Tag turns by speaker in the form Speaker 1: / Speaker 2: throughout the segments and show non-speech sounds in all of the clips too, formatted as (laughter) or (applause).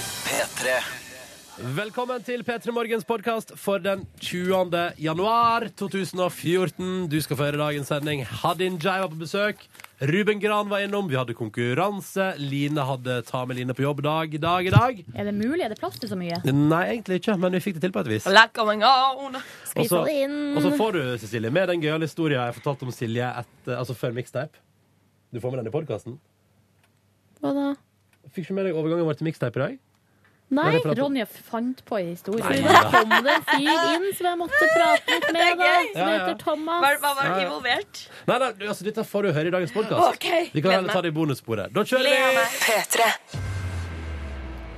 Speaker 1: P3.
Speaker 2: Velkommen til P3 Morgens podkast for den 20. januar 2014. Du skal få høre dagens sending. Hadin Jai var på besøk. Ruben Gran var innom. Vi hadde konkurranse. Line hadde Ta med Line på jobb dag i dag i dag.
Speaker 3: Er det mulig? Er det plass til så mye?
Speaker 2: Nei, egentlig ikke, men vi fikk det til på et vis.
Speaker 4: Black on my own.
Speaker 2: Og så-
Speaker 3: Skvisa det inn.
Speaker 2: Og så får du, Cecilie, med den gøyale historien jeg fortalte om Silje etter, altså før mixtape. Du får med den i podkasten.
Speaker 3: Hva da?
Speaker 2: Fikk ikke med deg overgangen vår til mixtape i dag?
Speaker 3: Nei,
Speaker 2: det prat om-
Speaker 3: Ronja fant på en historie.
Speaker 2: Nei,
Speaker 3: Da kom det en fyr inn som jeg måtte prate litt med, da, som
Speaker 2: Ja, ja.
Speaker 3: heter Thomas.
Speaker 4: Hva hva var
Speaker 2: Ja, ja.
Speaker 4: involvert?
Speaker 2: Nei, nei, du, altså, dette får du høre i dagens podkast.
Speaker 4: Ok,
Speaker 2: vi
Speaker 4: gleder
Speaker 2: kan heller
Speaker 4: meg.
Speaker 2: ta det i bonussporet. Da kjører
Speaker 4: Gleder
Speaker 2: vi!
Speaker 4: meg.
Speaker 1: P3.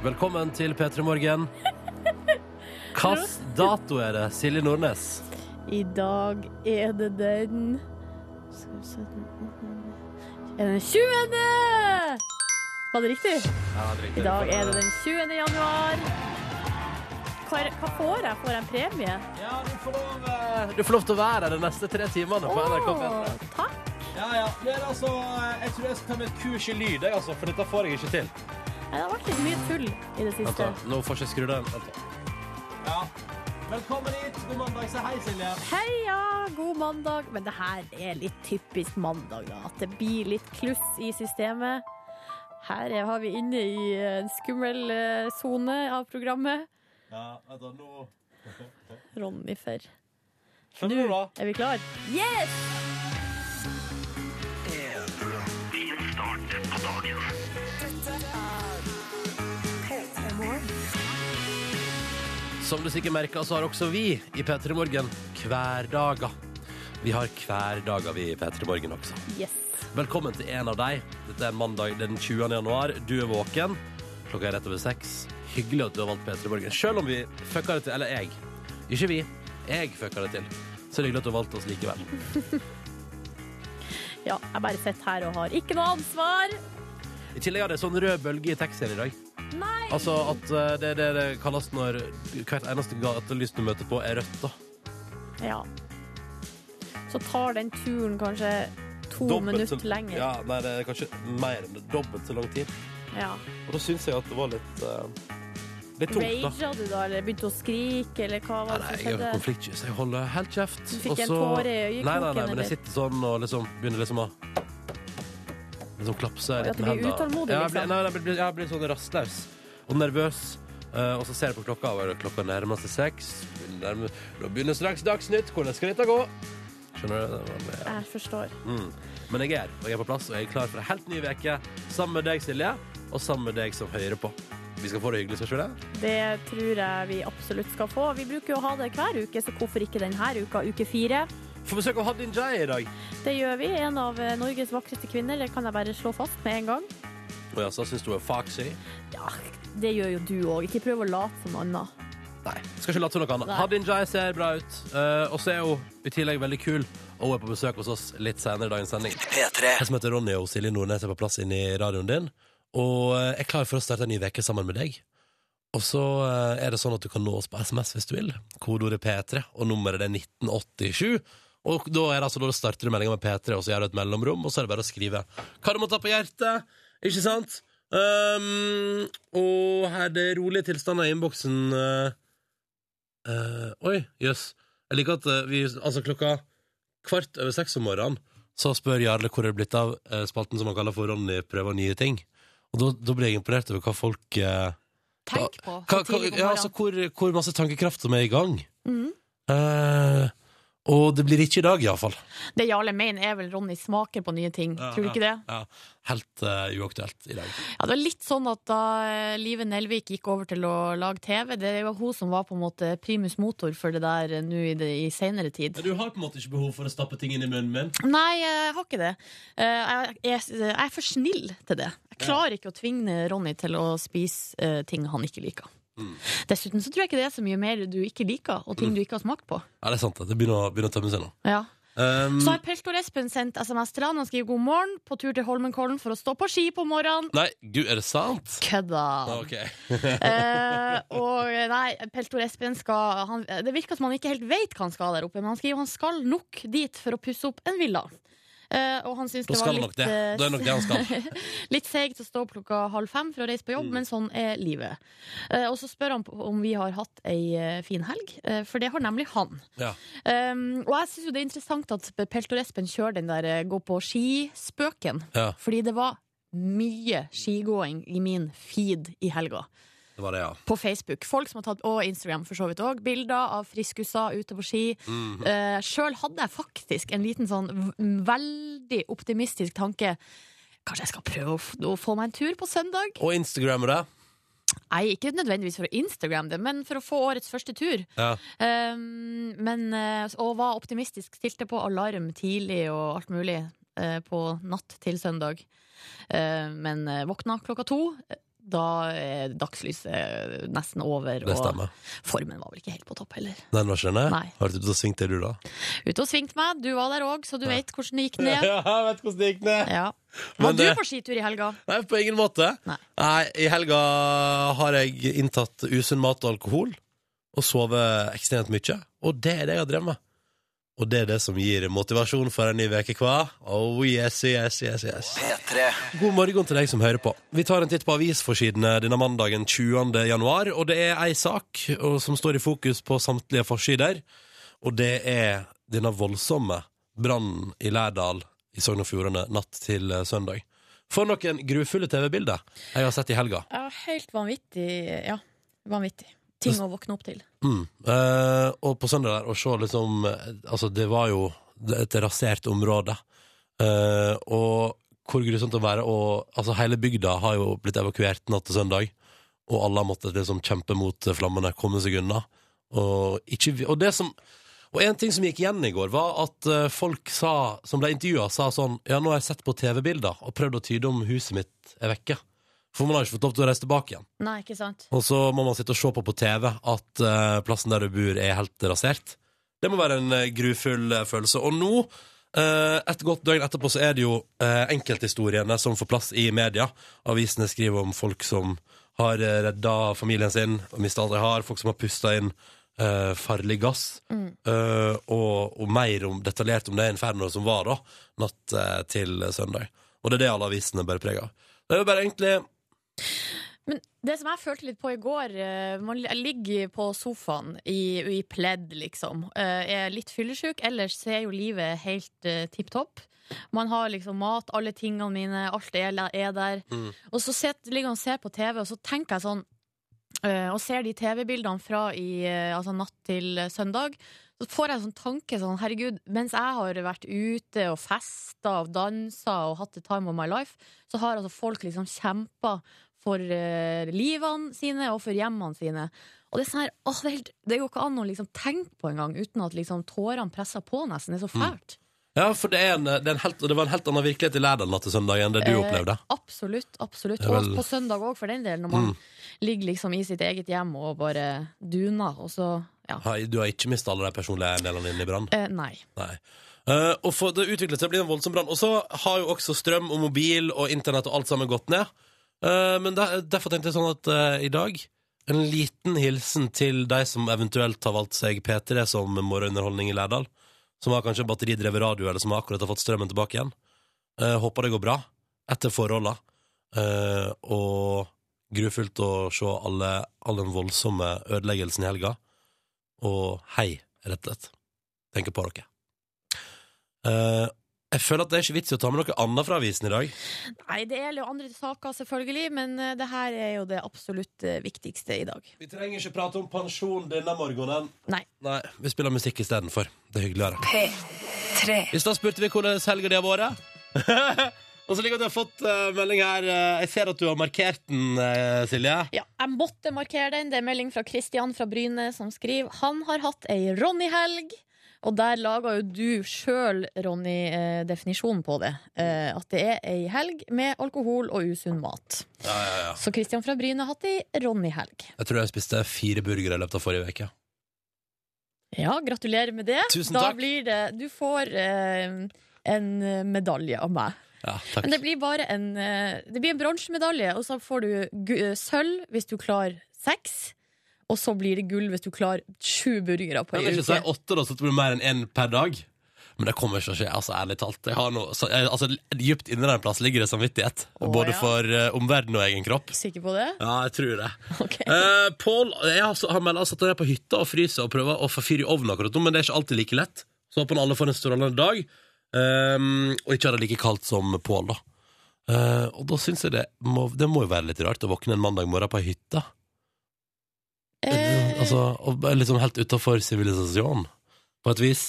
Speaker 2: Velkommen til P3 Morgen. Hvilken dato er det, Silje Nordnes?
Speaker 3: I dag er det den Skal vi se Er det den 20. Var det riktig? I dag er det den 20. januar. Hva, er, hva får jeg? Får jeg en premie?
Speaker 2: Ja, du får lov, eh, du får lov til å være her de neste tre timene på NRK P3.
Speaker 3: Åh, takk.
Speaker 2: Ja, ja. Men altså, jeg tror jeg skal ta meg et kurs i lyd, jeg, altså, for dette får jeg ikke til.
Speaker 3: Nei, Det har vært litt mye tull i det
Speaker 2: Vent
Speaker 3: siste.
Speaker 2: da, nå får jeg ikke skru den. Vent da. Ja. Velkommen hit. God mandag. Si hei, Silje.
Speaker 3: Heia, god mandag. Men det her er litt typisk mandag, da. At det blir litt kluss i systemet. Her er- har vi inne i en skummel eh, sone av programmet.
Speaker 2: Ja, vent da, nå...
Speaker 3: Ronny Ferr.
Speaker 2: Skjønner du da?
Speaker 3: Er vi klar? Yes!
Speaker 2: Som du sikkert merker, så har også vi i P3 Morgen hverdager. Vi har hverdager vi i P3 Morgen også.
Speaker 3: Yes.
Speaker 2: Velkommen til en av deg. Dette er mandag den 20. januar. Du er våken. Klokka er rett over seks. Hyggelig at du har valgt P3 Morgen. Selv om vi fucka det til, eller jeg. Ikke vi. Jeg fucka det til. Så er det hyggelig at du har valgt oss likevel.
Speaker 3: Ja, jeg bare sitter her og har ikke noe ansvar.
Speaker 2: I tillegg er det sånn rød bølge i taxien i dag.
Speaker 3: Nei!
Speaker 2: Altså at eh, det er det det kalles når hvert eneste gatelys du møter på, er rødt. da.
Speaker 3: Ja. Så tar den turen kanskje to
Speaker 2: så-
Speaker 3: minutter lenger.
Speaker 2: Ja, nei, det er kanskje mer enn det, dobbelt så lang tid.
Speaker 3: Ja.
Speaker 2: Og da syns jeg at det var litt eh, Litt tungt, da.
Speaker 3: Raga du da, eller begynte å skrike, eller hva var
Speaker 2: Nei, nei,
Speaker 3: det som
Speaker 2: jeg er
Speaker 3: skjedde?
Speaker 2: konfliktsky, så jeg holder helt kjeft.
Speaker 3: Du fikk
Speaker 2: Og
Speaker 3: en
Speaker 2: så-
Speaker 3: tåre i øyekroken,
Speaker 2: Nei, nei, nei, men
Speaker 3: eller?
Speaker 2: jeg sitter sånn og liksom begynner liksom å Liksom klapse
Speaker 3: At
Speaker 2: litt
Speaker 3: du
Speaker 2: med
Speaker 3: blir
Speaker 2: hendene.
Speaker 3: utålmodig,
Speaker 2: Ja, jeg blir-
Speaker 3: liksom.
Speaker 2: Nei, jeg blir, jeg blir sånn rastløs og nervøs. Eh, og så ser jeg på klokka, og klokka nærmer seg seks. Begynner Nærmer, da begynner straks Dagsnytt. Hvordan skal dette gå? Skjønner du? Det var med-
Speaker 3: Jeg forstår.
Speaker 2: Mm. Men jeg er her, og jeg er på plass, og jeg er klar for en helt ny uke sammen med deg, Silje, og sammen med deg som hører på. Vi skal få det hyggelig, skal vi ikke det?
Speaker 3: Det tror jeg vi absolutt skal få. Vi bruker jo å ha det hver uke, så hvorfor ikke denne uka, uke fire?
Speaker 2: Få besøk av Hadin Jai i dag.
Speaker 3: Det gjør vi. En av eh, Norges vakreste kvinner, det kan jeg bare slå fast med en gang.
Speaker 2: Og ja, så syns du hun er foxy.
Speaker 3: Ja, det gjør jo du òg. Ikke prøv å late som noe annet.
Speaker 2: Nei, skal ikke late som noe annet.
Speaker 3: Nei.
Speaker 2: Hadin Jai ser bra ut, eh, og så er hun i tillegg veldig kul. Og hun er på besøk hos oss litt senere i dagens sending.
Speaker 1: P3.
Speaker 2: Jeg som heter Ronny og Silje Nordnes er på plass inne i radioen din, og eh, er klar for å starte en ny uke sammen med deg. Og så eh, er det sånn at du kan nå oss på SMS hvis du vil. Kodeordet P3, og nummeret det er 1987. Og da, er det, altså, da starter du meldinga med P3, og så gjør du et mellomrom, og så er det bare å skrive hva du måtte ha på hjertet. Ikke sant? Um, og her er det rolige tilstander i innboksen. eh, eh, oi, jøss. Jeg liker at eh, vi Altså, klokka kvart over seks om morgenen så spør Jarle hvor det er blitt av eh, spalten som han kaller for Ronny prøver nye ting. Og da, da blir jeg imponert over hva folk eh,
Speaker 4: Tenk på.
Speaker 2: hva, hva, ja, altså, hvor, hvor masse tankekraft som er i gang.
Speaker 5: Mm.
Speaker 2: Eh, og det blir ikke i dag, iallfall.
Speaker 5: Det Jarle mener er vel Ronny smaker på nye ting, tror du ikke det?
Speaker 2: Ja, helt eh, uaktuelt i dag.
Speaker 5: Ja, det er litt sånn at da eh, Live Nelvik gikk over til å lage TV, det var hun som var på en måte primus motor for det der eh, nå i, det- i senere tid.
Speaker 2: Du har på en måte ikke behov for å stappe ting inn i munnen min.
Speaker 5: Nei, jeg har ikke det. Eh, Jeg jeg- jeg er for snill til det. Jeg klarer ikke å tvinge Ronny til å spise eh, ting han ikke liker.
Speaker 2: Mm.
Speaker 5: Dessuten så tror jeg ikke det er så mye mer du ikke liker, og ting du ikke har smakt på.
Speaker 2: Ja, Det er sant. det. Det begynner, å- begynner å tømme seg nå.
Speaker 5: Ja.
Speaker 2: Um,
Speaker 5: Så har Peltor Espen sendt SMS til han. Han skriver 'God morgen' på tur til Holmenkollen for å stå på ski på morgenen.
Speaker 2: nei, gud, er det sant?
Speaker 5: (laughs) Kødda!
Speaker 2: Ok.
Speaker 5: Eh, og nei, Peltor Espen skal han, Det virker som han ikke helt vet hva han skal der oppe, men han skriver han skal nok dit for å pusse opp en villa.
Speaker 3: Eh, og han syns
Speaker 2: Da
Speaker 3: det var
Speaker 2: skal han nok
Speaker 3: litt,
Speaker 2: det.
Speaker 3: eh,
Speaker 2: Da er det nok det han
Speaker 3: (laughs)
Speaker 2: skal.
Speaker 3: litt seigt å stå opp klokka halv fem for å reise på jobb,
Speaker 2: Mm.
Speaker 3: men sånn er livet. Eh, og så spør han på- om vi har hatt ei eh, fin helg, eh, for det har nemlig han.
Speaker 2: Ja.
Speaker 3: Um, og jeg syns jo det er interessant at Peltor Espen kjører den der eh, gå på ski-spøken,
Speaker 2: Ja,
Speaker 3: fordi det var mye skigåing i min feed i helga
Speaker 2: det var det, ja.
Speaker 3: på Facebook. Folk som har tatt, og Instagram for så vidt òg, bilder av friskuser ute på ski.
Speaker 2: Mhm.
Speaker 3: Uh, Sjøl hadde jeg faktisk en liten sånn v- veldig optimistisk tanke. Kanskje jeg skal prøve å, f å få meg en tur på søndag?
Speaker 2: Og Instagram og det.
Speaker 3: Nei, ikke nødvendigvis for å Instagram det, men for å få årets første tur.
Speaker 2: Ja.
Speaker 3: Um, men, eh, og var optimistisk, stilte på alarm tidlig og alt mulig eh, på natt til søndag. Eh, men eh, våkna klokka to. Da er dagslyset nesten over,
Speaker 2: Det
Speaker 3: og
Speaker 2: stemmer.
Speaker 3: formen var vel ikke helt på topp heller.
Speaker 2: Den var ikke den,
Speaker 3: Nei.
Speaker 2: Har du og svingt det, du, da?
Speaker 3: Ute og svingte meg, du var der òg, så du vet hvordan det gikk
Speaker 2: (laughs)
Speaker 3: ned.
Speaker 2: jeg vet hvordan det gikk ned.
Speaker 3: (laughs) Ja.
Speaker 2: Men
Speaker 3: Var du
Speaker 2: det-
Speaker 3: på skitur i helga?
Speaker 2: Nei, på ingen måte.
Speaker 3: Nei.
Speaker 2: I helga har jeg inntatt usunn mat og alkohol og sovet ekstremt mye. Og det er det jeg har drevet med. Og det er det som gir motivasjon for en ny uke, hva? Oh yes, yes, yes, yes. God morgen til deg som hører på. Vi tar en titt på avisforsidene denne mandagen 20. januar, og det er ei sak og, som står i fokus på samtlige forsider, og det er denne voldsomme brannen i Lærdal i Sogn og Fjordane natt til eh, søndag. For noen grufulle TV-bilder jeg har sett i helga.
Speaker 3: Ja, helt vanvittig. Ja, vanvittig. Ting å våkne opp til.
Speaker 2: Mm. Eh, og på søndag der, og se liksom eh, Altså, det var jo et rasert område. Eh, og hvor grusomt å være og Altså, hele bygda har jo blitt evakuert natt til søndag, og alle har måttet liksom kjempe mot flammene, komme seg unna. Og, ikke, vi- og det som og en ting som gikk igjen i går, var at eh, folk sa, som ble intervjua, sa sånn Ja, nå har jeg sett på TV-bilder og prøvd å tyde om huset mitt er vekke. For man har ikke fått lov til å reise tilbake igjen.
Speaker 3: Nei, ikke sant?
Speaker 2: Og så må man sitte og se på på TV at eh, plassen der du bor er helt rasert. Det må være en eh, grufull eh, følelse. Og nå, eh, et godt døgn etterpå, så er det jo eh, enkelthistoriene som får plass i media. Avisene skriver om folk som har eh, redda familien sin og mista alt de har, folk som har pusta inn eh, farlig gass, eh, og, og mer om, detaljert om det infernoet som var da, natt eh, til søndag. Og det er det alle avisene bærer preg av. Det er jo bare egentlig
Speaker 3: Men det som jeg følte litt på i går eh, man, Jeg ligger på sofaen i, i pledd, liksom. eh, Er litt fyllesyk. Ellers så er jo livet helt uh, tipp topp. Man har liksom mat, alle tingene mine, alt er, er der.
Speaker 2: Mm.
Speaker 3: Og så set, ligger man og ser på TV, og så tenker jeg sånn eh, Og ser de TV-bildene fra i, eh, altså natt til eh, søndag. Så får jeg en sånn tanke sånn, herregud, mens jeg har vært ute og festa og dansa og hatt the time of my life, så har altså folk liksom kjempa for eh, livene sine og for hjemmene sine. Og det er sånn her, åh, det, er helt, det går ikke an å liksom tenke på engang uten at liksom tårene presser på, nesten. Det er så
Speaker 2: Mm.
Speaker 3: fælt.
Speaker 2: Ja, for det, er en, det, er en helt, det var en helt annen virkelighet i Lærdal natt til søndag enn det du
Speaker 3: Eh,
Speaker 2: opplevde.
Speaker 3: Absolutt. absolutt
Speaker 2: Det er vel- Mm.
Speaker 3: Og på søndag òg, for den del, når man ligger liksom i sitt eget hjem og bare duner, og så ja.
Speaker 2: Har- Du har ikke mista alle de personlige delene dine i brann?
Speaker 3: Eh, nei.
Speaker 2: Nei. Eh, og for, det utviklet seg å bli en voldsom brann. Og så har jo også strøm og mobil og internett og alt sammen gått ned. Eh, men der, derfor tenkte jeg sånn at eh, i dag en liten hilsen til de som eventuelt har valgt seg P3 som morgenunderholdning i Lærdal. Som har kanskje batteridrevet radio, eller som akkurat har fått strømmen tilbake igjen. Eh, håper det går bra etter forholda. Eh, og grufullt å se alle, all den voldsomme ødeleggelsen i helga. Og hei, rett og slett. Tenker på dere. Eh, jeg føler at det er ikke vits i å ta med noe annet fra avisen i dag.
Speaker 3: nei. Det gjelder jo andre saker, selvfølgelig, men eh, det her er jo det absolutt eh, viktigste i dag.
Speaker 2: Vi trenger ikke prate om pensjon denne morgenen.
Speaker 3: Nei.
Speaker 2: Nei, Vi spiller musikk istedenfor. Det er hyggeligere. I stad spurte vi hvordan helga di har vært. (laughs) Og så ligger det at jeg har fått eh, melding her. eh, jeg ser at du har markert den, eh, Silje.
Speaker 3: Ja, jeg måtte markere den. Det er melding fra Kristian fra Bryne som skriver Han har hatt ei Ronny-helg. Og der laga jo du sjøl, Ronny, eh, definisjonen på det. Eh, at det er ei helg med alkohol og usunn mat.
Speaker 2: Ja, ja, ja.
Speaker 3: Så Kristian fra Bryne har hatt ei Ronny-helg.
Speaker 2: Jeg tror jeg spiste fire burgere i løpet av forrige uke.
Speaker 3: Ja, gratulerer med det.
Speaker 2: Tusen
Speaker 3: Da
Speaker 2: takk.
Speaker 3: blir det Du får eh, en medalje av meg.
Speaker 2: Ja, takk.
Speaker 3: Men det blir bare en eh, Det blir en bronsemedalje, og så får du gu- eh, sølv hvis du klarer seks. Og så blir det gull hvis du klarer sju burgere på
Speaker 2: Jeg
Speaker 3: ei
Speaker 2: vil ikke si
Speaker 3: uke.
Speaker 2: åtte, da, så det blir mer enn én per dag. Men det kommer ikke til å skje, altså ærlig talt. Jeg har noe, så, jeg, altså, dypt inni der en plass ligger det samvittighet.
Speaker 3: Å,
Speaker 2: både
Speaker 3: ja.
Speaker 2: for eh, omverdenen og egen kropp.
Speaker 3: Sikker
Speaker 2: (laughs)
Speaker 3: på det?
Speaker 2: Ja, jeg tror det.
Speaker 3: Ok.
Speaker 2: Eh, Pål jeg har, så- han melder altså at han er på hytta og fryser og prøver å få fyr i ovnen akkurat nå, men det er ikke alltid like lett. Så håper han alle får en strålende dag, ehm, og ikke har det like kaldt som Pål, da. Eh, og da syns jeg det må, det må jo være litt rart å våkne en mandag morgen på ei hytte.
Speaker 3: Eh,
Speaker 2: Altså, og bare liksom helt utafor sivilisasjonen, på et vis.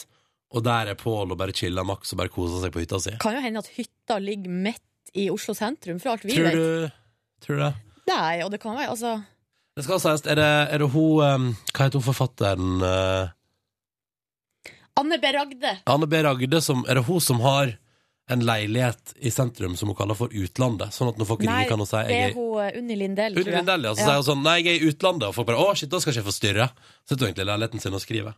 Speaker 2: Og der er Pål og bare chiller maks og bare koser seg på hytta si.
Speaker 5: Kan jo hende at hytta ligger midt i Oslo sentrum, for alt vi
Speaker 2: Tror
Speaker 5: vet.
Speaker 2: du, tror du det?
Speaker 5: Nei, og det kan være, altså
Speaker 2: Det skal sies, er det, er det hun ehm, Hva heter hun forfatteren? eh,
Speaker 5: Anne B. Ragde.
Speaker 2: Anne B. Ragde, som, er det hun som har en leilighet i sentrum som hun kaller for utlandet? Sånn at når folk
Speaker 5: Nei,
Speaker 2: ringer, kan hun si
Speaker 5: Det
Speaker 2: jeg
Speaker 5: er
Speaker 2: er
Speaker 5: hun eh, Unni Lindell,
Speaker 2: Unni
Speaker 5: tror jeg.
Speaker 2: Lindell, ja. Så
Speaker 5: Ja.
Speaker 2: sier hun sånn Nei, jeg er i utlandet. Og folk bare Å, shit, da skal ikke jeg forstyrre. Så sitter hun egentlig i leiligheten sin og skriver.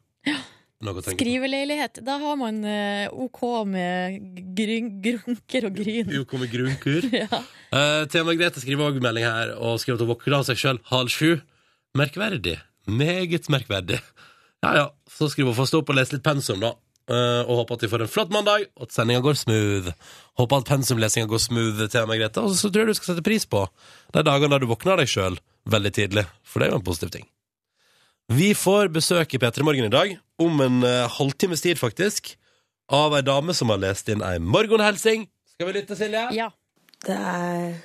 Speaker 2: Noe å tenke på.
Speaker 5: Skriveleilighet. Da har man eh, OK med gryn, grunker og gryn.
Speaker 2: Jo, kommer grunkur.
Speaker 5: (laughs) Ja.
Speaker 2: Eh, Thea Margrethe skriver også melding her, og skriver at hun våkner av seg sjøl halv sju. Merkverdig. Meget merkverdig. Ja, ja. Så skriver hun for å stå opp og lese litt pensum, da. Eh, og håper at vi får en flott mandag, og at sendinga går smooth. Håper at pensumlesinga går smooth, Thea Margrethe. Og så tror jeg du skal sette pris på de dagene da du våkner av deg sjøl veldig tidlig, for det er jo en positiv ting. Vi får besøk i P3 Morgen i dag, om en eh, halvtimes tid, faktisk, av ei dame som har lest inn ei morgenhelsing. Skal vi lytte, Silje?
Speaker 5: ja.
Speaker 1: Det er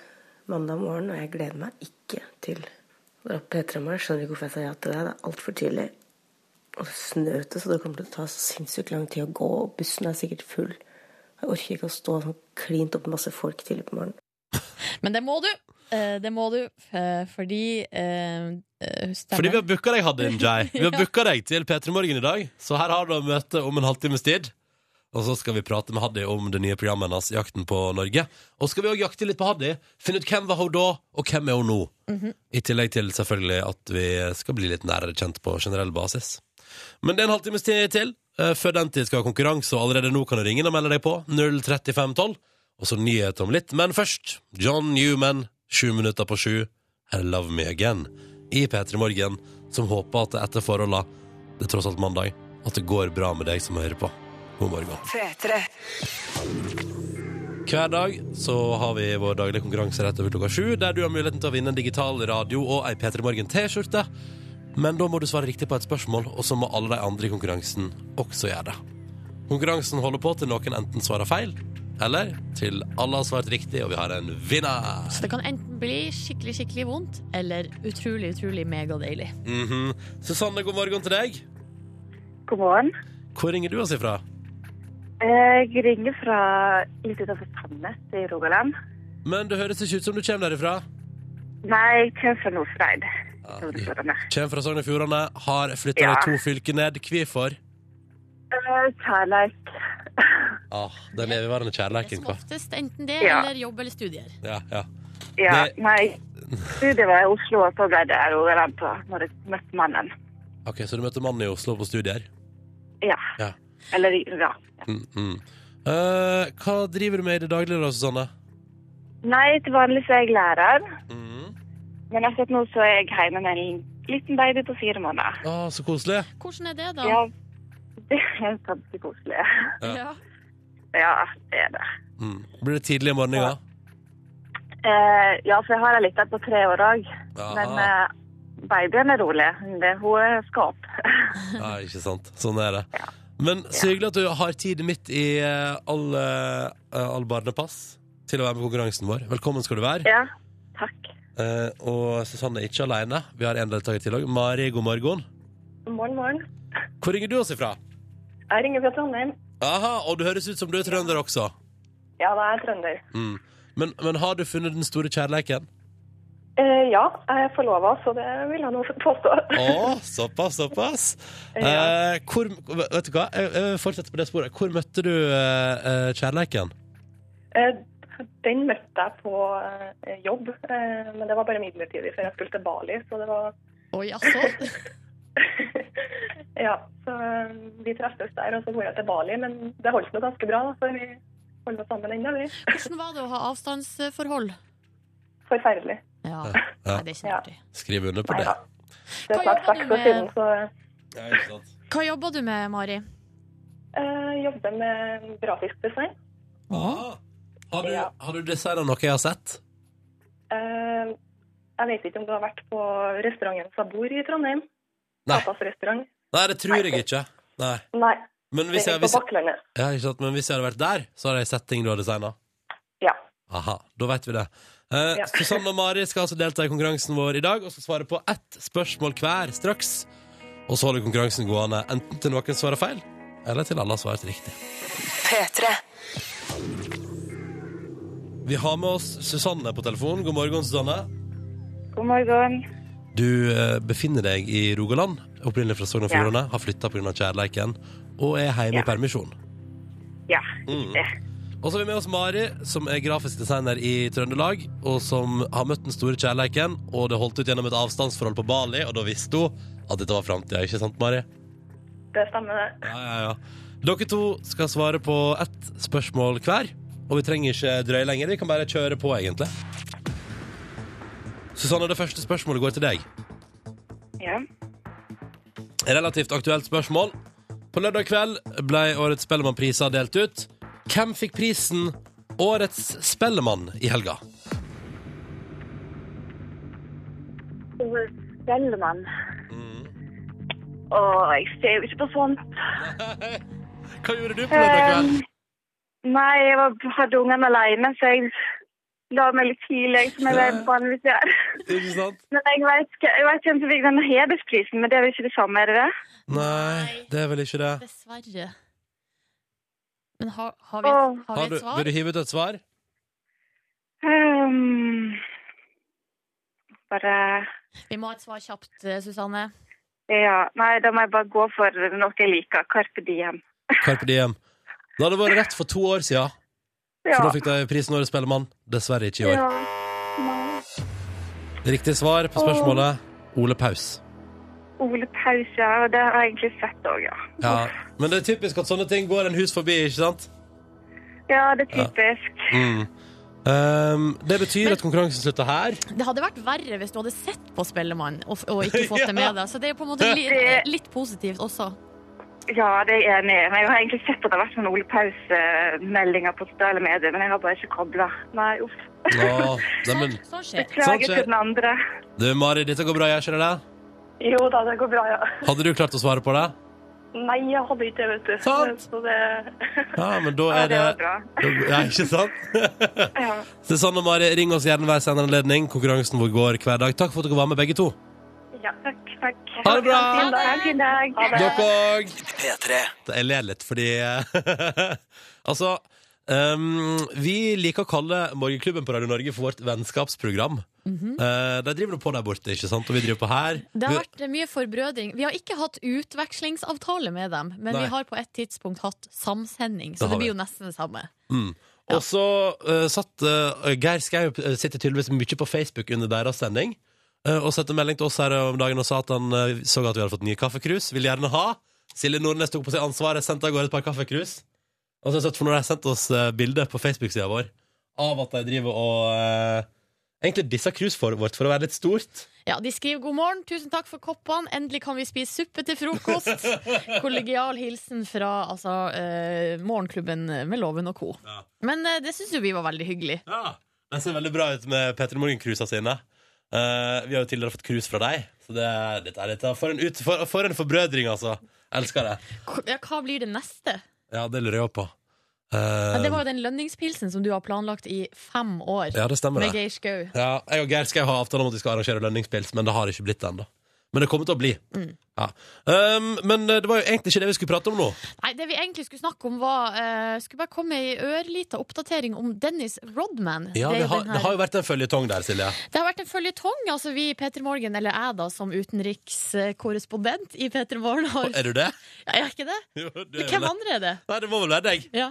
Speaker 1: mandag morgen, og jeg gleder meg ikke til å dra på P3 i morgen. Jeg Skjønner ikke hvorfor jeg sa ja til det. Det er altfor tidlig. Og det snør ute, så det kommer til å ta så sinnssykt lang tid å gå. Og bussen er sikkert full. Jeg orker ikke å stå sånn klint opp med masse folk tidlig på morgenen.
Speaker 5: Men det må du. Eh, Det må du, eh, fordi eh, eh, stemmer.
Speaker 2: Fordi vi har booka deg, Hadim Jai. Vi har
Speaker 5: (laughs) Ja.
Speaker 2: booka deg til P3 Morgen i dag, så her har du et møte om en halvtimes tid. Og så skal vi prate med Haddy om det nye programmet hennes, Jakten på Norge. Og skal vi òg jakte litt på Haddy. Finne ut hvem var hun da, og hvem er hun nå.
Speaker 5: Mhm.
Speaker 2: I tillegg til selvfølgelig at vi skal bli litt nærere kjent på generell basis. Men det er en halvtimes tid til. Eh, Før den tid skal vi ha konkurranse, og allerede nå kan du ringe inn og melde deg på. 03512. Og så nyheter om litt, men først John Newman, sju minutter på sju. Her er Love Me Again i P3 Morgen, som håper at det etter forholda, det er tross alt mandag, at det går bra med deg som hører på. God morgen. Hver dag så har vi vår daglige konkurranse rett over klokka sju, der du har muligheten til å vinne en digital radio og ei P3 Morgen T-skjorte. Men da må du svare riktig på et spørsmål, og så må alle de andre i konkurransen også gjøre det. Konkurransen holder på til noen enten svarer feil, eller til alle har svart riktig, og vi har en vinner.
Speaker 5: Så det kan enten bli skikkelig, skikkelig vondt, eller utrolig, utrolig megadeilig.
Speaker 2: Mhm. Susanne, god morgen til deg.
Speaker 6: God morgen.
Speaker 2: Hvor ringer du oss ifra?
Speaker 6: Jeg ringer fra litt utenfor Sandnes i Rogaland.
Speaker 2: Men det høres ikke ut som du kommer derifra.
Speaker 6: Nei, jeg kommer fra Nordfreid.
Speaker 2: Ah, Ja,
Speaker 6: Sogn og
Speaker 2: du
Speaker 6: Fjordane.
Speaker 2: Kommer fra Sogn og Fjordane, har flytta
Speaker 6: Ja.
Speaker 2: deg to fylker ned. Hvorfor?
Speaker 6: Eh, Kjærleik.
Speaker 2: Ah, den evigvarende
Speaker 5: Det er
Speaker 2: kjærleiken.
Speaker 5: som
Speaker 2: hva?
Speaker 5: oftest enten det
Speaker 6: Ja.
Speaker 5: eller jobb eller studier.
Speaker 2: Ja, ja.
Speaker 6: (laughs) Ja,
Speaker 2: Det-
Speaker 6: nei. Studiet var i Oslo, og så ble det Rogaland på når jeg møtte mannen.
Speaker 2: Ok, Så du møtte mannen i Oslo på studier?
Speaker 6: Ja.
Speaker 2: Ja.
Speaker 6: Eller, ja.
Speaker 2: Mm -mm. Eh, hva driver du med i det daglige, da, Susanne?
Speaker 6: Nei, til vanlig så er jeg lærer,
Speaker 2: Mm.
Speaker 6: men akkurat nå så er jeg hjemme med en liten baby på fire måneder.
Speaker 2: Ah, så koselig.
Speaker 5: Hvordan er det,
Speaker 2: Ah.
Speaker 5: da?
Speaker 6: Ja, det er ganske koselig. (laughs)
Speaker 2: Ja.
Speaker 5: Ja.
Speaker 6: Ja, det er det.
Speaker 2: Mm. Blir det tidlig i morgen? Ja.
Speaker 6: Eh, ja, for jeg har en liten på tre år òg. Men
Speaker 2: Ah,
Speaker 6: eh, babyen er rolig. Det, hun er skap. (laughs) eh,
Speaker 2: ja, ikke sant. Sånn er det. Men så hyggelig at du har tid midt i eh, all, eh, all barnepass til å være med i konkurransen vår. Velkommen skal du være.
Speaker 6: ja, takk.
Speaker 2: Eh, og Susanne er ikke alene. Vi har en deltaker til òg. Mari, god morgen.
Speaker 6: Morgen, morgen.
Speaker 2: Hvor ringer du oss ifra?
Speaker 6: Jeg ringer fra Trondheim.
Speaker 2: Aha, og du høres ut som du er trønder også.
Speaker 6: Ja, det er trønder.
Speaker 2: Mm. Men, men har du funnet den store kjærleiken?
Speaker 6: Eh, ja, jeg er forlova, så det vil jeg nå (laughs) påstå.
Speaker 2: Å, såpass, såpass.
Speaker 6: (laughs)
Speaker 2: Eh, hvor, vet du hva, jeg, jeg fortsetter på det sporet. Hvor møtte du eh, eh, kjærleiken?
Speaker 6: Eh, den møtte jeg på eh, jobb, eh, men det var bare midlertidig før jeg skulle til Bali. Så det var
Speaker 5: Oi, altså.
Speaker 6: (laughs) Ja, så eh, vi treffes der, og så dro jeg til Bali. Men det holdt nå ganske bra, da, for vi holder oss sammen ennå, vi. (laughs)
Speaker 5: Hvordan var det å ha avstandsforhold?
Speaker 6: Forferdelig.
Speaker 5: Ja.
Speaker 2: Ja.
Speaker 5: Nei, det er ikke artig.
Speaker 2: Skriv under på
Speaker 6: Nei
Speaker 2: det.
Speaker 6: da. Det
Speaker 5: Hva
Speaker 6: er
Speaker 5: jobber du
Speaker 6: snart seks år
Speaker 5: med?
Speaker 6: siden, så
Speaker 2: Ja, ikke sant.
Speaker 5: Hva jobber du med, Mari?
Speaker 6: eh,
Speaker 1: jobber med grafisk design.
Speaker 2: Ah. Har, du,
Speaker 1: Ja.
Speaker 2: har du designet noe jeg har sett?
Speaker 1: Eh, Jeg vet ikke om du har vært på restauranten Sabor i Trondheim?
Speaker 2: Nei.
Speaker 1: Tapasrestaurant?
Speaker 2: Nei, det tror jeg ikke. Nei.
Speaker 1: Nei,
Speaker 2: Men
Speaker 1: det
Speaker 2: hvis jeg,
Speaker 1: er på
Speaker 2: hvis, jeg-
Speaker 1: Bakklandet.
Speaker 2: ja, ikke sant? Men hvis jeg hadde vært der, så hadde jeg sett ting du hadde designa.
Speaker 1: Ja.
Speaker 2: Aha, da vet vi det. Eh,
Speaker 1: Ja.
Speaker 2: Susanne og Mari skal altså delta i konkurransen vår i dag og skal svare på ett spørsmål hver straks. Og så holder konkurransen gående enten til noen svarer feil, eller til alle har svart riktig. Vi har med oss Susanne på telefon. God morgen, Susanne.
Speaker 6: God morgen.
Speaker 2: Du eh, befinner deg i Rogaland, opprinnelig fra Sogn og Fjordane, har flytta pga. kjærleiken og er hjemme i permisjon.
Speaker 6: Ja,
Speaker 2: Mm.
Speaker 6: det.
Speaker 2: Og så har vi med oss Mari, som er grafisk designer i Trøndelag, og som har møtt den store kjærleiken, og det holdt ut gjennom et avstandsforhold på Bali, og da visste hun at dette var framtida, ikke sant, Mari?
Speaker 1: Det stemmer, det.
Speaker 2: Ja, ja, ja. Dere to skal svare på ett spørsmål hver, og vi trenger ikke drøye lenger, vi kan bare kjøre på, egentlig. Susanne, det første spørsmålet går til deg.
Speaker 6: Ja.
Speaker 2: Relativt aktuelt spørsmål. På lørdag kveld ble årets Spellemannpriser delt ut. Hvem fikk prisen Årets Spellemann i helga?
Speaker 6: Spellemann.
Speaker 2: Mm.
Speaker 6: Å, jeg ser jo ikke på sånt.
Speaker 2: Hva gjorde du på lørdag kveld?
Speaker 6: Eh, Nei, jeg var, hadde ungene alene, så jeg la meg litt tidlig, som jeg
Speaker 2: Ja.
Speaker 6: vanligvis gjør.
Speaker 2: Ikke sant?
Speaker 6: (laughs) Men jeg vet ikke- jeg vet ikke hvem som fikk den hedersprisen, men det er jo ikke det samme, er det det?
Speaker 2: Nei, det er vel ikke det.
Speaker 3: Dessverre. Men har, har, vi,
Speaker 6: Åh.
Speaker 3: har
Speaker 2: Har
Speaker 3: vi
Speaker 2: du,
Speaker 3: et svar?
Speaker 2: vil du hive ut et svar?
Speaker 6: Ehm, bare
Speaker 3: Vi må ha et svar kjapt, eh, Susanne.
Speaker 6: Ja. Nei, da må jeg bare gå for noe jeg liker. Carpe Diem.
Speaker 2: Carpe Diem. Da hadde det vært rett for to år siden,
Speaker 6: Ja.
Speaker 2: for da fikk de prisen Årets Spellemann. Dessverre ikke i år.
Speaker 6: Ja. Nei.
Speaker 2: Riktig svar på spørsmålet Ole Paus.
Speaker 6: Ole Paus, ja. Og det har jeg egentlig sett òg, ja.
Speaker 2: Ja. Men det er typisk at sånne ting går en hus forbi, ikke sant?
Speaker 6: Ja, det er typisk.
Speaker 2: Mm. Um, det betyr at konkurransen slutter her.
Speaker 3: Det hadde vært verre hvis du hadde sett på Spellemann og, og
Speaker 2: (laughs)
Speaker 3: ikke fått det med deg. Så det er på en måte li,
Speaker 6: Det-
Speaker 3: litt positivt også.
Speaker 6: Ja, det er jeg enig i. Men jeg har egentlig sett at det har vært sånne Ole Paus-meldinger på sosiale medier, men jeg har bare ikke kobla. Nei, uff.
Speaker 2: Nå, nei, men,
Speaker 3: Sånn skjer.
Speaker 2: Sånn
Speaker 6: Beklager
Speaker 2: skjer.
Speaker 6: til den andre.
Speaker 2: du, Mari, dette går bra, jeg skjønner det.
Speaker 1: Jo da, det går bra, ja.
Speaker 2: Hadde du klart å svare på det?
Speaker 1: Nei, jeg hadde ikke det, vet du.
Speaker 2: Sant.
Speaker 1: Så det...
Speaker 2: Sånn. Ja, men da
Speaker 6: Ja,
Speaker 2: er
Speaker 6: det
Speaker 2: det
Speaker 6: var bra.
Speaker 2: Ja, ikke sant?
Speaker 6: (laughs)
Speaker 2: (laughs)
Speaker 6: Ja.
Speaker 2: Susanne og Mari, ring oss gjerne hver senere anledning. Konkurransen vår går hver dag. Takk for at dere var med, begge to.
Speaker 6: ja takk, takk.
Speaker 2: Ha det bra!
Speaker 6: Ha en fin dag. Ha en fin dag.
Speaker 2: Dere òg. Jeg ler litt fordi (laughs) Altså, um, vi liker å kalle Morgenklubben på Radio Norge for vårt vennskapsprogram.
Speaker 6: Mhm.
Speaker 2: Eh, de driver nå på der borte, ikke sant? Og vi driver på her.
Speaker 3: Det
Speaker 2: Vi-
Speaker 3: har vært eh, mye forbrødring. Vi har ikke hatt utvekslingsavtale med dem, men
Speaker 2: Nei.
Speaker 3: vi har på et tidspunkt hatt samsending,
Speaker 2: Det
Speaker 3: så
Speaker 2: har
Speaker 3: det
Speaker 2: vi.
Speaker 3: blir jo nesten det samme.
Speaker 2: Mm. Og så eh, satt eh, Geir Skau eh, sitter tydeligvis mye på Facebook under deres sending. eh, og sendte melding til oss her om dagen og sa at han eh, så at vi hadde fått nye kaffekrus. Vil gjerne ha. Silje Nordnes tok på seg ansvaret, sendte av gårde et par kaffekrus. Og så har jeg sett for når de har sendt oss uh, bilde på Facebook-sida vår av at de driver og eh, Egentlig dissa cruiset vårt for å være litt stort.
Speaker 3: Ja, De skriver 'God morgen, tusen takk for koppene, endelig kan vi spise suppe til
Speaker 2: (laughs)
Speaker 3: frokost'. Kollegial hilsen fra altså, eh, Morgenklubben med Loven og co.
Speaker 2: Ja.
Speaker 3: Men eh, det syns jo vi var veldig hyggelig.
Speaker 2: Ja, De ser veldig bra ut med Peter Morgen-cruisa sine. Eh, vi har jo tidligere fått cruise fra deg, så det, dette er litt av- for, en ut, for, for en forbrødring, altså. Elsker det.
Speaker 3: K- Ja, hva blir det neste?
Speaker 2: Ja, det lurer jeg òg på.
Speaker 3: Ja,
Speaker 2: Eh,
Speaker 3: det var jo den lønningspilsen som du har planlagt i fem år,
Speaker 2: ja, det stemmer,
Speaker 3: med
Speaker 2: det.
Speaker 3: Geir Skau.
Speaker 2: Ja, jeg og Geir skal ha avtale om at vi skal arrangere lønningspils, men det har ikke blitt det ennå. Men det kommer til å bli.
Speaker 3: Mm.
Speaker 2: Ja. Um, men det var jo egentlig ikke det vi skulle prate om nå.
Speaker 3: Nei, det vi egentlig skulle snakke om, var eh, Skulle bare komme ei ørlita oppdatering om Dennis Rodman.
Speaker 2: Ja,
Speaker 3: er
Speaker 2: det,
Speaker 3: jo
Speaker 2: har,
Speaker 3: den her-
Speaker 2: det har jo vært en føljetong der, Silje.
Speaker 3: Det har vært en føljetong. Altså vi i Peter Morgen, eller jeg da, som utenrikskorrespondent i Peter Morgen, har
Speaker 2: Er du
Speaker 3: (laughs)
Speaker 2: det?
Speaker 3: Ja, Jeg er ikke det?
Speaker 2: Jo, du er
Speaker 3: Hvem
Speaker 2: vel det.
Speaker 3: andre er det?
Speaker 2: Nei, det må vel være deg.
Speaker 3: Ja.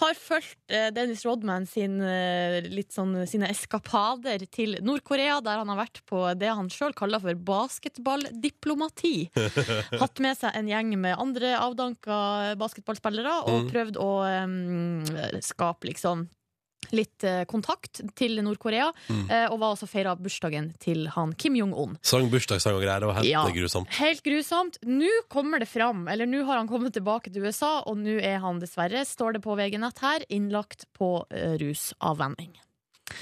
Speaker 3: Har fulgt eh, Dennis Rodman sin, eh, litt sånn, sine eskapader til Nord-Korea, der han har vært på det han sjøl kaller for basketballdiplomati. Hatt med seg en gjeng med andre avdanka basketballspillere og
Speaker 2: Mm.
Speaker 3: prøvd å eh, skape liksom litt eh, kontakt til Nord-Korea, eh, og var altså feira bursdagen til han Kim Jong-un.
Speaker 2: Sang bursdagssang og greier. Det var helt
Speaker 3: Ja.
Speaker 2: grusomt.
Speaker 3: Helt grusomt. Nå kommer det fram, eller nå har han kommet tilbake til USA, og nå er han dessverre, står det på VG-nett her, innlagt på eh, rusavvenning.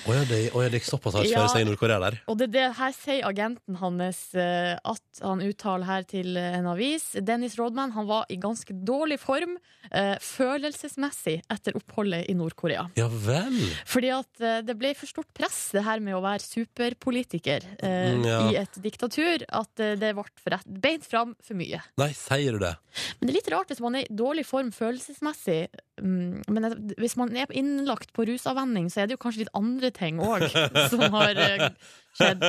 Speaker 2: Å ja, det, å ja, det gikk såpass hardt
Speaker 3: Ja.
Speaker 2: for seg i Nord-Korea der.
Speaker 3: Og det, er det her sier agenten hans eh, at han uttaler her til en avis. Dennis Rodman han var i ganske dårlig form eh, følelsesmessig etter oppholdet i Nord-Korea.
Speaker 2: Ja vel.
Speaker 3: Fordi at eh, det ble for stort press, det her med å være superpolitiker eh,
Speaker 2: Mm, ja.
Speaker 3: i et diktatur, at eh, det ble for rett, beint fram for mye.
Speaker 2: Nei, sier du det?
Speaker 3: Men det er litt rart hvis man er i dårlig form følelsesmessig. Mm, Men det- hvis man er innlagt på rusavvenning, så er det jo kanskje litt andre ting òg
Speaker 2: (laughs)
Speaker 3: som har eh, skjedd.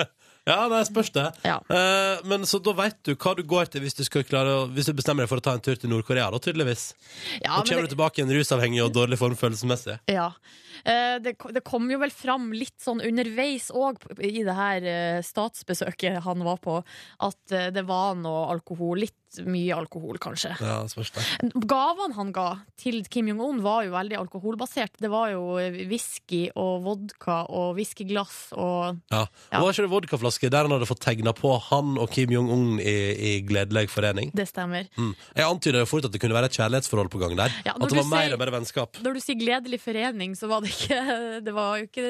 Speaker 2: Ja, nei, spørs det.
Speaker 3: Ja.
Speaker 2: Eh, men så da veit du hva du går til hvis du, skal klare å, hvis du bestemmer deg for å ta en tur til Nord-Korea, da, tydeligvis.
Speaker 3: Ja,
Speaker 2: Nå
Speaker 3: men
Speaker 2: kommer
Speaker 3: det-
Speaker 2: du tilbake i en rusavhengig og dårlig form følelsesmessig.
Speaker 3: Ja. Eh, Det, ko- det kom jo vel fram litt sånn underveis òg i det her eh, statsbesøket han var på, at eh, det var noe alkohol. Litt mye alkohol, kanskje.
Speaker 2: Ja, spørs det.
Speaker 3: Gavene han ga til Kim Jong-un, var jo veldig alkoholbasert. Det var jo eh, whisky og vodka og whiskyglass og
Speaker 2: Ja.
Speaker 3: Ja.
Speaker 2: Og Var ikke det vodkaflaske der han hadde fått tegna på han og Kim Jong-un i, i gledelig forening?
Speaker 3: Det stemmer.
Speaker 2: Mm. Jeg antyda fort at det kunne være et kjærlighetsforhold på gang der.
Speaker 3: Ja, når
Speaker 2: at det
Speaker 3: du
Speaker 2: var mer
Speaker 3: sier-
Speaker 2: enn bare vennskap.
Speaker 3: Når du sier gledelig forening, så var det ikke (laughs) Det var jo ikke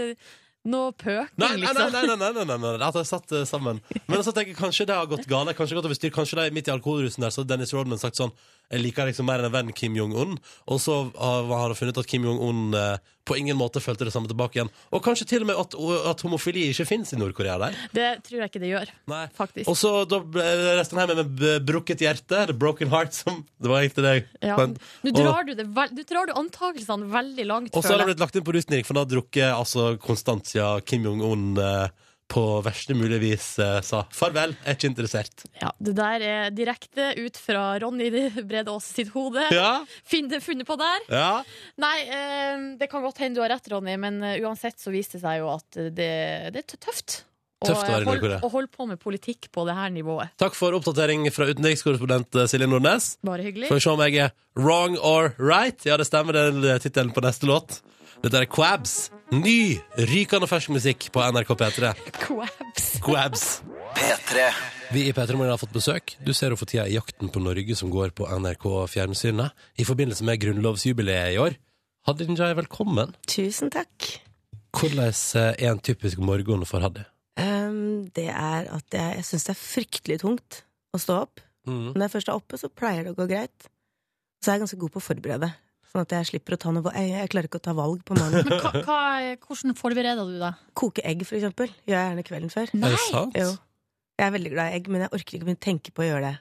Speaker 3: noe pøking,
Speaker 2: Nei, nei, nei,
Speaker 3: liksom.
Speaker 2: nei, nei, nei, nei, nei, nei. At de satt eh, sammen. Men så tenker jeg kanskje det har gått galt. Kanskje det har gått over styr. Kanskje det er midt i alkoholrusen der, så hadde Dennis Rodman sagt sånn Jeg liker liksom mer enn en venn Kim Jong-un. Og så har har han funnet at Kim Jong-un eh, på ingen måte følte det samme tilbake igjen. Og kanskje til og med at, at homofili ikke fins i Nord-Korea der.
Speaker 3: Det tror jeg ikke det gjør,
Speaker 2: Nei.
Speaker 3: faktisk.
Speaker 2: Og så da ble resten hjemme med b- brukket hjerte, the broken heart, som Det var egentlig det.
Speaker 3: Ja.
Speaker 2: Men-
Speaker 3: Nå drar du, det vel- nå drar du antakelsene veldig langt.
Speaker 2: Og så har
Speaker 3: føler
Speaker 2: det
Speaker 3: jeg.
Speaker 2: blitt lagt inn på rusnirk, for han har drukket altså, konstant siden Kim Jong-un eh, på verste mulig vis eh, sa farvel, jeg er ikke interessert.
Speaker 3: ja, det der er direkte ut fra Ronny (laughs) Brede Aas sitt hode.
Speaker 2: Ja,
Speaker 3: Finn det funnet på der.
Speaker 2: ja.
Speaker 3: Nei, eh, det kan godt hende du har rett, Ronny, men eh, uansett så viste det seg jo at eh, det, det er tøft.
Speaker 2: Tøft å være i
Speaker 3: hold-
Speaker 2: Nord-Korea.
Speaker 3: å holde på med politikk på det her nivået.
Speaker 2: Takk for oppdatering fra utenrikskorrespondent eh, Silje Nordnes.
Speaker 3: Bare hyggelig.
Speaker 2: Får
Speaker 3: (laughs)
Speaker 2: vi se om jeg er wrong or right. Ja, det stemmer, det er eh, tittelen på neste låt. Dette er Quabs. Ny, rykende fersk musikk på NRK P3.
Speaker 3: Quabs.
Speaker 2: Quabs. Vi i P3 Morgen har fått besøk. Du ser jo for tida Jakten på Norge som går på NRK Fjernsynet i forbindelse med grunnlovsjubileet i år. Hadia Njay, velkommen.
Speaker 1: Tusen takk.
Speaker 2: Hvordan eh, er en typisk morgen for Hadia?
Speaker 1: Ehm, det er at jeg, jeg syns det er fryktelig tungt å stå opp. Når jeg først er oppe, så pleier det å gå greit. Så er jeg ganske god på å forberede. Sånn at jeg slipper å ta noe valg. Jeg, jeg klarer ikke å ta valg på
Speaker 3: (laughs)
Speaker 1: morgenen.
Speaker 3: Men hva, hva, hvordan forbereder du deg?
Speaker 1: Koke egg, for eksempel, gjør jeg gjerne kvelden før.
Speaker 2: Er det sant?
Speaker 1: Jo. Jeg er veldig glad i egg, men jeg orker ikke å begynne å tenke på å gjøre det.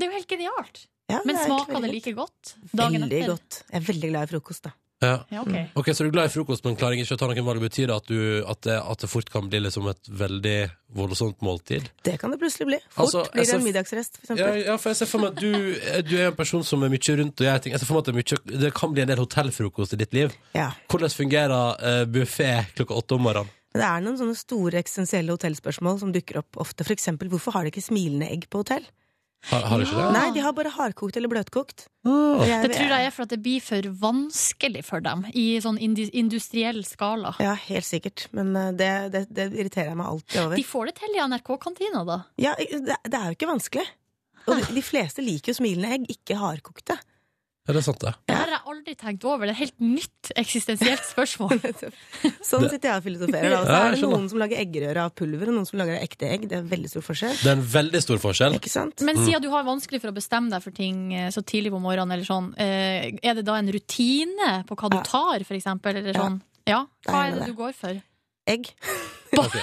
Speaker 3: Det er jo helt genialt.
Speaker 1: Ja, det
Speaker 3: Men
Speaker 1: er egentlig
Speaker 3: smaker det
Speaker 1: veldig
Speaker 3: like godt
Speaker 1: godt.
Speaker 3: dagen
Speaker 1: Veldig
Speaker 3: etter?
Speaker 1: godt. Mm. Jeg er veldig glad i frokost, da.
Speaker 2: Ja.
Speaker 3: Ja, ok.
Speaker 2: Ok, Så du er glad i frokost, men klarer ikke å ta noen valg? Betyr det at, du, at, det, at det fort kan bli liksom et veldig voldsomt måltid?
Speaker 1: Det kan det plutselig bli. Fort
Speaker 2: Altså, jeg
Speaker 1: blir det
Speaker 2: ser-
Speaker 1: en middagsrest, for
Speaker 2: Ja,
Speaker 1: eksempel.
Speaker 2: ja, for jeg ser for meg at du, eh, du er en person som er mye rundt, og jeg tenker, jeg ser for meg at det, er mye, det kan bli en del hotellfrokost i ditt liv.
Speaker 1: Ja.
Speaker 2: Hvordan fungerer uh, buffé klokka åtte om morgenen?
Speaker 1: Men det er noen sånne store eksistensielle hotellspørsmål som dukker opp ofte. For eksempel, hvorfor har de ikke smilende egg på hotell?
Speaker 2: Har, har du ikke det?
Speaker 1: Nei, de har bare hardkokt eller bløtkokt.
Speaker 2: Ah.
Speaker 1: Jeg-
Speaker 3: Det tror jeg er for at det blir for vanskelig for dem i sånn indi- industriell skala.
Speaker 1: Ja, helt sikkert. Men eh, det, det, det irriterer jeg meg alltid over.
Speaker 3: De får det til i NRK-kantina, da.
Speaker 1: Ja, det, det er jo ikke vanskelig. Og de, de fleste liker jo smilende egg, ikke hardkokte.
Speaker 2: Er det sant, det?
Speaker 3: Det har jeg aldri tenkt over. Det er et helt nytt eksistensielt spørsmål.
Speaker 1: (laughs) Sånn sitter jeg og filosoferer.
Speaker 2: (laughs)
Speaker 1: Da. Og
Speaker 2: Ja,
Speaker 1: så
Speaker 2: jeg
Speaker 1: er det
Speaker 2: skjønner.
Speaker 1: noen som lager eggerøre av pulver, og noen som lager av ekte egg. Det er veldig stor forskjell.
Speaker 2: Det er en veldig stor forskjell.
Speaker 1: Ikke sant?
Speaker 3: Men siden du har vanskelig for å bestemme deg for ting eh, så tidlig på morgenen, eller sånn, eh, er det da en rutine på hva du
Speaker 1: Ja.
Speaker 3: tar, for eksempel? Eller
Speaker 1: Ja.
Speaker 3: sånn? Ja.
Speaker 1: Det er
Speaker 3: Hva
Speaker 1: gjerne
Speaker 3: er det
Speaker 1: det.
Speaker 3: du går for?
Speaker 1: Egg.
Speaker 2: Ok.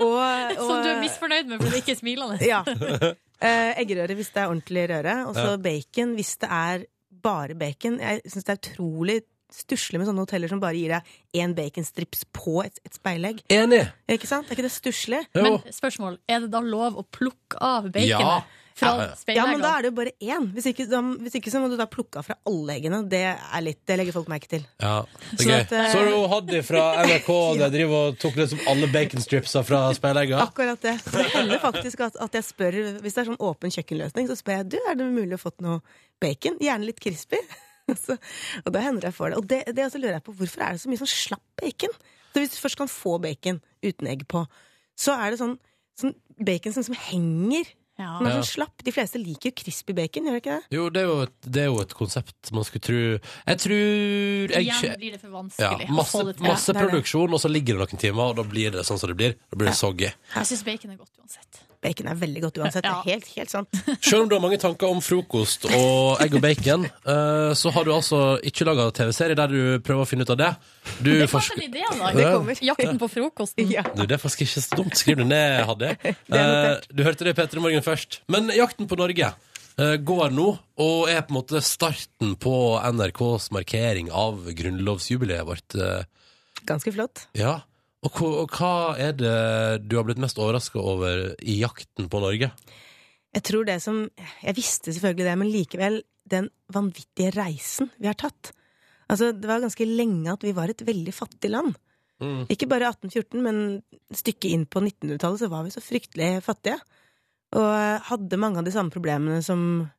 Speaker 1: Og, (laughs) og
Speaker 3: Som du er misfornøyd med fordi det ikke er
Speaker 1: (laughs)
Speaker 3: smilende?
Speaker 1: Ja. Eh, eggerøre hvis det er ordentlig røre, og så
Speaker 2: Ja.
Speaker 1: bacon hvis det er bare bacon. Jeg syns det er utrolig stusslig med sånne hoteller som bare gir deg én baconstrips på et, et speilegg.
Speaker 2: Enig!
Speaker 1: Ikke sant? Er ikke det stusslig?
Speaker 2: Jo.
Speaker 3: Men spørsmål, er det da lov å plukke
Speaker 2: Ja.
Speaker 3: av baconet fra
Speaker 2: Ja, ja.
Speaker 1: Ja, men
Speaker 3: speileggene?
Speaker 1: da er det jo bare én. Hvis ikke, da, hvis ikke så må du da plukke av fra alle eggene. Det, er litt, det legger folk merke til.
Speaker 2: Ja, det er
Speaker 1: Sånn
Speaker 2: gøy.
Speaker 1: at, eh,
Speaker 2: Så er det jo Haddy fra
Speaker 5: (laughs)
Speaker 2: NRK der driver og tok liksom alle baconstripsa fra speilegga.
Speaker 1: Akkurat det. Så det hender faktisk at, at jeg spør Hvis det er sånn åpen kjøkkenløsning, så spør jeg du, er det mulig å få noe bacon. Gjerne litt crispy. (laughs) Så, og da hender jeg får det. Og det, det også lurer jeg på, hvorfor er det så mye sånn slapp bacon? Så hvis du først kan få bacon uten egg på, så er det sånn, sånn bacon som, som henger.
Speaker 5: Ja.
Speaker 1: Den er
Speaker 2: Ja.
Speaker 1: sånn slapp. De fleste liker jo crispy bacon, gjør de ikke det?
Speaker 2: Jo, det er jo et, det er jo et konsept man skulle tro Jeg tror jeg,
Speaker 5: Igjen
Speaker 2: kjø-
Speaker 5: blir det for
Speaker 2: ja,
Speaker 5: vanskelig å
Speaker 2: masse,
Speaker 5: få det til.
Speaker 2: masse
Speaker 1: Ja, det er det.
Speaker 2: produksjon, og så ligger det noen timer, og da blir det sånn som det blir. Da blir det soggy.
Speaker 5: Jeg syns bacon er godt uansett.
Speaker 1: Bacon er veldig godt uansett.
Speaker 5: Ja.
Speaker 1: Det er helt, helt sant. (laughs)
Speaker 2: Selv om du har mange tanker om frokost og egg og bacon, eh, så har du altså ikke laga TV-serie der du prøver å finne ut av det. Du
Speaker 5: Det er
Speaker 2: forsk-
Speaker 5: kanskje en idé, da.
Speaker 2: Det
Speaker 1: kommer.
Speaker 5: (laughs) Jakten på frokosten.
Speaker 1: Ja.
Speaker 2: Du, det er faktisk ikke så dumt. Skriv det ned,
Speaker 1: (laughs)
Speaker 2: Hadde.
Speaker 1: notert.
Speaker 2: Eh, du hørte det i P3 Morgen først. Men Jakten på Norge eh, går nå, og er på en måte starten på NRKs markering av grunnlovsjubileet vårt. eh,
Speaker 1: Ganske flott.
Speaker 2: Ja. Og, hva- og hva er det du har blitt mest overraska over i Jakten på Norge?
Speaker 1: Jeg tror det som Jeg visste selvfølgelig det, men likevel den vanvittige reisen vi har tatt. Altså, det var ganske lenge at vi var et veldig fattig land.
Speaker 2: Mm.
Speaker 1: Ikke bare 1814, men stykket inn på 1900-tallet så var vi så fryktelig fattige. Og hadde mange av de samme problemene som,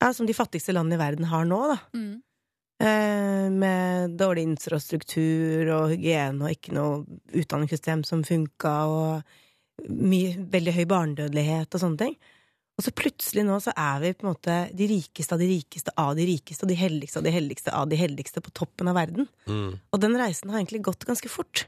Speaker 1: ja, som de fattigste landene i verden har nå, da.
Speaker 5: Mm.
Speaker 1: Eh, med dårlig infrastruktur og hygiene og ikke noe utdanningssystem som funka, og mye, veldig høy barnedødelighet og sånne ting. Og så plutselig nå så er vi på en måte de rikeste av de rikeste av de rikeste, og de heldigste av de heldigste av de heldigste på toppen av verden.
Speaker 2: Mm.
Speaker 1: Og den reisen har egentlig gått ganske fort.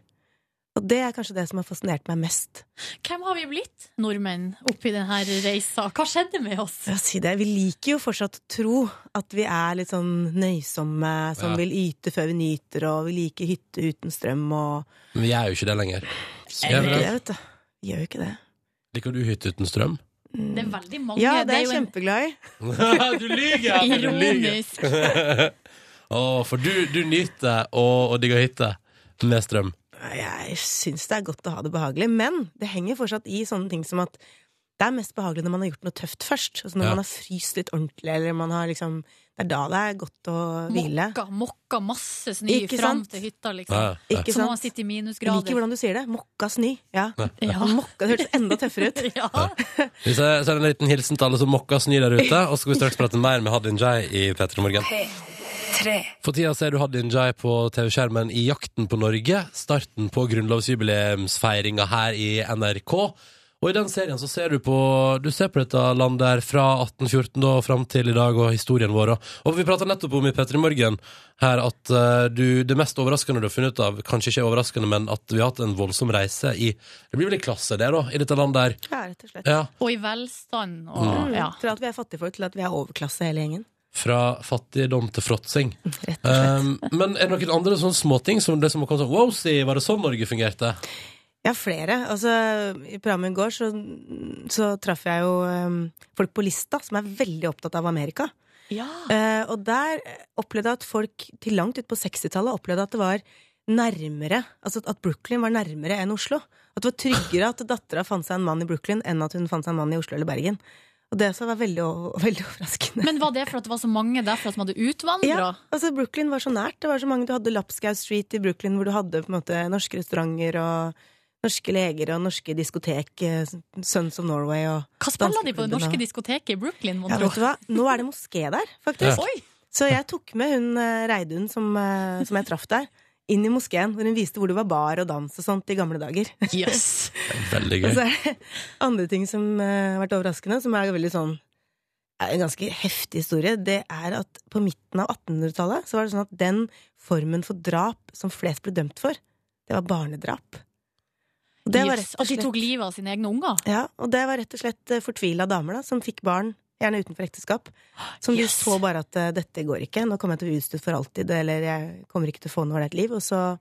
Speaker 1: Og det er kanskje det som har fascinert meg mest.
Speaker 5: Hvem har vi blitt, nordmenn, oppi denne reisa? Hva skjedde med oss?
Speaker 1: Jeg vil si det, Vi liker jo fortsatt å tro at vi er litt sånn nøysomme, som
Speaker 2: Ja.
Speaker 1: vil yte før vi nyter, og vi liker hytte uten strøm og
Speaker 2: Men vi er jo ikke det lenger.
Speaker 1: Vi gjør jo ikke
Speaker 2: Ja,
Speaker 1: det, vet du. Vi gjør jo ikke det.
Speaker 2: Liker du hytte uten strøm?
Speaker 5: Det er veldig mange.
Speaker 1: Ja, det er
Speaker 5: jo
Speaker 1: jeg
Speaker 5: en
Speaker 1: kjempeglad
Speaker 2: (laughs)
Speaker 1: i.
Speaker 2: du lyver! Du lyver.
Speaker 5: ironisk
Speaker 2: Å, for du, du nyter å, å digge hytte med strøm.
Speaker 1: Jeg syns det er godt å ha det behagelig, men det henger fortsatt i sånne ting som at det er mest behagelig når man har gjort noe tøft først. Altså når
Speaker 2: Ja.
Speaker 1: man har fryst litt ordentlig, eller man har liksom Det er da det er godt å hvile.
Speaker 5: Mokka, mokka masse snø
Speaker 1: Ikke
Speaker 5: fram
Speaker 1: sant?
Speaker 5: til hytta, liksom.
Speaker 2: Ja, ja.
Speaker 1: Ikke
Speaker 5: Så må man
Speaker 1: sant?
Speaker 5: sitte i
Speaker 1: Jeg liker
Speaker 5: minusgrader.
Speaker 1: hvordan du sier det. Mokka snø. Ja.
Speaker 5: Ja.
Speaker 1: Mokka, det hørtes enda tøffere
Speaker 5: (laughs)
Speaker 1: ut.
Speaker 5: Ja.
Speaker 2: Vi ser- sender en liten hilsen til alle som mokker snø der ute, og så skal vi straks prate mer med Hadin Jai i P3 Morgen. For tida ser du Hadin Jai på TV-skjermen i Jakten på Norge, starten på grunnlovsjubileumsfeiringa her i NRK. Og i den serien så ser du på, du ser på dette landet her fra 1814 da, og fram til i dag, og historien vår. Og, og vi prata nettopp om i P3 Morgen her at eh, du, det mest overraskende du har funnet ut av, kanskje ikke overraskende, men at vi har hatt en voldsom reise i Det blir vel en klasse, det, da, i dette landet her.
Speaker 1: Ja, rett og slett.
Speaker 2: Ja.
Speaker 5: Og i velstand
Speaker 2: Mm.
Speaker 5: og ja.
Speaker 1: Mm. Fra at vi er fattigfolk til at vi er overklasse hele gjengen.
Speaker 2: Fra fattigdom til fråtsing.
Speaker 1: (laughs) Rett og slett.
Speaker 2: Um, men er det noen andre sånne småting som det som har kommet sånn Wow, si, var det sånn Norge fungerte?
Speaker 1: Ja, flere. Altså, I programmet i går så, så traff jeg jo eh, folk på Lista som er veldig opptatt av Amerika.
Speaker 5: ja.
Speaker 1: Eh, og der opplevde jeg at folk til langt ut på 60-tallet opplevde at det var nærmere, altså at Brooklyn var nærmere enn Oslo. At det var tryggere at dattera fant seg en mann i Brooklyn enn at hun fant seg en mann i Oslo eller Bergen. Og det også var veldig, o- (laughs) veldig overraskende.
Speaker 5: Men var det for at det var så mange derfra som hadde utvandra?
Speaker 1: Ja, altså Brooklyn var så nært. Det var så mange Du hadde Lapskaus Street i Brooklyn hvor du hadde på en måte norske restauranter og norske leger og norske diskotek, eh, Sons of Norway og
Speaker 5: Hva spiller de på det
Speaker 1: danseklubben
Speaker 5: norske
Speaker 1: og-
Speaker 5: diskoteket i Brooklyn, mon
Speaker 1: Ja,
Speaker 5: tro?
Speaker 1: vet du hva? Nå er det moské der, faktisk.
Speaker 5: Oi!
Speaker 1: Så jeg tok med hun eh, Reidun som, eh, som jeg traff der, inn i moskeen, hvor hun viste hvor det var bar og dans og sånt i gamle dager. (laughs)
Speaker 5: Yes.
Speaker 2: Veldig
Speaker 1: Og
Speaker 2: gøy.
Speaker 1: så er det Altså, (laughs) andre ting som eh, har vært overraskende, som er veldig sånn er en ganske heftig historie, det er at på midten av 1800-tallet så var det sånn at den formen for drap som flest ble dømt for, det var barnedrap. Og det var
Speaker 5: Yes.
Speaker 1: rett og
Speaker 5: At de
Speaker 1: slett-
Speaker 5: tok livet av sine egne unger?
Speaker 1: ja, og det var rett og slett eh, fortvila damer da, som fikk barn, gjerne utenfor ekteskap. Som
Speaker 5: Yes.
Speaker 1: de så bare at eh, dette går ikke, nå kommer jeg til å bli utstøtt for alltid, eller jeg kommer ikke til å få noe av et liv. Og så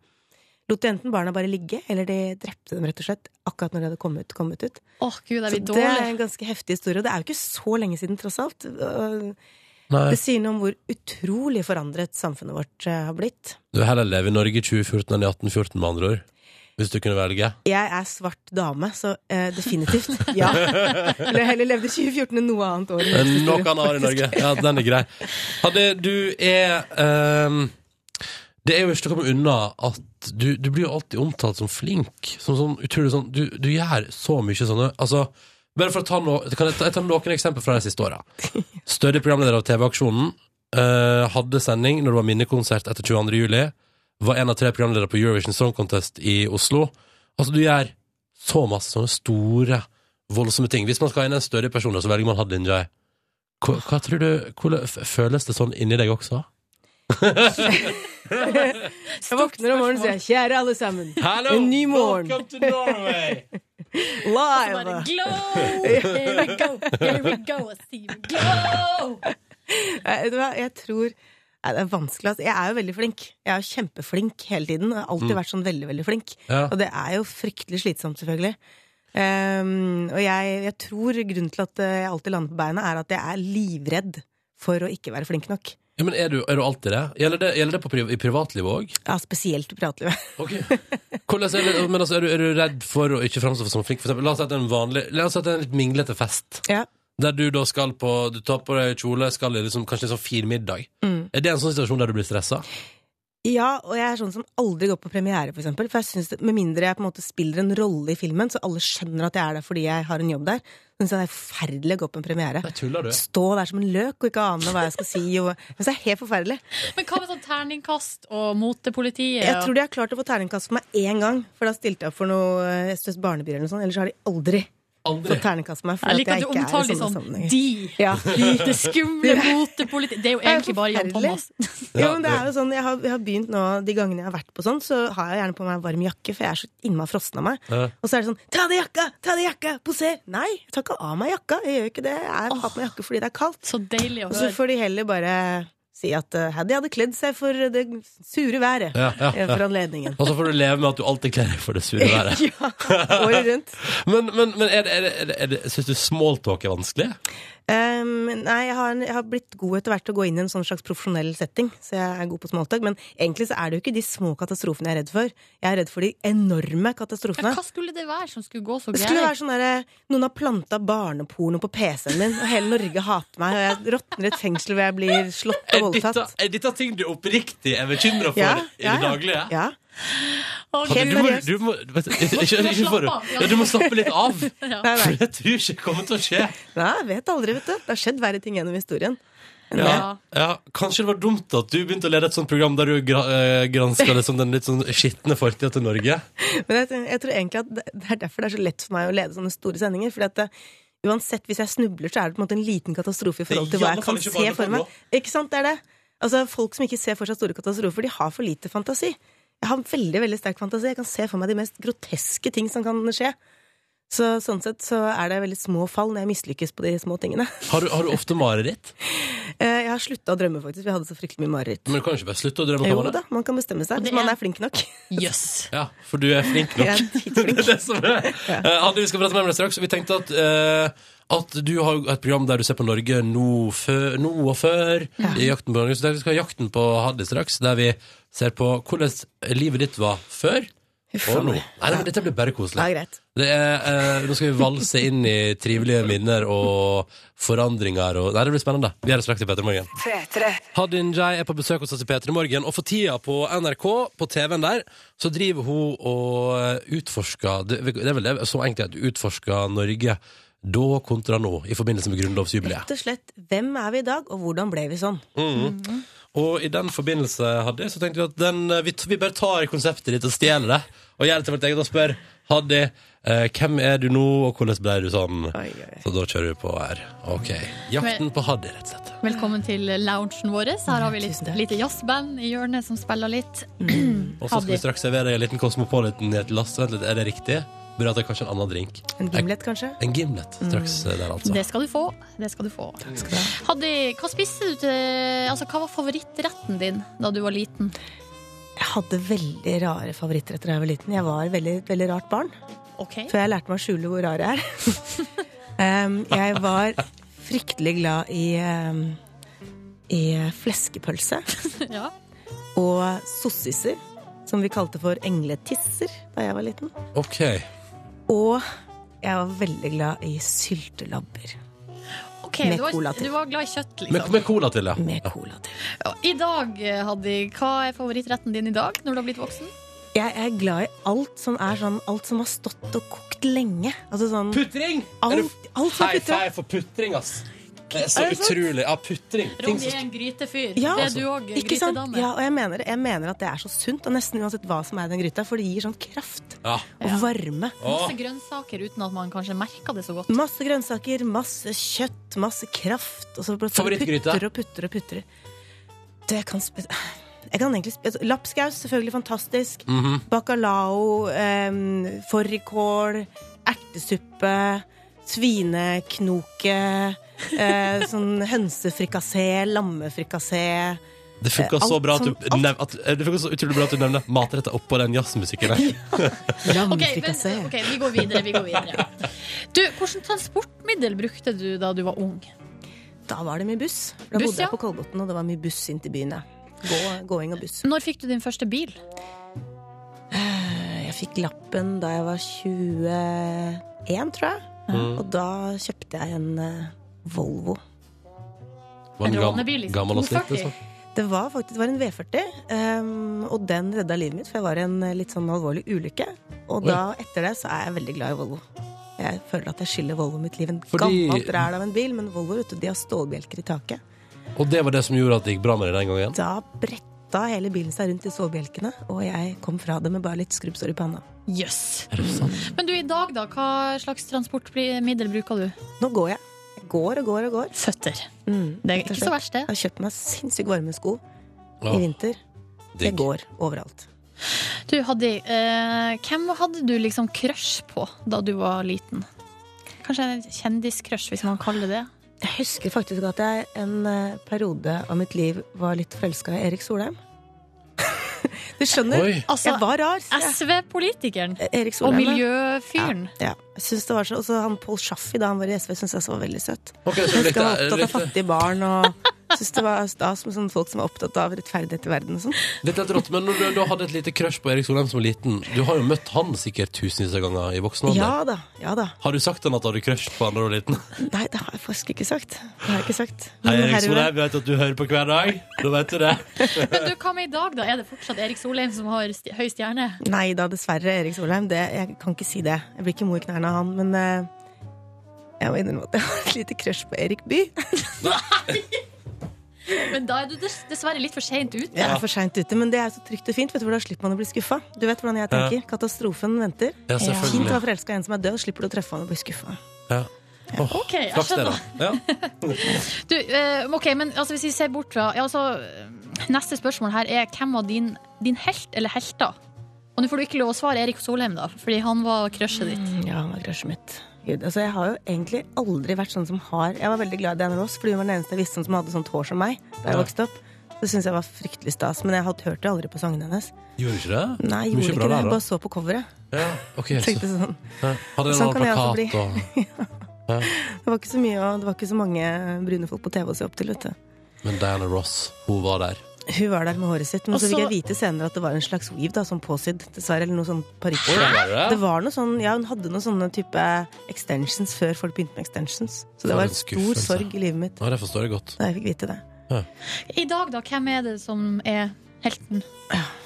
Speaker 1: lot de enten barna bare ligge, eller de drepte dem rett og slett akkurat når de hadde kommet, kommet ut.
Speaker 5: Åh, gud, jeg
Speaker 1: Så
Speaker 5: blir
Speaker 1: det er
Speaker 5: dårlig.
Speaker 1: en ganske heftig historie, og det er jo ikke så lenge siden, tross alt. Og
Speaker 2: Nei,
Speaker 1: Det sier noe om hvor utrolig forandret samfunnet vårt eh, har blitt.
Speaker 2: du vil heller leve i Norge i 2014 enn i 1814, med andre ord. Hvis du kunne velge.
Speaker 1: Jeg er svart dame, så eh,
Speaker 2: (laughs)
Speaker 1: definitivt. Ja. Eller heller levde i 2014 enn noe annet år. i
Speaker 2: Men Noe
Speaker 1: norsk
Speaker 2: annet
Speaker 1: historie,
Speaker 2: har i
Speaker 1: faktisk.
Speaker 2: Norge. Ja, den er grei. Hadde du er ehm, Det er jo ikke til å komme unna at du, du blir jo alltid omtalt som flink. Som sånn utrolig sånn Du, du gjør så mye sånne Altså bare for å ta no, kan jeg, ta, jeg tar noen eksempler fra de siste åra. Større programleder av TV-aksjonen. eh, hadde sending når det var minnekonsert etter 22. juli. Var en av tre programledere på Eurovision Song Contest i Oslo. Altså, du gjør så masse sånne store, voldsomme ting. Hvis man skal ha inn en større person, så velger man Hadlin Jai. Hva, hva tror du, hvordan f- føles det sånn inni deg også?
Speaker 1: Jeg våkner om morgenen og sier 'kjære alle sammen'.
Speaker 2: Hallo!
Speaker 1: En ny morgen.
Speaker 2: Welcome to Norway!
Speaker 1: Live! (laughs)
Speaker 5: Bare glow! Here we go, here we go, Steve. Glow!
Speaker 1: Jeg, Eh, vet du hva, jeg tror Nei, Det er vanskelig. Altså. Jeg er jo veldig flink. Jeg er jo kjempeflink hele tiden. Jeg har alltid vært sånn veldig, veldig flink.
Speaker 2: Ja.
Speaker 1: Og det er jo fryktelig slitsomt, selvfølgelig. Ehm, og jeg, jeg tror grunnen til at eh, jeg alltid lander på beina, er at jeg er livredd for å ikke være flink
Speaker 2: (laughs)
Speaker 1: nok.
Speaker 2: Ja, men er du, er du alltid det? Gjelder det, gjelder det på priv i privatlivet òg?
Speaker 1: Ja, spesielt i privatlivet. (laughs)
Speaker 2: Ok. Hvordan er, det, men altså, er, du, er du redd for å ikke framstå som flink? For eksempel, la oss si at det er en vanlig La oss si at det er en litt minglete fest,
Speaker 1: Ja.
Speaker 2: der du da skal på Du tar på deg kjole, skal i liksom, kanskje en sånn fin middag.
Speaker 1: Mm.
Speaker 2: Er det en sånn situasjon der du blir stressa?
Speaker 1: ja, og jeg er sånn som aldri går på premiere, for eksempel. For jeg synes det, med mindre jeg på en måte spiller en rolle i filmen, så alle skjønner at jeg er der fordi jeg har en jobb der, så syns jeg det er forferdelig å gå på en premiere.
Speaker 2: Nei, tuller du?
Speaker 1: Stå der som en løk og ikke ane hva jeg skal si. Og, men det er helt forferdelig.
Speaker 5: Men hva med sånn terningkast og motepolitiet?
Speaker 1: Jeg tror de har klart å få terningkast for meg én gang, for da stilte jeg opp for noe eh, SOS Barnebyer eller noe sånt. Ellers har de aldri
Speaker 2: Aldri.
Speaker 1: fått terningkast for meg. For
Speaker 5: jeg liker at du
Speaker 1: ikke er i
Speaker 5: omtaler de
Speaker 1: sånne
Speaker 5: sånn
Speaker 1: sammenhenger.
Speaker 5: de.
Speaker 1: Ja.
Speaker 5: de. Det skumle motepolitiet. Det er jo
Speaker 1: er
Speaker 5: egentlig bare Jan
Speaker 1: forferdelig.
Speaker 5: Thomas.
Speaker 1: Ja, men det er (laughs) jo sånn, jeg har, jeg har begynt nå, De gangene jeg har vært på sånn, så har jeg gjerne på meg varm jakke, for jeg er så innmari frossen av meg.
Speaker 2: Ja.
Speaker 1: Og så er det sånn 'ta av deg jakka! Ta av deg jakka! Poser!' Nei, jeg tar ikke av meg jakka. Jeg gjør ikke det. Jeg har på meg jakke fordi det er kaldt.
Speaker 5: Så deilig å
Speaker 1: Og så
Speaker 5: høre.
Speaker 1: får de heller bare si at eh, Haddy hadde kledd seg for det sure været
Speaker 2: Ja, ja,
Speaker 1: eh, (laughs) for anledningen.
Speaker 5: (laughs)
Speaker 2: Og så får du leve med at du alltid kler deg for det sure
Speaker 1: (laughs)
Speaker 2: været.
Speaker 1: Ja, året rundt.
Speaker 2: Men, men, men er det, er det, er det, er det, syns du smalltalk er vanskelig?
Speaker 1: Ehm, nei, jeg har, jeg har blitt god etter hvert til å gå inn i en sånn slags profesjonell setting, så jeg er god på småtak. Men egentlig så er det jo ikke de små katastrofene jeg er redd for. Jeg er redd for de enorme katastrofene.
Speaker 5: Men hva skulle det være som skulle gå så
Speaker 1: Det skulle
Speaker 5: greit?
Speaker 1: være sånn der, Noen har planta barneporno på PC-en min, og hele Norge hater meg, og jeg råtner i et fengsel hvor jeg blir slått
Speaker 2: Er
Speaker 1: og
Speaker 2: dette,
Speaker 1: voldtatt.
Speaker 2: er dette ting du oppriktig er bekymra for i det daglige?
Speaker 1: ja.
Speaker 2: Hadde,
Speaker 1: Helt
Speaker 2: du, må,
Speaker 1: seriøst.
Speaker 2: du, må, vet du, ikke, ikke, ikke for,
Speaker 5: Slapp av, ja.
Speaker 2: ja, du må slappe litt
Speaker 5: (laughs)
Speaker 2: av.
Speaker 1: Nei,
Speaker 2: For
Speaker 1: nei.
Speaker 2: jeg tror ikke det kommer til å skje.
Speaker 1: nei, jeg vet aldri, vet du. Det har skjedd verre ting gjennom historien.
Speaker 2: Ja. Ja, kanskje det var dumt at du begynte å lede et sånt program der du gra eh, granska liksom den litt sånn skitne fortida til Norge.
Speaker 1: Men jeg, ten- jeg tror egentlig at det det er derfor det er så lett for meg å lede sånne store sendinger. Fordi at eh, uansett, hvis jeg snubler, så er det på en måte en liten katastrofe i forhold til
Speaker 2: i
Speaker 1: hva
Speaker 2: alle
Speaker 1: jeg
Speaker 2: fall
Speaker 1: kan
Speaker 2: ikke
Speaker 1: se for
Speaker 2: barneporno.
Speaker 1: meg. Ikke sant, det er det. Altså, folk som ikke ser for seg store katastrofer, de har for lite fantasi. Jeg har veldig, veldig sterk fantasi. Jeg kan se for meg de mest groteske ting som kan skje. Så sånn sett så er det veldig små fall når jeg mislykkes på de små tingene. (laughs)
Speaker 2: Har du, har du ofte mareritt?
Speaker 1: Eh, Jeg har slutta å drømme, faktisk. Vi hadde så fryktelig mye mareritt.
Speaker 2: Men du kan jo ikke bare slutte å drømme
Speaker 1: Jo
Speaker 2: om det.
Speaker 1: da, man kan bestemme seg.
Speaker 5: det
Speaker 1: Hvis man
Speaker 5: er-
Speaker 1: er flink nok.
Speaker 5: Jøss.
Speaker 2: Ja, for du er flink
Speaker 1: Jeg
Speaker 2: nok.
Speaker 1: er
Speaker 2: (laughs)
Speaker 1: dritflink.
Speaker 2: Det er det som er. Eh, Hadde vi skal prate mer om det straks. Vi tenkte at, eh, at du har jo et program der du ser på Norge nå, fø- nå og før. I jakten på Norge. Så vi skal ha Jakten på Haddy straks, der vi ser på hvordan livet ditt var før og nå. Nei, nei, men dette blir bare koselig.
Speaker 1: Ja, greit.
Speaker 2: Det er, eh, nå skal vi valse inn i trivelige minner og forandringer. Og, nei, det blir spennende. Vi er straks i P3 Morgen. Hadin Jai er på besøk hos oss i P3 Morgen, og for tida på NRK, på TV-en der, så driver hun og utforsker Det det er vel det, så enkelt at hun utforsker Norge da kontra nå, i forbindelse med grunnlovsjubileet.
Speaker 1: Rett og slett, hvem er vi i dag, og hvordan ble vi sånn?
Speaker 2: Og i den forbindelse, Haddy, så tenkte vi at den, eh, vi, vi bare tar konseptet ditt og stjeler det. Og gjør det til vårt eget og spør Haddy, eh, hvem er du nå, og hvordan ble du sånn?
Speaker 1: Oi, oi, oi.
Speaker 2: Så da kjører vi på her. Ok. Jakten på Haddy, rett og slett.
Speaker 5: Velkommen til loungen vår. Her har vi litt
Speaker 1: Tusen takk.
Speaker 5: lite jazzband i hjørnet som spiller
Speaker 3: (clears throat)
Speaker 5: litt.
Speaker 2: Og så skal
Speaker 5: Haddy.
Speaker 2: vi straks servere deg en liten Cosmopolitan i et lass. Vent litt, er det riktig? Burde hatt kanskje en annen drink.
Speaker 1: En gimlet, kanskje?
Speaker 2: En gimlet straks
Speaker 1: Mm.
Speaker 2: eh, der, altså.
Speaker 5: Det skal du få. Det skal du få. Hadde, hva spiste du til Altså, hva var favorittretten din da du var liten?
Speaker 1: Jeg hadde veldig rare favorittretter da jeg var liten. Jeg var et veldig, veldig rart barn,
Speaker 5: OK?
Speaker 1: før jeg lærte meg å skjule hvor rar jeg er. (laughs) um, jeg var fryktelig glad i, um, i fleskepølse
Speaker 5: (laughs) Ja.
Speaker 1: og sossiser, som vi kalte for engletisser da jeg var liten.
Speaker 2: Ok.
Speaker 1: Og jeg var veldig glad i syltelabber
Speaker 5: Ok,
Speaker 1: Med
Speaker 5: du,
Speaker 1: cola
Speaker 5: var,
Speaker 1: til.
Speaker 5: du var glad i kjøtt, liksom.
Speaker 2: Med, med cola til, ja.
Speaker 1: med cola til.
Speaker 5: Ja, I dag, Haddy, hva er favorittretten din i dag, når du har blitt voksen?
Speaker 1: Jeg er glad i alt som er sånn Alt som har stått og kokt lenge. Altså sånn
Speaker 2: Putring! Er du-
Speaker 1: Alt, alt som
Speaker 2: High
Speaker 1: er putret.
Speaker 2: five for putring, ass. Det er så
Speaker 1: Er det sant?
Speaker 2: utrolig. Ja, putring. Ting
Speaker 3: Ronny
Speaker 2: som altså.
Speaker 3: er en grytefyr.
Speaker 1: Ja, altså,
Speaker 3: det er du òg.
Speaker 1: Ikke sant?
Speaker 3: Grytedame.
Speaker 1: Ja, og jeg mener, det. jeg mener at det er så sunt, og nesten uansett hva som er i den gryta, for det gir sånn kraft
Speaker 2: Ja.
Speaker 1: og varme.
Speaker 2: Åh,
Speaker 3: Masse grønnsaker uten at man kanskje merker det så godt.
Speaker 1: Masse grønnsaker, masse kjøtt, masse kraft. Og så bare
Speaker 2: Favorittgryte?
Speaker 1: putter og putter og putter. Det kan spe... Jeg kan egentlig spe... Lapskaus, selvfølgelig fantastisk. Bacalao, eh, fårikål, ertesuppe, svineknoke, eh, sånn hønsefrikassé, lammefrikassé.
Speaker 2: det funka så
Speaker 1: Eh, Alt
Speaker 2: bra at du,
Speaker 1: som- alt.
Speaker 2: nev, at, eh, det funka så utrolig bra at du nevner matretter oppå den
Speaker 1: (laughs)
Speaker 2: jazzmusikken der.
Speaker 3: (laughs) Ok, men,
Speaker 1: Lammefrikassé.
Speaker 3: ok, vi går videre. Vi går videre. Du, Hvilket transportmiddel brukte du da du var ung?
Speaker 1: Da var det mye buss. Da
Speaker 3: Buss,
Speaker 1: bodde jeg
Speaker 3: ja.
Speaker 1: på Kolbotn, og det var mye buss inn til byen. ja. Gå, gåing og buss.
Speaker 3: Når fikk du din første bil?
Speaker 1: Eh, Jeg fikk lappen da jeg var 21, tror jeg. Og da kjøpte jeg en eh, Volvo.
Speaker 2: Var den
Speaker 3: En
Speaker 2: gam-
Speaker 3: rånebil, liksom.
Speaker 2: Gammel og slitt,
Speaker 3: 240.
Speaker 2: liksom.
Speaker 1: Det var faktisk det var en V40, ehm, og den redda livet mitt, for jeg var i en eh, litt sånn alvorlig ulykke. Og da, etter det, så er jeg veldig glad i Volvo. Jeg føler at jeg skylder Volvo mitt liv en
Speaker 2: Fordi-
Speaker 1: gammelt ræl av en bil, men Volvo vet du, de har stålbjelker i taket.
Speaker 2: Og det var det som gjorde at det gikk bra med deg den gangen?
Speaker 1: Da bretta hele bilen seg rundt i stålbjelkene, og jeg kom fra det med bare litt skrubbsår i panna.
Speaker 3: Jøss. Men du, i dag, da? Hva slags transportmiddel bruker du?
Speaker 1: Nå går jeg. Jeg går og går og går.
Speaker 3: Føtter.
Speaker 1: Mm.
Speaker 3: Det er ikke så verst, det.
Speaker 1: Jeg har kjøpt meg sinnssykt varme sko
Speaker 2: Åh,
Speaker 1: i vinter. Det
Speaker 2: digg.
Speaker 1: går overalt.
Speaker 3: Du, Haddy, eh, hvem hadde du liksom crush på da du var liten? Kanskje en kjendiscrush, hvis man kaller det det.
Speaker 1: Jeg husker faktisk at jeg en eh, periode av mitt liv var litt forelska i Erik Solheim. (laughs) du skjønner?
Speaker 2: Oi.
Speaker 3: Altså,
Speaker 1: jeg var rar. sier jeg. Eh,
Speaker 3: SV-politikeren
Speaker 1: Erik
Speaker 3: og
Speaker 1: Solheim. ja.
Speaker 3: miljøfyren.
Speaker 1: Ja. Jeg synes det var så, også han Paul Shaffi da han var i SV, syntes jeg så var veldig søt.
Speaker 2: Ok, så
Speaker 1: Jeg
Speaker 2: du
Speaker 1: husker
Speaker 2: likte,
Speaker 1: han var opptatt av
Speaker 2: likte,
Speaker 1: fattige barn og syntes det var stas med sånne folk som var opptatt av rettferdighet i verden og sånn.
Speaker 2: likte et rått, Men når du da hadde et lite crush på Erik Solheim som var liten Du har jo møtt han sikkert tusenvis av ganger i voksen alder.
Speaker 1: Ja da. Ja da.
Speaker 2: Har du sagt han at du hadde crush på han da du var liten?
Speaker 1: Nei, det har jeg faktisk ikke sagt. Det har jeg ikke sagt.
Speaker 2: Hei,
Speaker 1: Men
Speaker 2: Erik
Speaker 1: herved-
Speaker 2: Solheim, vi vet at du hører på hver dag. Da vet du det.
Speaker 3: Men du, hva med i dag, da? Er det fortsatt Erik Solheim som har sti- høy stjerne?
Speaker 1: Nei da, dessverre, Erik Solheim. Det, jeg kan ikke si det. Jeg blir ikke mo i knærne av han, men eh, jeg må innrømme at jeg har et lite crush på Erik Bye.
Speaker 3: Men da er du dess- dessverre litt for seint ute.
Speaker 1: Jeg er for seint ute, men det er så trygt og fint. Vet du, for Da slipper man å bli skuffa. Du vet hvordan jeg tenker. Katastrofen venter.
Speaker 2: Ja,
Speaker 1: Fint å
Speaker 2: selvfølgelig.
Speaker 1: være forelska i en som er død, slipper du å treffe han og bli skuffa.
Speaker 2: Ja. Åh,
Speaker 3: Ok, jeg
Speaker 2: flaks det, da. Ja.
Speaker 3: Du, eh, ok, men altså, hvis vi ser bort fra ja, altså, eh, Neste spørsmål her er hvem var din, din helt eller helter? Og nå får du ikke lov å svare Erik Solheim, da, fordi han var crushet ditt.
Speaker 1: Ja, han var crushet mitt. Gud, altså Jeg har jo egentlig aldri vært sånn som har Jeg var veldig glad i Diana Ross, fordi hun var den eneste jeg visste om som hadde sånt hår som meg da jeg
Speaker 2: Ja.
Speaker 1: vokste opp. Det syns jeg var fryktelig stas, men jeg hadde hørt det aldri på sangene hennes.
Speaker 2: Gjorde du ikke det?
Speaker 1: Nei, jeg
Speaker 2: Mye
Speaker 1: gjorde
Speaker 2: bra der,
Speaker 1: ikke det.
Speaker 2: da.
Speaker 1: Jeg bare så på coveret.
Speaker 2: Ja, ok. Så,
Speaker 1: Tenkte sånn
Speaker 2: ja. Hadde en
Speaker 1: Sånn kan
Speaker 2: annen
Speaker 1: jeg også
Speaker 2: plakat og
Speaker 1: Det var ikke så mye, og det var ikke så mange brune folk på TV å se opp til. vet du.
Speaker 2: Men Diana Ross, hun var der.
Speaker 1: Hun var der med håret sitt, men
Speaker 3: Og
Speaker 1: så fikk
Speaker 2: Altså-
Speaker 3: så-
Speaker 1: jeg vite senere at det var en slags weave, da, sånn påsydd, dessverre, eller noe sånn parykk.
Speaker 2: Var
Speaker 1: Det
Speaker 2: det?
Speaker 1: var noe sånn, ja, Hun hadde noen sånne type extensions før folk begynte med extensions. Så
Speaker 2: For
Speaker 1: det var
Speaker 2: en
Speaker 1: en stor
Speaker 2: skuffelse.
Speaker 1: sorg i livet mitt
Speaker 2: Ja, det forstår jeg godt.
Speaker 1: da jeg fikk vite det.
Speaker 3: I dag, da, hvem er det som er helten?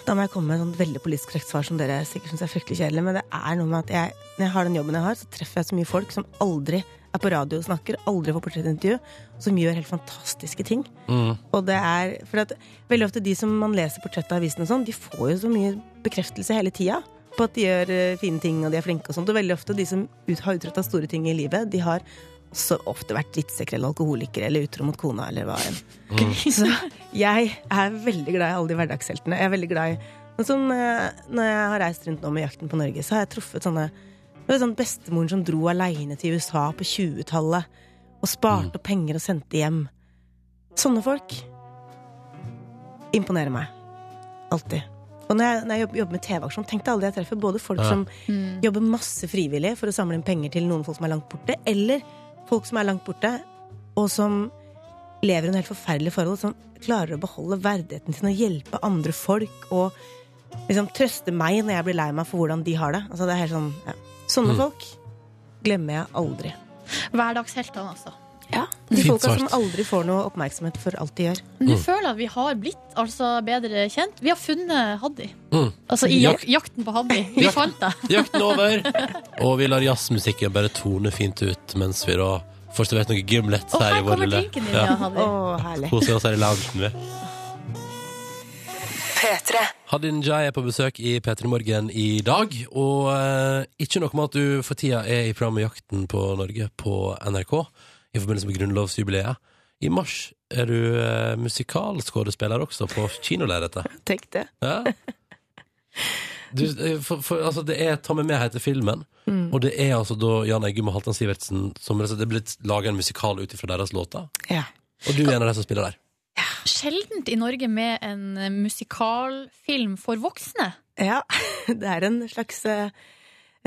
Speaker 1: Da må jeg komme med et sånt veldig politisk korrekt svar som dere sikkert syns er fryktelig kjedelig, men det er noe med at jeg, når jeg har den jobben jeg har, så treffer jeg så mye folk som aldri er på radio og snakker, aldri får portrettintervju, som gjør helt fantastiske ting.
Speaker 2: Mm.
Speaker 1: Og det er, for at veldig ofte de som man leser portrett av avisen og sånn, de får jo så mye bekreftelse hele tida på at de gjør eh, fine ting og de er flinke og sånt. Og veldig ofte de som ut, har utretta store ting i livet, de har også ofte vært drittsekker eller alkoholikere eller utro mot kona eller hva enn.
Speaker 2: Mm.
Speaker 3: (laughs)
Speaker 1: Så jeg er veldig glad i alle de hverdagsheltene. Jeg er veldig glad i Sånn som eh, når jeg har reist rundt nå med Jakten på Norge, så har jeg truffet sånne det var sånn Bestemoren som dro aleine til USA på 20-tallet og sparte opp penger og sendte hjem. Sånne folk imponerer meg. Alltid. Og når jeg, når jeg jobber, jobber med TV-aksjon, tenk deg alle de jeg treffer. Både folk
Speaker 2: Ja.
Speaker 1: som jobber masse frivillig for å samle inn penger til noen folk som er langt borte, eller folk som er langt borte, og som lever under helt forferdelige forhold, som klarer å beholde verdigheten sin og hjelpe andre folk og liksom trøste meg når jeg blir lei meg for hvordan de har det. Altså, det er helt sånn, ja. Sånne folk glemmer jeg aldri.
Speaker 3: Hverdagsheltene, altså.
Speaker 1: De
Speaker 2: Fint
Speaker 1: folka
Speaker 2: svart.
Speaker 1: som aldri får noe oppmerksomhet for alt de gjør.
Speaker 3: Nå
Speaker 2: Mm.
Speaker 3: føler jeg at vi har blitt altså, bedre kjent. Vi har funnet Haddy.
Speaker 2: Mm.
Speaker 3: Altså i jak
Speaker 2: Jak-
Speaker 3: jakten på Haddy. Vi
Speaker 2: (laughs) Jakten.
Speaker 3: fant deg.
Speaker 2: Jakten over, og vi lar jazzmusikken bare tone fint ut mens vi da Får servert noen gimlets
Speaker 5: Å,
Speaker 2: her
Speaker 5: her
Speaker 2: i vår
Speaker 5: kommer
Speaker 2: lille
Speaker 5: drinken din, ja, Hadde.
Speaker 2: herlig. Koser oss her i loungen. vi. Hadin Jai er på besøk i P3 Morgen i dag. Og eh, ikke nok med at du for tida er i programmet Jakten på Norge på NRK i forbindelse med grunnlovsjubileet. I mars er du eh, musikalskådespiller også, på kinolerretet.
Speaker 1: Tenk det.
Speaker 2: Ja. Du, eh, for, for, altså, det er Ta med meg heter filmen, og det er altså da Jan Eggum og Halvdan Sivertsen som rett og slett- det er blitt laga en musikal ut ifra deres låter.
Speaker 1: Ja.
Speaker 2: Og du er en av de som spiller der.
Speaker 5: Sjeldent i Norge med en eh, musikalfilm for voksne.
Speaker 1: Ja, (laughs) det er en slags eh,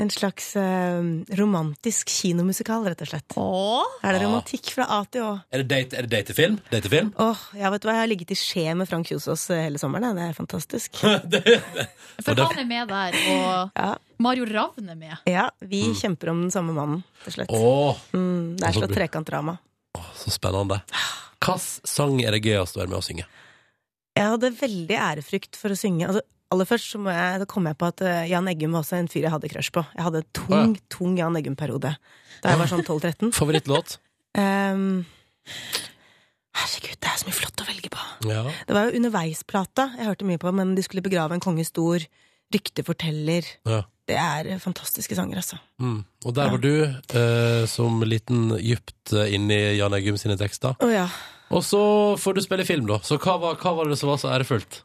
Speaker 1: en slags eh, romantisk kinomusikal, rett og slett.
Speaker 5: Åh.
Speaker 1: Er det
Speaker 2: Ah.
Speaker 1: romantikk fra A til Å?
Speaker 2: Er det date- er det datefilm? Datefilm?
Speaker 1: Åh, ja, vet du hva, Jeg har ligget i skje med Frank Kjosås eh, hele sommeren. jeg. Det er fantastisk.
Speaker 5: For
Speaker 2: Og det-
Speaker 5: han er med der, og
Speaker 1: Ja,
Speaker 5: Mario Ravn er med.
Speaker 1: ja Vi kjemper om den samme mannen, rett og slett.
Speaker 2: Mm. Åh, Altså,
Speaker 1: Mm, det
Speaker 2: Og
Speaker 1: er
Speaker 2: så
Speaker 1: slags
Speaker 2: blir-
Speaker 1: trekantdrama.
Speaker 2: så spennende. Hvilken sang er det gøyest å være med å synge?
Speaker 1: Jeg hadde veldig ærefrykt for å synge. Altså, aller først så må jeg, da kom jeg på at eh, Jan Eggum var også en fyr jeg hadde crush på. Jeg hadde tung,
Speaker 2: Å,
Speaker 1: tung Jan Eggum-periode da jeg var sånn (laughs) 12-13.
Speaker 2: Favorittlåt?
Speaker 1: Ehm, herregud, det er så mye flott å velge på.
Speaker 2: Ja.
Speaker 1: Det var jo underveisplata jeg hørte mye på, men de skulle begrave en konge stor. Rykteforteller.
Speaker 2: ja.
Speaker 1: Det er eh, fantastiske sanger, altså.
Speaker 2: Mm. Og der var du, eh, som liten dypt eh, inni Jan Eggum sine tekster.
Speaker 1: Å ja.
Speaker 2: Og så får du spille film, da. Så hva var, hva var det som var så ærefullt?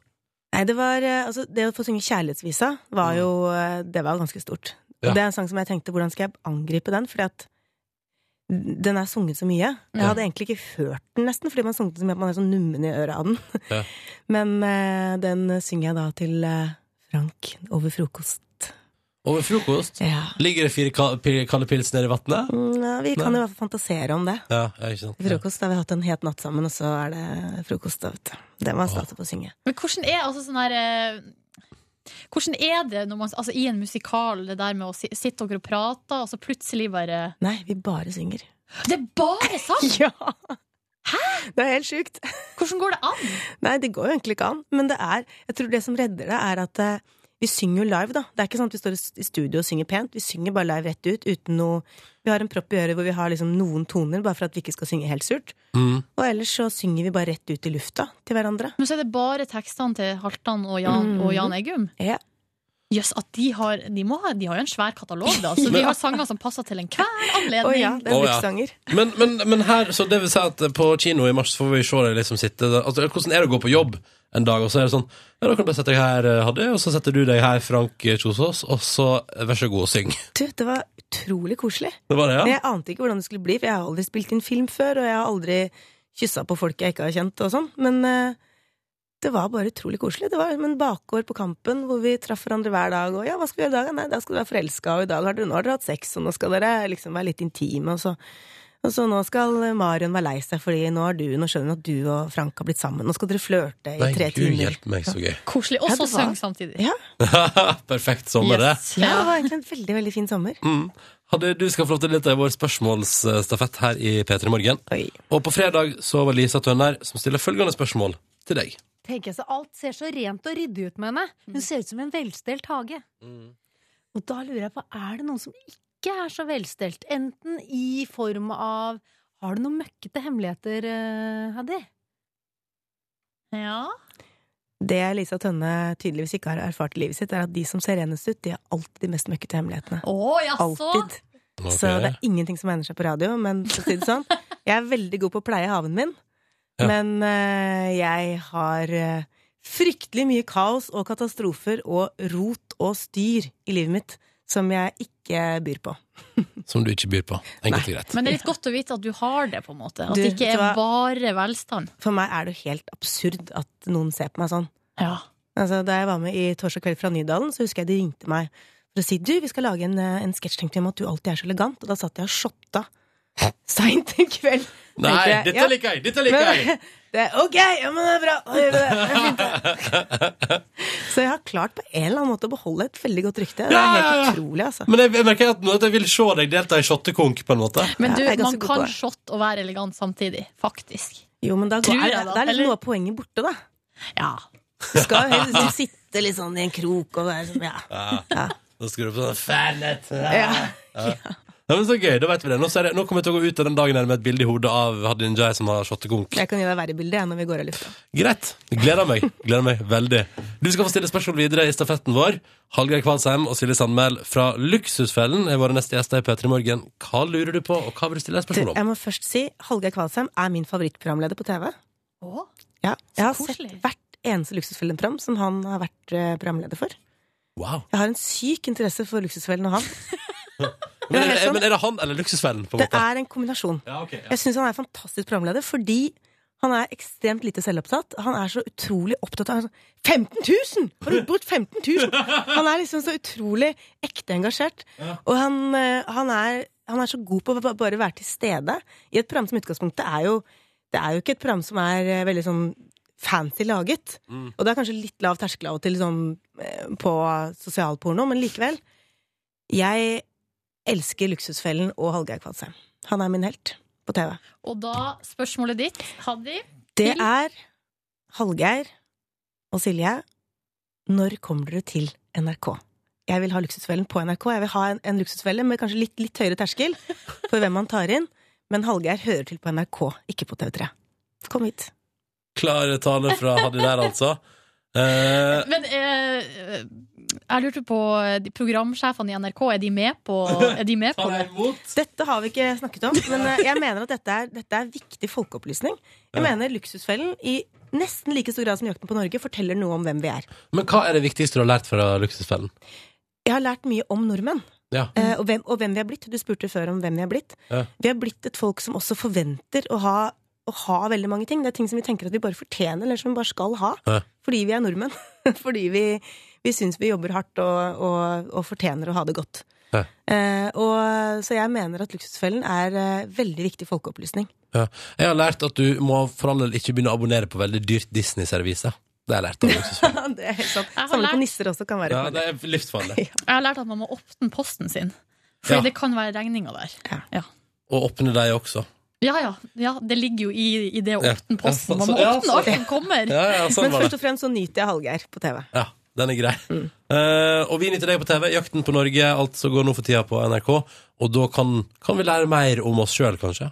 Speaker 1: Nei, det var eh, Altså, det å få synge Kjærlighetsvisa var jo eh, Det var ganske stort.
Speaker 2: Mm. Ja.
Speaker 1: Og det er en sang som jeg tenkte hvordan skal jeg angripe den, fordi at den er sunget så mye. Jeg
Speaker 2: Ja.
Speaker 1: hadde egentlig ikke hørt den, nesten, fordi man sunget den så mye at man er sånn nummen i øret av den.
Speaker 2: Ja.
Speaker 1: (laughs) Men eh, den synger jeg da til eh, Frank over frokost.
Speaker 2: Over frokost?
Speaker 1: Ja.
Speaker 2: Ligger det fire ka- pi- kalde pils nede i vannet?
Speaker 1: Mm, ja, vi kan
Speaker 2: Nei.
Speaker 1: i hvert fall fantasere om det.
Speaker 2: Ja, ja, ikke sant?
Speaker 1: I Frokost, da har vi hatt en het natt sammen, og så er det frokost, da, vet du. Det var stas på å synge.
Speaker 5: Men hvordan er altså sånn her eh, Hvordan er det når man, altså, i en musikal, det der med å si, sitte og prate, og så plutselig bare
Speaker 1: Nei, vi bare synger.
Speaker 5: Det er bare sang!
Speaker 1: Ja! (laughs) Hæ?! Det er helt sjukt.
Speaker 5: (laughs) Hvordan går det an?
Speaker 1: Nei, det går jo egentlig ikke an. Men det er, jeg tror det som redder det, er at eh, vi synger jo live, da. Det er ikke sånn at vi står i s- i studio og synger pent. Vi synger bare live rett ut uten noe Vi har en propp i øret hvor vi har liksom noen toner, bare for at vi ikke skal synge helt surt.
Speaker 2: Mm.
Speaker 1: Og ellers så synger vi bare rett ut i lufta til hverandre.
Speaker 5: Men så er det bare tekstene til Halvdan og Jan,
Speaker 2: Mm.
Speaker 5: og Jan Eggum.
Speaker 1: Ja.
Speaker 5: Jøss, at de har de, må ha, de har jo en svær katalog, da. (laughs) Så de har sanger som passer til enhver
Speaker 1: Å
Speaker 5: anledning.
Speaker 1: ja, det er
Speaker 2: Å, ja.
Speaker 1: brukssanger.
Speaker 2: Men, men, men her, så det vil si at på kino i mars får vi se deg liksom sitte der. Altså, hvordan er det å gå på jobb en dag, og så er det sånn Ja, da kan du bare sette deg her, eh, Hadde, og så setter du deg her, Frank Kjosås, og så eh, vær så god og syng. (laughs)
Speaker 1: Du, det var utrolig koselig.
Speaker 2: Det var det, ja?
Speaker 1: Jeg ante ikke hvordan det skulle bli, for jeg har aldri spilt inn film før, og jeg har aldri kyssa på folk jeg ikke har kjent og sånn, men eh, det var bare utrolig koselig. Det var liksom en bakgård på Kampen hvor vi traff hverandre hver dag, og ja, hva skal vi gjøre i dag? Nei, da skal du være forelska, og i dag har dere, nå har dere hatt sex, og nå skal dere liksom være litt intime, og så og så nå skal Marion være lei seg, fordi nå, har du, nå skjønner hun at du og Frank har blitt sammen. Nå skal dere flørte i
Speaker 2: Nei,
Speaker 1: tre
Speaker 2: gud
Speaker 1: timer.
Speaker 2: hjelpe meg, så gøy.
Speaker 5: Koselig. Og
Speaker 1: Ja,
Speaker 5: så
Speaker 1: det var-
Speaker 5: syng samtidig.
Speaker 1: Ja,
Speaker 2: (laughs) Perfekt sommer, det.
Speaker 5: Yes.
Speaker 1: ja, det
Speaker 5: Ja.
Speaker 1: var egentlig en veldig, veldig fin sommer.
Speaker 2: Mm. Hadde, du skal få lov til å delta i vår spørsmålsstafett her i P3 Morgen.
Speaker 1: Oi.
Speaker 2: Og på fredag så var Lisa Tønner som stiller følgende spørsmål til deg.
Speaker 7: Tenk, altså, alt ser så rent og ryddig ut med henne.
Speaker 1: Mm.
Speaker 7: Hun ser ut som en velstelt hage. Og da lurer jeg på, er det noen som ikke er så velstelt? Enten i form av Har du noen møkkete hemmeligheter, eh, Haddy?
Speaker 5: Ja.
Speaker 1: Det Lisa Tønne tydeligvis ikke har erfart i livet sitt, er at de som ser renest ut, de har alltid de mest møkkete hemmelighetene.
Speaker 5: Å, jaså!
Speaker 1: Alltid.
Speaker 2: Ok.
Speaker 1: Så det er ingenting som egner seg på radio, men for å si det sånn, jeg er veldig god på å pleie haven min,
Speaker 2: Ja.
Speaker 1: men eh, jeg har eh, fryktelig mye kaos og katastrofer og rot og styr i livet mitt som jeg ikke byr på.
Speaker 2: Som du ikke byr på. Enkelt og greit.
Speaker 5: Men det er litt godt å vite at du har det, på en måte. At
Speaker 1: Du,
Speaker 5: det ikke
Speaker 1: vet
Speaker 5: er
Speaker 1: du hva?
Speaker 5: bare velstand.
Speaker 1: For meg er det jo helt absurd at noen ser på meg sånn.
Speaker 5: Ja.
Speaker 1: Altså, da jeg var med i Torsdag kveld fra Nydalen, så husker jeg de ringte meg for å si du, vi skal lage en, eh, en sketsj tenkte jeg, om at du alltid er så elegant. Og da satt jeg og shotta seint en kveld.
Speaker 2: Nei,
Speaker 1: Tenkte jeg,
Speaker 2: dette
Speaker 1: ja,
Speaker 2: liker jeg! Dette liker jeg!
Speaker 1: men, (laughs) det, er ok, ja, men det er bra. Da gjør vi det. Det er fint, det. Så jeg har klart på en eller annen måte å beholde et veldig godt rykte. Det
Speaker 2: Ja,
Speaker 1: er
Speaker 2: ja, ja.
Speaker 1: helt utrolig, altså.
Speaker 2: Men jeg, jeg merker at nå at jeg vil se deg delta i shottekonk, på en måte.
Speaker 5: Men
Speaker 1: Ja,
Speaker 5: du,
Speaker 1: jeg er ganske
Speaker 5: man
Speaker 1: god
Speaker 5: kan
Speaker 1: på det.
Speaker 5: shot og være elegant samtidig. Faktisk.
Speaker 1: Jo, men da går,
Speaker 5: Tror
Speaker 1: er,
Speaker 5: jeg
Speaker 1: det
Speaker 5: da,
Speaker 1: er liksom
Speaker 5: eller?
Speaker 1: noe av poenget borte, da.
Speaker 5: Ja.
Speaker 1: Du skal jo helst sitte litt sånn i en krok og være sånn, ja.
Speaker 2: (laughs) Ja. Da skal du på sånn fanet.
Speaker 1: ja.
Speaker 2: Nei, men så gøy, da vet vi det. Nå, ser jeg, nå kommer jeg til å gå ut av den dagen her med et bilde i hodet av Hadin Jai som har shottekonk.
Speaker 1: Jeg kan gi deg verre bilde jeg, når vi går av lufta.
Speaker 2: Greit. Gleder meg. Gleder meg veldig. Du skal få stille spørsmål videre i stafetten vår. Hallgeir Kvalsheim og Silje Sandmæl fra Luksusfellen er våre neste gjester i P3 Morgen. Hva lurer du på, og hva vil du stille deg
Speaker 1: Du,
Speaker 2: spørsmål om?
Speaker 1: Jeg må først si Hallgeir Kvalsheim er min favorittprogramleder på TV.
Speaker 3: Å,
Speaker 1: Ja, jeg har sett
Speaker 3: koselig.
Speaker 1: hvert eneste Luksusfellen-program som han har vært eh, programleder for.
Speaker 2: Wow.
Speaker 1: Jeg har en syk interesse for Luksusfellen og han.
Speaker 2: Men er,
Speaker 1: helt
Speaker 2: det-
Speaker 1: sånn-
Speaker 2: men er det han eller Luksusfellen, på en
Speaker 1: Det
Speaker 2: måte?
Speaker 1: er en kombinasjon.
Speaker 2: Ja, ok. Ja.
Speaker 1: Jeg syns han er en fantastisk programleder fordi han er ekstremt lite selvopptatt. Han er så utrolig opptatt av 15 000!
Speaker 2: (laughs)
Speaker 1: Har du brukt 15 000? Han er liksom så utrolig ekte engasjert.
Speaker 2: Ja.
Speaker 1: Og han, eh, han, er, han er så god på å ba- bare være til stede i et program som i utgangspunktet er jo Det er jo ikke et program som er eh, veldig sånn fancy laget.
Speaker 2: Mm.
Speaker 1: Og det er kanskje litt lav terskel av og til sånn, eh, på sosialporno, men likevel. Jeg elsker Luksusfellen og Hallgeir Kvadsheim. Han er min helt på TV.
Speaker 3: Og da spørsmålet ditt, Haddy.
Speaker 1: Det
Speaker 3: Til-
Speaker 1: er Hallgeir og Silje. Når kommer dere til NRK? Jeg vil ha luksusfellen på NRK. Jeg vil ha en, en luksusfelle med kanskje litt, litt høyere terskel for hvem man tar inn. Men Hallgeir hører til på NRK, ikke på TV3. Kom hit.
Speaker 2: Klar tale fra Hadin der, altså. Eh,
Speaker 3: Men eh, jeg lurte på eh, de Programsjefene i NRK, er de med på, er de
Speaker 2: (laughs)
Speaker 3: med
Speaker 2: ta
Speaker 3: på det?
Speaker 2: deg imot.
Speaker 1: Dette har vi ikke snakket om, men eh, jeg mener at dette er, dette er viktig folkeopplysning. Jeg mener Luksusfellen i nesten like stor grad som Jakten på Norge forteller noe om hvem vi er.
Speaker 2: Men hva er det viktigste du har lært fra Luksusfellen?
Speaker 1: Jeg har lært mye om nordmenn.
Speaker 2: Ja.
Speaker 1: Eh, og, hvem, og hvem vi er blitt. Du spurte før om hvem vi er blitt.
Speaker 2: Ja.
Speaker 1: Vi er blitt et folk som også forventer å ha, å ha veldig mange ting. Det er ting som vi tenker at vi bare fortjener, eller som vi bare skal ha.
Speaker 2: Ja.
Speaker 1: Fordi vi er nordmenn. (laughs) fordi vi, vi syns vi jobber hardt og, og, og fortjener å ha det godt.
Speaker 2: Ja.
Speaker 1: Eh, og, så jeg mener at Luksusfellen er eh, veldig viktig
Speaker 8: (laughs)
Speaker 1: folkeopplysning.
Speaker 2: Ja. Jeg har lært at du må for all del ikke begynne å abonnere på veldig dyrt Disney-servise. Det har jeg lært av Luksusfellen.
Speaker 1: det er helt sant.
Speaker 3: Jeg har
Speaker 1: Samle
Speaker 3: lært-
Speaker 1: på nisser også kan
Speaker 2: (laughs)
Speaker 1: være
Speaker 2: Ja,
Speaker 1: et
Speaker 2: det er livsfarlig.
Speaker 3: Jeg har lært at man må åpne posten sin. For
Speaker 2: Ja.
Speaker 3: det kan være regninger der.
Speaker 2: Og åpne deg også.
Speaker 3: Ja, ja, ja. Det ligger jo i, i det å
Speaker 2: Ja.
Speaker 3: åpne posten.
Speaker 2: Ja,
Speaker 3: Man må
Speaker 2: så- ja,
Speaker 3: åpne
Speaker 2: så-
Speaker 3: alt som kommer.
Speaker 2: Ja, ja, sånn
Speaker 1: Men
Speaker 2: var det.
Speaker 1: først og fremst så nyter jeg Hallgeir på TV.
Speaker 2: Ja, den er grei. Eh, og vi nyter deg på TV. Jakten på Norge altså går nå for tida på NRK. Og da kan, kan vi lære mer om oss sjøl, kanskje.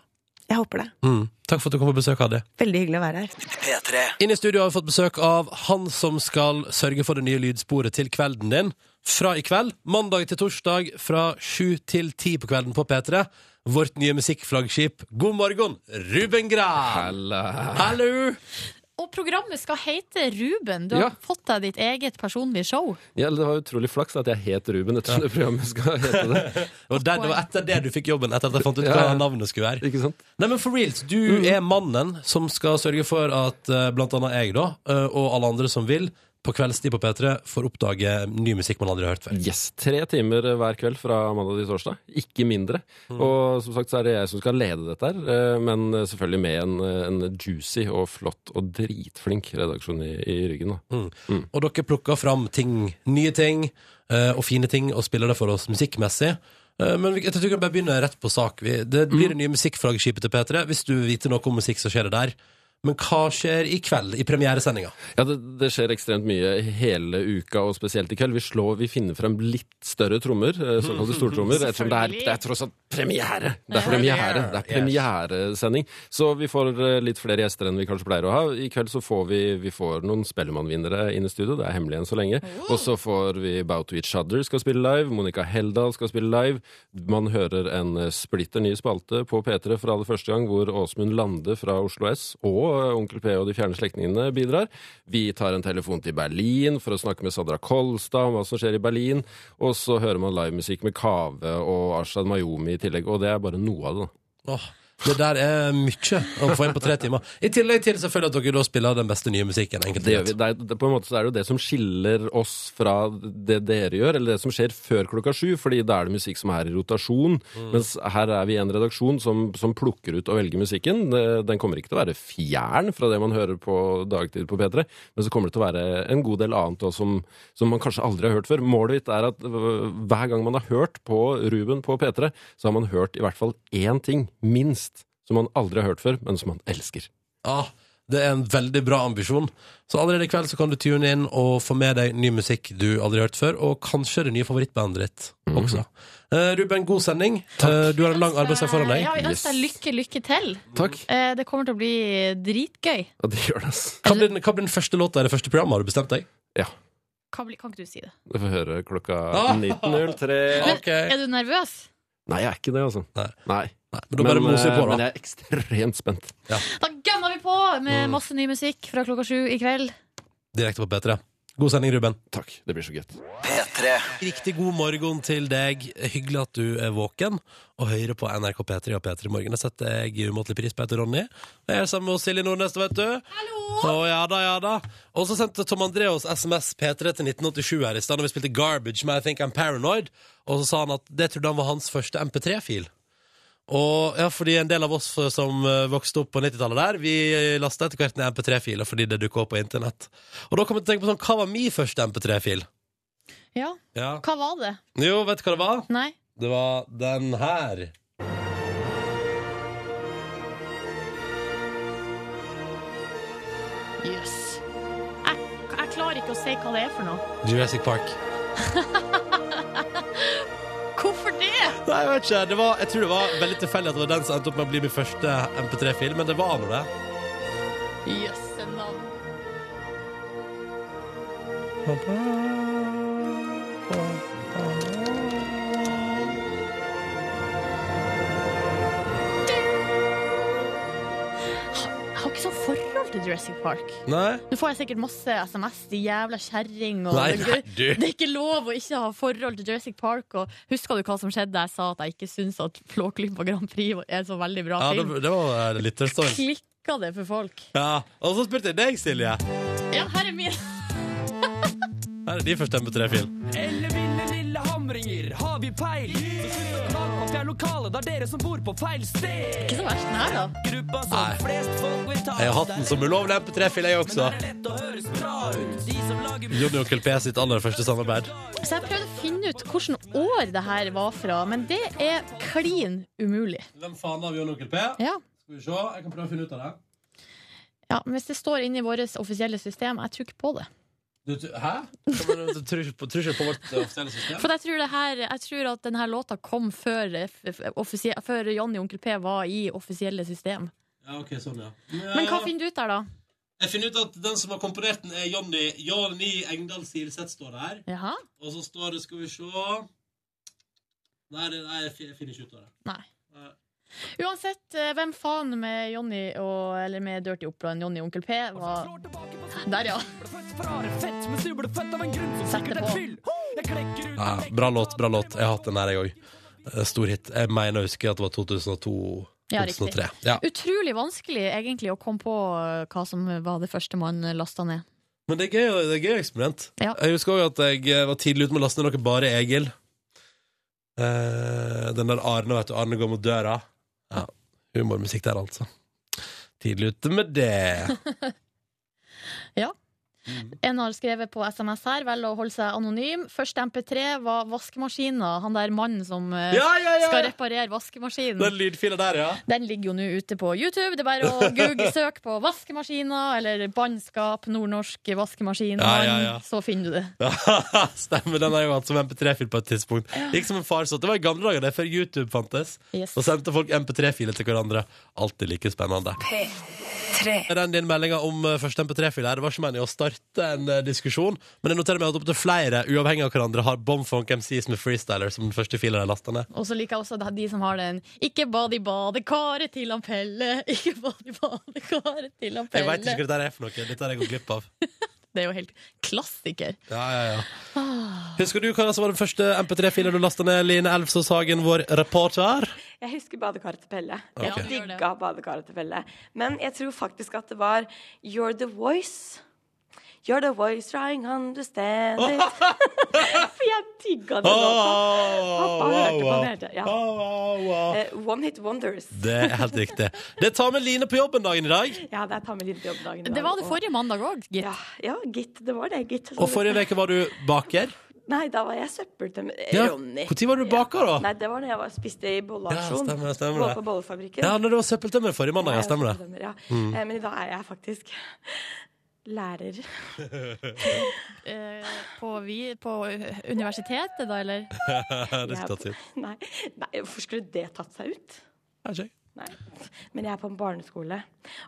Speaker 1: Jeg håper det.
Speaker 2: Mm. Takk for at du kom på besøk, Adi.
Speaker 1: Veldig hyggelig å være her.
Speaker 2: Inn i studio har vi fått besøk av han som skal sørge for det nye lydsporet til kvelden din. Fra i kveld, mandag til torsdag fra sju til ti på kvelden på P3. Vårt nye musikkflaggskip. God morgen, Ruben Gran! Hallo!
Speaker 3: Og programmet skal hete Ruben. Du har
Speaker 9: Ja.
Speaker 3: fått deg ditt eget personlige show.
Speaker 9: Ja, det var utrolig flaks at jeg het Ruben etter det programmet skal hete det.
Speaker 2: Og der, det var etter det du fikk jobben, etter at jeg fant ut
Speaker 9: Ja, ja.
Speaker 2: hva navnet skulle være.
Speaker 9: Ikke Mm. sant?
Speaker 2: Nei, men for reals, du er mannen som skal sørge for at eh, blant annet jeg da, eh, og alle andre som vil, på kveldstid på P3 får oppdage ny musikk man aldri har hørt før.
Speaker 9: Yes, Tre timer eh, hver kveld fra mandag til torsdag. Ikke mindre. Og som sagt så er det jeg som skal lede dette her, eh, men selvfølgelig med en, eh, en juicy og flott og dritflink redaksjon i, i ryggen. da.
Speaker 2: Mm. Og dere plukker fram ting, nye ting eh, og fine ting og spiller det for oss musikkmessig. Eh, Men vi- jeg tror vi kan bare begynne rett på sak. Vi-
Speaker 9: Mm.
Speaker 2: Det blir det nye musikkflaggskipet til P3 hvis du vil vite noe om musikk, så skjer det der. Men hva skjer i kveld, i premieresendinga?
Speaker 9: Ja, det, det skjer ekstremt mye hele uka, og spesielt i kveld. Vi slår, vi finner frem litt større trommer, eh, såkalte stortrommer. Ettersom det er, det er tross alt premiere! Det er premiere, det er premieresending. Så vi får eh, litt flere gjester enn vi kanskje pleier å ha. I kveld så får vi, vi får noen Spellemannvinnere inn i studio, det er hemmelig enn så lenge. Og så får vi Bout Each Other skal spille live, Monica Heldal skal spille live. Man hører en eh, splitter ny spalte på P3 for aller første gang, hvor Åsmund Lande fra Oslo S og eh, Onkel P og de fjerne slektningene bidrar. Vi tar en telefon til Berlin for å snakke med Sandra Kolstad om hva som skjer i Berlin. Og så hører man livemusikk med Kave og Ashad Mayomi i tillegg, og det er bare noe av det. da.
Speaker 2: Åh, det der er mye å få inn på tre timer. I tillegg til selvfølgelig at dere da spiller den beste nye musikken. enkelt og
Speaker 9: Det
Speaker 2: greit.
Speaker 9: gjør vi. Det er, det, på en måte så er det jo det som skiller oss fra det dere gjør, eller det som skjer før klokka sju, fordi da er det musikk som er i rotasjon.
Speaker 2: Mm.
Speaker 9: Mens her er vi i en redaksjon som, som plukker ut og velger musikken. Det- Den kommer ikke til å være fjern fra det man hører på dagtid på P3, men så kommer det til å være en god del annet også som, som man kanskje aldri har hørt før. Målet mitt er at øh, hver gang man har hørt på Ruben på P3, så har man hørt i hvert fall én ting, minst, som man aldri har hørt før, men som man elsker.
Speaker 2: Ah, Det er en veldig bra ambisjon. Så allerede i kveld så kan du tune inn og få med deg ny musikk du aldri har hørt før, og kanskje det nye favorittbandet ditt
Speaker 9: Mhm.
Speaker 2: også. Eh, Ruben, god sending. Eh, Du har en lang arbeidsdag foran deg.
Speaker 3: Ja, vi ønsker deg lykke, lykke til.
Speaker 2: Takk.
Speaker 3: Eh, Det kommer til å bli dritgøy.
Speaker 9: Ja, det gjør det, ass.
Speaker 2: Hva blir den, hva blir den første låta i det første programmet? Har du bestemt deg?
Speaker 9: Ja.
Speaker 3: Hva blir- Kan ikke du si det?
Speaker 9: Du får høre klokka
Speaker 2: Ah.
Speaker 9: 19.03.
Speaker 3: Men Er du nervøs?
Speaker 9: Nei, jeg er ikke det, altså.
Speaker 2: Nei.
Speaker 9: Men, eh,
Speaker 2: da bare moser vi på, da.
Speaker 9: men jeg er ekstremt spent.
Speaker 3: Da gønner vi på med
Speaker 2: Mm.
Speaker 3: masse ny musikk fra klokka sju i kveld.
Speaker 2: Direkte på P3. God sending, Ruben.
Speaker 9: Takk. Det blir så gøy.
Speaker 2: Riktig god morgen til deg. Hyggelig at du er våken og hører på NRK P3 og P3 Morgen. Det setter jeg umåtelig pris på. Jeg heter Ronny. Og Jeg er sammen med Silje Nordnes, vet du. Hallo! ja da, ja da. Og så sendte Tom André oss SMS P3 til 1987 her i stad, da vi spilte Garbage med I Think I'm Paranoid. Og så sa han at det trodde han var hans første MP3-fil. Og ja, fordi en del av oss som eh, vokste opp på 90-tallet der, vi lasta etter hvert ned MP3-filer fordi det dukka opp på internett. Og da kom jeg til å tenke på sånn, hva var min første MP3-fil?
Speaker 3: Ja.
Speaker 2: Ja.
Speaker 3: Hva var det?
Speaker 2: Jo, vet du hva det var?
Speaker 3: Nei.
Speaker 2: Det var den her.
Speaker 3: Jøss. Jeg, jeg klarer ikke å si hva det er for noe.
Speaker 2: Jurassic Park.
Speaker 3: Hvorfor det?
Speaker 2: Nei, jeg vet ikke. Det var, jeg tror det var veldig tilfeldig at det var den som endte opp med å bli min første MP3-film, men det var nå det.
Speaker 3: Jøsse navn. Jeg har ikke sånn forhold til Jurassic Park.
Speaker 2: Nei?
Speaker 3: Nå får jeg sikkert masse SMS, de jævla kjerring. og-
Speaker 2: Nei, nei, (laughs) du.
Speaker 3: (laughs) Det er ikke lov å ikke ha forhold til Jurassic Park. Og husker du hva som skjedde da jeg sa at jeg ikke syns at Flåklypa Grand Prix er en så veldig bra
Speaker 2: Ja, det,
Speaker 3: film?
Speaker 2: det var eh, litt sånn.
Speaker 3: Klikka det for folk?
Speaker 2: Ja. Og så spurte jeg deg, Silje.
Speaker 3: Ja, her er min.
Speaker 2: Her er din første MP3-film.
Speaker 10: Eller ville lille hamringer, har vi peil? Så slutt å klage at vi er lokale, det er dere som bor på feil sted.
Speaker 3: (laughs) Ikke så verst den her, da.
Speaker 10: Gruppa som
Speaker 2: Nei.
Speaker 10: Altså, flest folk vil ta.
Speaker 2: Jeg har hatt den som ulovlig MP3-fil, jeg også.
Speaker 10: Lett å høres bra ut. De som lager
Speaker 2: Johnny og Onkel P sitt aller første samarbeid.
Speaker 3: Så jeg prøvde å finne ut hvilket år det her var fra, men det er klin umulig.
Speaker 2: Hvem faen av Johnny og Onkel P?
Speaker 3: Ja.
Speaker 2: Skal vi se, jeg kan prøve å finne ut av det.
Speaker 3: Ja, men Hvis det står inne i vårt offisielle system, jeg tror ikke på det.
Speaker 2: Du, tu- hæ? Kan man- Du tror ikke på- tror ikke på vårt eh, offisielle system?
Speaker 3: For jeg tror, det her, jeg tror at denne låta kom før, eh, f- f- offisie- før Johnny og Onkel P var i offisielle system.
Speaker 2: Ja, ok, sånn, ja.
Speaker 3: Men hva finner du ut der, da?
Speaker 2: Jeg finner ut at den som har komponert den, er Johnny, Johnny Engdahl Silseth, står det her.
Speaker 3: Jaha?
Speaker 2: Og så står det, skal vi se Nei, det, nei jeg fin- jeg finner ikke ut av det.
Speaker 3: Nei.
Speaker 2: Nei.
Speaker 3: Uansett, eh, hvem faen med Johnny og, eller med Dirty Oppland, Johnny og Onkel P, var Der, ja.
Speaker 10: fett, mens du ble født av en grunn som
Speaker 3: Sett
Speaker 10: sikkert
Speaker 3: det på.
Speaker 10: er fyll. Jeg klekker ut
Speaker 2: Ja, bra låt, bra låt. Jeg har hatt den her, jeg òg. Stor hit. Jeg mener å huske at det var 2002-2003.
Speaker 3: Ja, riktig.
Speaker 2: Ja.
Speaker 3: Utrolig vanskelig egentlig å komme på eh, hva som var det første man lasta ned.
Speaker 2: Men det er gøy, det er gøy eksperiment.
Speaker 3: Ja.
Speaker 2: Jeg husker òg at jeg eh, var tidlig ute med å laste ned noe Bare Egil. Eh, den der Arne, vet du. Arne går mot døra. Ja. Humormusikk der, altså. Tidlig ute med det.
Speaker 3: En har skrevet på SMS her, vel å holde seg anonym. Første MP3 var vaskemaskina. Han der mannen som eh,
Speaker 2: Ja, ja, ja!
Speaker 3: skal reparere vaskemaskinen.
Speaker 2: Den lydfila der, ja.
Speaker 3: Den ligger jo nå ute på YouTube. Det er bare
Speaker 2: (laughs)
Speaker 3: å google søk på 'vaskemaskiner' eller 'bannskap nordnorsk vaskemaskin',
Speaker 2: Ja, ja, ja.
Speaker 3: så finner du det.
Speaker 2: (laughs) Ja, Stemmer, den har jeg jo hatt som MP3-fil på et tidspunkt. Gikk som en farsott. Det var i gamle dager, det, før YouTube fantes.
Speaker 3: Yes.
Speaker 2: Da sendte folk MP3-filer til hverandre. Alltid like spennende. Er Den din meldinga om eh, første MP3-fil her, det var ikke meningen å starte en eh, diskusjon, men jeg noterer meg at opptil flere, uavhengig av hverandre, har Bomfunk MCs med Freestyler som den første filen de lasta ned.
Speaker 3: Og så liker jeg også de som har den 'ikke bad i badekaret til han Pelle', (laughs) 'ikke bad i badekaret til han
Speaker 2: Jeg veit ikke hva
Speaker 3: Pelle'.
Speaker 2: dette her er for noe. Dette har jeg gått glipp av.
Speaker 3: Det er jo helt klassiker.
Speaker 2: Ja, ja, ja. Husker du hva som var den første MP3-filen du lasta ned, Line Elfsås Hagen, vår reporter?
Speaker 8: Jeg husker badekaret til Pelle.
Speaker 2: Ok. Ja,
Speaker 8: Jeg
Speaker 2: du gjør det.
Speaker 8: digga badekaret til Pelle. Men jeg tror faktisk at det var You're the voice. You're the voice trying understand
Speaker 2: (laughs)
Speaker 8: it. For jeg digga den låta. Pappa hørte på den hele tida. Ja. Eh, One hit wonders.
Speaker 2: Det er helt riktig. Det tar med Line på jobben dagen i dag.
Speaker 8: Ja, det er ta med litt jobb dagen i dag.
Speaker 3: Det var det
Speaker 8: og-
Speaker 3: forrige mandag òg, gitt.
Speaker 8: Ja, gitt. Det var det, gitt.
Speaker 2: Og forrige uke var du baker.
Speaker 8: Nei, da var jeg søppel til
Speaker 2: Ja,
Speaker 8: Ronny.
Speaker 2: hvor tid var du baker, da?
Speaker 8: Nei, det var når jeg var, spiste i
Speaker 2: Ja,
Speaker 8: bollasjon.
Speaker 2: stemmer, stemmer
Speaker 8: var
Speaker 2: det.
Speaker 8: på bollefabrikken.
Speaker 2: Ja, når det var søppeltømmer forrige mandag, ja,
Speaker 8: Jeg var
Speaker 2: stemmer det.
Speaker 8: søppeltømmer, Ja.
Speaker 2: Mm.
Speaker 8: Eh, Men i dag er jeg faktisk lærer.
Speaker 5: Eh, på, vi, på eh, universitetet, da, eller?
Speaker 2: det skulle tatt sitt.
Speaker 8: (laughs) Nei, nei, hvorfor skulle det tatt seg ut?
Speaker 2: Kanskje.
Speaker 8: Nei. Men jeg er på en barneskole,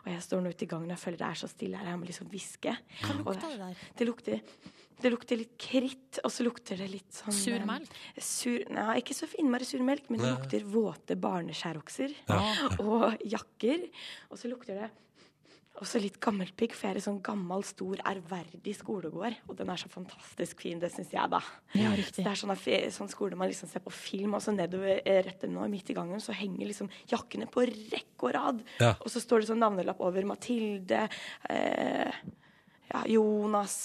Speaker 8: og jeg står nå ute i gangen og jeg føler det er så stille her. Jeg må liksom hviske. Og
Speaker 5: lukter det der?
Speaker 8: Det lukter, det lukter litt kritt, og så lukter det litt sånn
Speaker 5: Sur
Speaker 8: eh,
Speaker 5: melk?
Speaker 8: Sur, nei, ikke så innmari sur melk, men det
Speaker 5: Nei.
Speaker 8: lukter våte barneskjærokser
Speaker 5: Ja.
Speaker 8: og jakker. Og så lukter det også litt gammelpigg, for jeg er i sånn gammel, stor, ærverdig skolegård. Og den er så fantastisk fin, det syns jeg, da.
Speaker 5: Ja,
Speaker 8: så det er sånn, af- sånn skole man liksom ser på film, og så nedover eh, rett nå, midt i gangen, så henger liksom jakkene på rekke og rad.
Speaker 2: Ja.
Speaker 8: Og så står det sånn navnelapp over Mathilde, eh, ja, Jonas,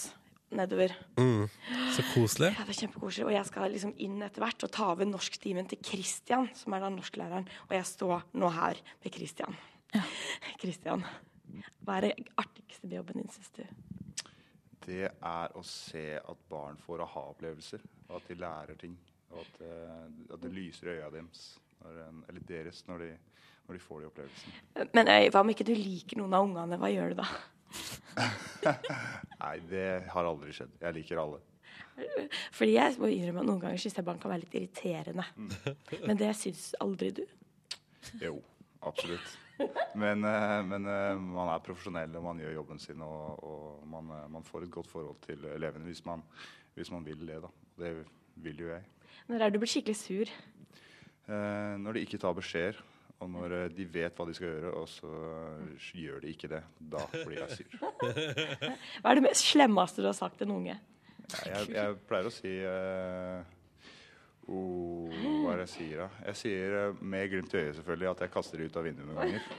Speaker 8: nedover.
Speaker 2: Mm. Så koselig.
Speaker 8: Ja, det er kjempekoselig. Og jeg skal liksom inn etter hvert og ta over norsktimen til Christian, som er da norsklæreren. Og jeg står nå her med Christian. (laughs) Christian, hva er det artigste med jobben din, syns du?
Speaker 11: Det er å se at barn får aha-opplevelser, og at de lærer ting. Og at, eh, at det lyser i øya deres, når en, eller deres, når de, når de får de opplevelsene.
Speaker 8: Men øy, hva om ikke du liker noen av ungene, hva gjør du da?
Speaker 11: Nei, det har aldri skjedd. Jeg liker alle.
Speaker 8: Fordi jeg må innrømme at noen ganger syns jeg barn kan være litt irriterende.
Speaker 11: Mm.
Speaker 8: Men det syns aldri du.
Speaker 11: Jo, absolutt. Men, eh, men eh, man er profesjonell, og man gjør jobben sin, og, og man, eh, man får et godt forhold til elevene hvis man, hvis man vil det, da. Det vil jo jeg.
Speaker 8: Når er det du blir skikkelig sur?
Speaker 11: Eh, når de ikke tar beskjeder, og når eh, de vet hva de skal gjøre, og så eh, gjør de ikke det, da blir jeg sur.
Speaker 3: (laughs)
Speaker 8: Hva er det mest slemmeste du har sagt til en unge?
Speaker 11: Nei, Jeg, jeg pleier å si eh, oh, Hva er det jeg sier, da? Jeg sier eh, med glimt i øyet selvfølgelig at jeg kaster de ut av vinduet noen
Speaker 3: (laughs)
Speaker 11: ganger.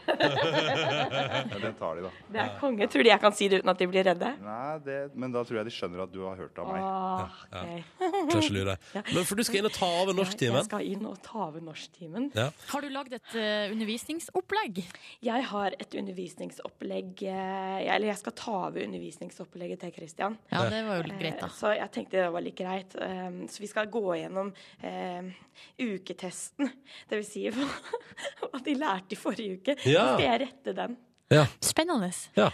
Speaker 11: Men den tar de, da.
Speaker 8: Det er konge. Tror de jeg kan si det uten at de blir redde?
Speaker 11: Nei, det, men da tror jeg de skjønner at du har hørt av meg.
Speaker 8: Åh,
Speaker 11: Ja, ja.
Speaker 8: ok.
Speaker 2: Klarer ikke å lure.
Speaker 8: Ja.
Speaker 2: Men for du skal inn og ta over
Speaker 8: Jeg
Speaker 2: norsktimen.
Speaker 8: skal inn og ta over norsktimen.
Speaker 2: Ja.
Speaker 8: Har du lagd et
Speaker 3: eh,
Speaker 8: undervisningsopplegg? Jeg har et undervisningsopplegg eh, jeg- Eller jeg skal ta over undervisningsopplegget til Christian.
Speaker 5: Ja, det var jo litt greit, da.
Speaker 8: Eh, Så jeg tenkte det var litt greit. Um, Så vi skal gå gjennom eh, uketesten. Det vil si hva (laughs) hva de lærte i forrige uke.
Speaker 2: Ja.
Speaker 8: Så skal jeg rette den.
Speaker 2: Ja.
Speaker 5: Spennende.
Speaker 2: ja.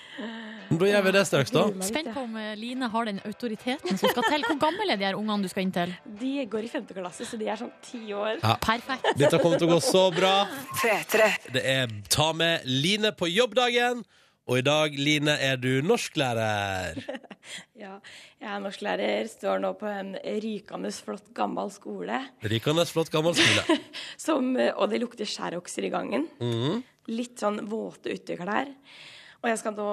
Speaker 2: Men Da gjør vi det straks, da.
Speaker 5: Spent på om eh, Line har den autoriteten som skal til. Hvor gammel er de her ungene du skal inn til?
Speaker 8: De går i femte klasse, så de er sånn ti år.
Speaker 2: Ja.
Speaker 5: Perfekt.
Speaker 2: Dette kommer til å gå så bra. Det er Ta med Line på jobbdagen. Og i dag, Line, er du norsklærer.
Speaker 8: Ja, jeg er norsklærer, står nå på en rykende flott gammel skole.
Speaker 2: Rikende flott gammel skole.
Speaker 8: Som, eh, og det lukter skjærokser i gangen.
Speaker 2: Mhm.
Speaker 8: Litt sånn våte uteklær. Og jeg skal nå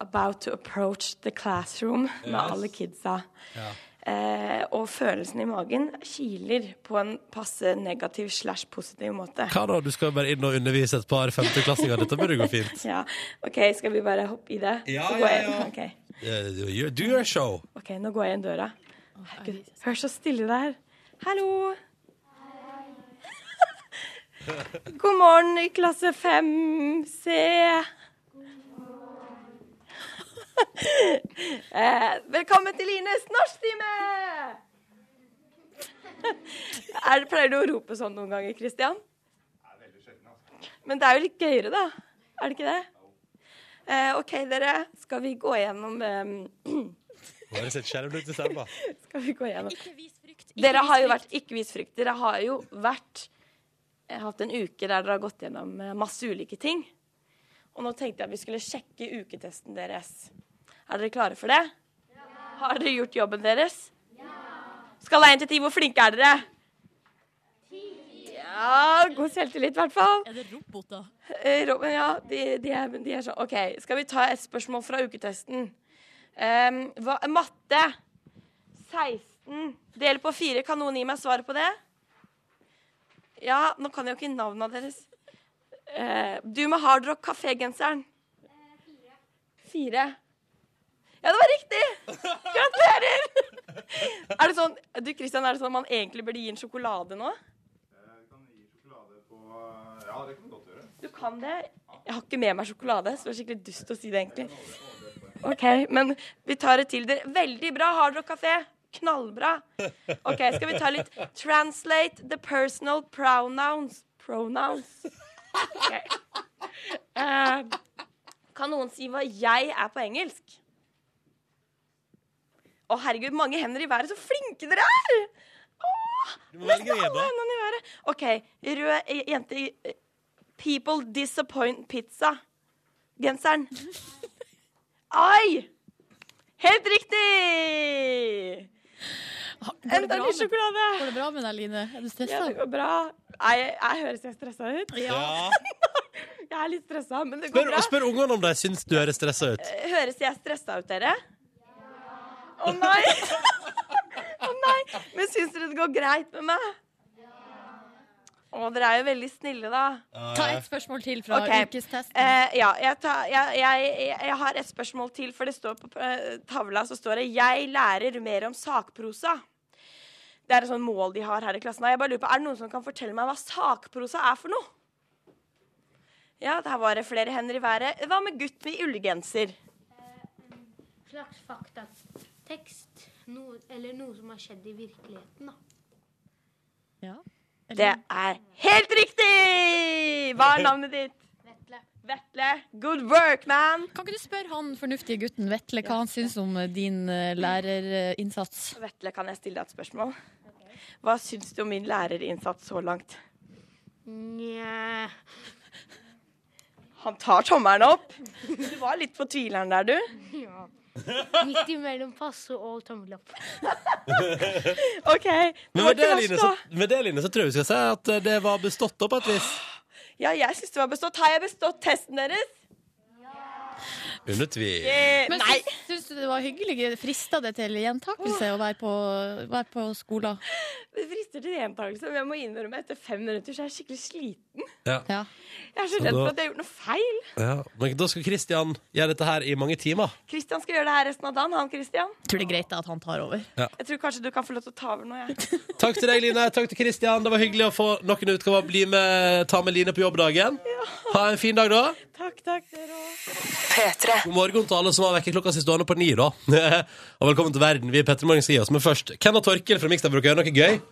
Speaker 8: about to approach the classroom med
Speaker 12: Yes.
Speaker 8: alle kidsa.
Speaker 12: Ja.
Speaker 8: Eh, og følelsen i magen kiler på en passe negativ slash positiv måte.
Speaker 2: Hva da? Du skal bare inn og undervise et par femteklassinger. Dette burde gå fint.
Speaker 8: (laughs) Ja, OK, skal vi bare hoppe i det?
Speaker 2: Ja, ja,
Speaker 8: Så går jeg-
Speaker 2: ja.
Speaker 8: ok.
Speaker 2: Eh, Do your- do your show.
Speaker 8: OK, nå går jeg inn døra. Herregud, hør så stille det er. Hallo! God morgen i klasse 5C. Eh, velkommen til Lines norsktime! (laughs) Er det- Pleier du å rope sånn noen ganger, Christian? Men det er jo litt gøyere, da. Er det ikke det? Eh, OK, dere. Skal vi gå gjennom eh,
Speaker 2: Bare sett skjermen ut i stemma.
Speaker 8: Skal vi gå gjennom?
Speaker 5: Ikke vis frykt.
Speaker 8: Dere har jo vært Ikke vis frykt. Dere har jo vært eh, hatt en uke der dere har gått gjennom eh, masse ulike ting. Og nå tenkte jeg at vi skulle sjekke uketesten deres. Er dere klare for det? Har dere gjort jobben deres? Skala 1 til 10, hvor flinke er dere? Ja, god selvtillit i hvert fall.
Speaker 5: Er det roboter?
Speaker 8: Eh, Robin, ja, de, de, er, de er sånn OK, skal vi ta et spørsmål fra uketesten? Em, hva, matte 16 del på 4. Kan noen gi meg svaret på det? Ja, nå kan jeg jo ikke navnene deres. Eh, du med hardrock kafégenseren. Eh, Fire. Ja, det var riktig! Gratulerer! (laughs) Er det sånn, du Christian, er det sånn at man egentlig burde gi en sjokolade nå?
Speaker 11: Eh, Ja, det kan du godt gjøre.
Speaker 8: Du kan det. Jeg har ikke med meg sjokolade, så det var skikkelig dust å si det, egentlig. OK, men vi tar et til. Dere- Veldig bra Hard Rock Kafé. knallbra. OK, skal vi ta litt Translate the personal pronouns. Pronouns. Ok. Eh, kan noen si hva jeg er på engelsk? Å, herregud, mange hender i været. Så flinke dere er!
Speaker 2: Du må velge en,
Speaker 8: Alle
Speaker 2: da.
Speaker 8: hendene i været. OK, rød eh, jente i eh, People disappoint pizza.
Speaker 2: (laughs)
Speaker 8: Genseren. Oi! Helt riktig!
Speaker 3: Går det, bra
Speaker 8: ny
Speaker 3: med, går det bra med deg, Line? Er du stressa?
Speaker 8: Ja, det går bra. Nei, Jeg, jeg høres jeg stressa ut?
Speaker 2: Ja.
Speaker 8: jeg er litt stressa, men det går
Speaker 2: Spør,
Speaker 8: bra.
Speaker 2: spør ungene om de syns du høres stressa ut.
Speaker 8: Eh, Høres jeg stressa ut, dere? Å nei! Å nei! Men syns dere det går greit med meg? Å, dere er jo veldig snille, da.
Speaker 3: Ta ett spørsmål til fra
Speaker 8: Ok.
Speaker 3: ukestesten.
Speaker 8: Eh, ja, jeg, tar- jeg, jeg, jeg, jeg har et spørsmål til, for det står på eh, tavla så står det 'Jeg lærer mer om sakprosa'. Det er et sånt mål de har her i klassen. Jeg bare lurer på, Er det noen som kan fortelle meg hva sakprosa er for noe? Ja, der var det flere hender i været. Hva med gutten i ullgenser?
Speaker 12: Slags faktatekst. Noe, eller noe som har skjedd i virkeligheten, da.
Speaker 8: Det er helt riktig! Hva er navnet ditt?
Speaker 12: Vetle.
Speaker 8: Vetle. Good work, man!
Speaker 3: Kan ikke du spørre han fornuftige gutten Vetle hva han syns om eh, din eh, lærerinnsats?
Speaker 8: Vetle, kan jeg stille deg et spørsmål? Hva syns du om min lærerinnsats så langt?
Speaker 12: Nja
Speaker 8: Han tar tommelen opp. Du var litt på tvileren der, du.
Speaker 12: ja. Midt imellom passe og tommel opp.
Speaker 8: OK.
Speaker 2: Men
Speaker 8: var
Speaker 2: med det,
Speaker 8: ikke verst,
Speaker 2: Line,
Speaker 8: da.
Speaker 2: så, med det, Line, så tror jeg vi skal si at eh, det var bestått opp på et vis.
Speaker 8: Ja, jeg syns du har bestått. Har jeg bestått testen deres?
Speaker 2: Under tvil.
Speaker 8: Eh,
Speaker 3: Men
Speaker 8: nei.
Speaker 3: syns- Syns du det var hyggelig? Frista det til gjentakelse å være på, være på skolen?
Speaker 8: Det frister til gjentakelse, men jeg må innrømme etter fem minutter så er jeg skikkelig sliten.
Speaker 2: Ja.
Speaker 8: Jeg er så
Speaker 2: Så
Speaker 8: redd
Speaker 2: da-
Speaker 8: for at jeg har gjort noe feil.
Speaker 2: Ja. Men da skal Kristian gjøre dette her i mange timer.
Speaker 8: Kristian skal gjøre det her resten av dagen. Han, Christian.
Speaker 3: Tror det er greit at han tar over.
Speaker 2: Ja.
Speaker 8: Jeg tror kanskje du kan få lov til å ta over nå, jeg.
Speaker 2: Takk til deg, Line. Takk til Kristian. Det var hyggelig å få noen utgaver. Bli med, ta med Line på jobbdagen. Ha en fin dag, da.
Speaker 8: Takk, takk, dere òg.
Speaker 2: God morgen til alle som har vekkerklokka si stående på ni, da. (laughs) og velkommen til verden. Vi i Petter Morgen skal gi oss, men først Ken og Torkel fra Mikstad bruker å gjøre noe gøy.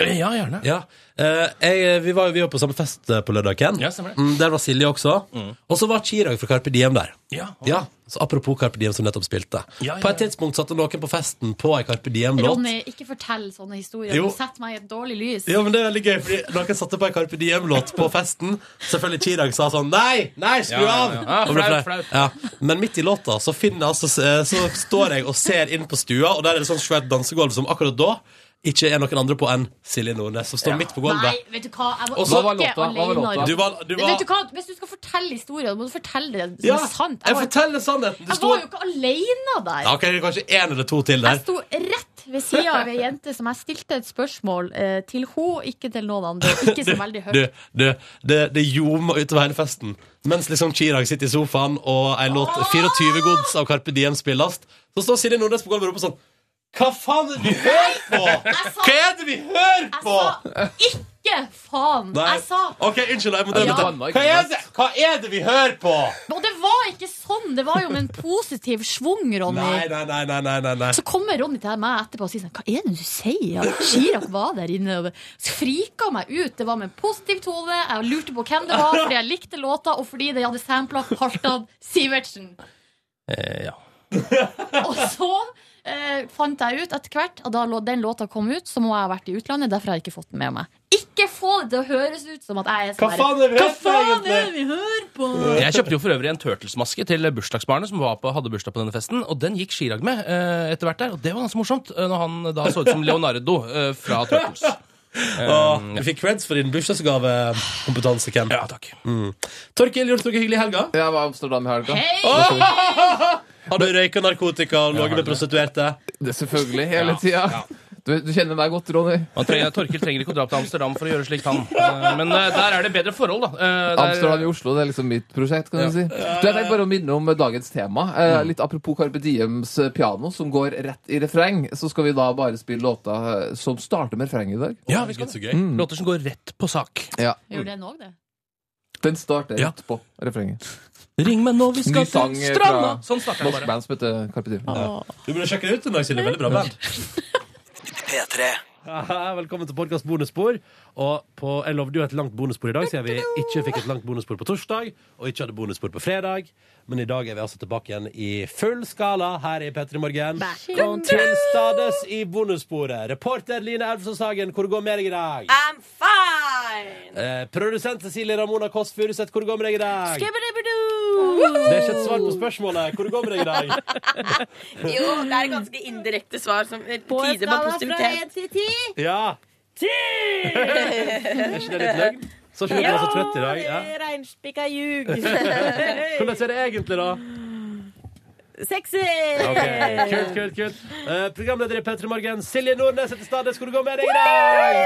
Speaker 13: Ja, gjerne.
Speaker 2: Ja. Eh, jeg, vi var jo vi var på samme fest eh, på lørdag, Ken.
Speaker 13: Ja, stemmer det. Mm.
Speaker 2: Mm, der var Silje også. Og så var Chirag fra Carpe Diem der.
Speaker 13: Ja,
Speaker 2: ja. Så apropos Carpe Diem som nettopp spilte.
Speaker 13: Ja, ja,
Speaker 2: På et tidspunkt satte noen på festen på ei Carpe Diem-låt.
Speaker 5: Ronny, ikke fortell sånne historier.
Speaker 2: Jo.
Speaker 5: Du setter meg i et dårlig lys.
Speaker 2: Ja, men det er veldig gøy, fordi Noen satte på en Carpe Diem-låt på festen. Selvfølgelig Chirag sa sånn Nei, nei, skru
Speaker 13: Ja, ja,
Speaker 2: av!
Speaker 13: ja. Ja,
Speaker 2: Og ble
Speaker 13: flaut,
Speaker 2: flau.
Speaker 13: flaut.
Speaker 2: Ja. Men midt i låta så, finner, altså, så står jeg og ser inn på stua, og der er det sånn svært dansegulv som akkurat da ikke er noen andre på enn Silje Nordnes, som står midt på
Speaker 5: Nei,
Speaker 2: gulvet.
Speaker 5: vet du hva? Jeg var
Speaker 2: Og så-
Speaker 5: ikke
Speaker 2: Hva var låta? Hva var
Speaker 5: alene.
Speaker 2: låta? Du var- du var-
Speaker 5: Vet du hva? Hvis du skal fortelle historier, må du fortelle det som
Speaker 2: Ja,
Speaker 5: er sant.
Speaker 2: jeg
Speaker 5: var-
Speaker 2: forteller sannheten. Du
Speaker 5: jeg
Speaker 2: sto
Speaker 5: var jo ikke alene der.
Speaker 2: ja, ok, det er Kanskje én eller to til
Speaker 5: Jeg
Speaker 2: der.
Speaker 5: sto rett ved sida av ei jente som jeg stilte et spørsmål eh, til hun, ikke til noen andre. Ikke så veldig høyt.
Speaker 2: Du, du, det, det ljoma utover hele festen. Mens liksom Chirag sitter i sofaen og ei låt 24 gods av Carpe Diem spilles, så står Silje Nordnes på gulvet og roper sånn Hva faen er det vi hører på?! Hva er det vi hører på?!
Speaker 5: Ikke faen!
Speaker 2: Nei.
Speaker 5: Jeg sa
Speaker 2: OK, unnskyld, jeg må dra
Speaker 5: Ja.
Speaker 2: dette. Hva er det? Hva er det vi hører på?!
Speaker 5: Og det var ikke sånn! Det var jo med en positiv schwung, Ronny.
Speaker 2: Nei, nei, nei, nei, nei, nei, nei.
Speaker 5: Så kommer Ronny til meg etterpå og sier sånn Hva er det du sier? Ja, Chirag var der inne og frika meg ut. Det var med en positiv tone. Jeg lurte på hvem det var, fordi jeg likte låta, og fordi de hadde sampla Halvdan Sivertsen.
Speaker 13: Eh, ja.
Speaker 5: Og så eh, fant jeg ut etter hvert at da lå- den låta kom ut, så må jeg ha vært i utlandet. Derfor har jeg ikke fått den med meg. Ikke få det til å høres ut som at jeg er sånn
Speaker 13: Hva
Speaker 5: her,
Speaker 13: faen er vi
Speaker 5: Hva
Speaker 13: hører på,
Speaker 5: faen
Speaker 13: egentlig?»
Speaker 5: er det vi hører på?
Speaker 13: Jeg kjøpte jo for øvrig en turtlesmaske til bursdagsbarnet som var på, hadde bursdag på denne festen, og den gikk Chirag med eh, etter hvert der, og det var ganske morsomt eh, når han da så ut som Leonardo eh, fra Turtles. Um,
Speaker 2: Og du fikk creds for din bursdagsgavekompetanse, Ken. Ja,
Speaker 13: takk.
Speaker 2: Mm. Torkil, gjorde du noe hyggelig i helga?
Speaker 14: Jeg var i Amsterdam i helga.
Speaker 2: Har du røyka narkotika og ligget med prostituerte?
Speaker 14: Det Selvfølgelig, hele tida. Du, du kjenner meg godt, Ronny.
Speaker 13: Han trenger, Torkil trenger ikke å dra til Amsterdam for å gjøre slikt, han. Eh, Men eh, der er det bedre forhold, da. Eh, der-
Speaker 14: Amsterdam i Oslo, det er liksom mitt prosjekt, kan
Speaker 13: Ja. Mm.
Speaker 14: du si. Du, jeg tenkte bare å minne om dagens tema. Eh, litt apropos Carpe Diems eh, piano, som går rett i refreng, så skal vi da bare spille låta eh, som starter med refreng i dag.
Speaker 13: Ja, vi skal det. Mm. Låter som går rett på sak.
Speaker 14: Ja.
Speaker 5: Gjorde den òg det?
Speaker 14: Den starter rett på refrenget.
Speaker 13: Ring meg nå, vi skal
Speaker 14: Ny sang
Speaker 13: til
Speaker 14: eh,
Speaker 13: stranda!
Speaker 14: fra
Speaker 13: Sånn starter jeg
Speaker 14: norsk
Speaker 13: bare.
Speaker 14: band som heter Carpe Diem.
Speaker 5: Mm.
Speaker 2: Du burde sjekke det ut en dag, Silje. Veldig bra band. P3. Aha, velkommen til podkast bonusspor. Og på, jeg lovde jo et langt bonusspor i dag, siden vi ikke fikk et langt bonusspor på torsdag. Og ikke hadde bonusspor på fredag. Men i dag er vi altså tilbake igjen i full skala her i P3 Morgen.
Speaker 5: on
Speaker 2: Til stades i bonussporet. Reporter Line Elvsås Hagen, hvor går det med deg i dag?
Speaker 8: I'm fine!
Speaker 2: Eh, produsent Cecilie Ramona Kåss Furuseth, hvor går det med deg i dag?
Speaker 5: Skibbidibbidoo!
Speaker 2: Det er ikke et svar på spørsmålet. Hvor går det med deg i dag?
Speaker 8: Jo, det er ganske indirekte svar som tyder på
Speaker 5: en skala fra én
Speaker 8: positivitet.
Speaker 5: til ti
Speaker 2: Ja!
Speaker 5: Ti!
Speaker 2: Er ikke det litt løgn? Så ikke du er så trøtt i dag. Ja.
Speaker 5: Reinspikka
Speaker 2: (laughs)
Speaker 5: ljug.
Speaker 2: Hvordan er det egentlig, da?
Speaker 5: Sexy!
Speaker 2: Ok, Kult, kult, kult. Eh, programleder i P3 Morgen, Silje Nordnes heter stadig. Skal du gå med deg i dag?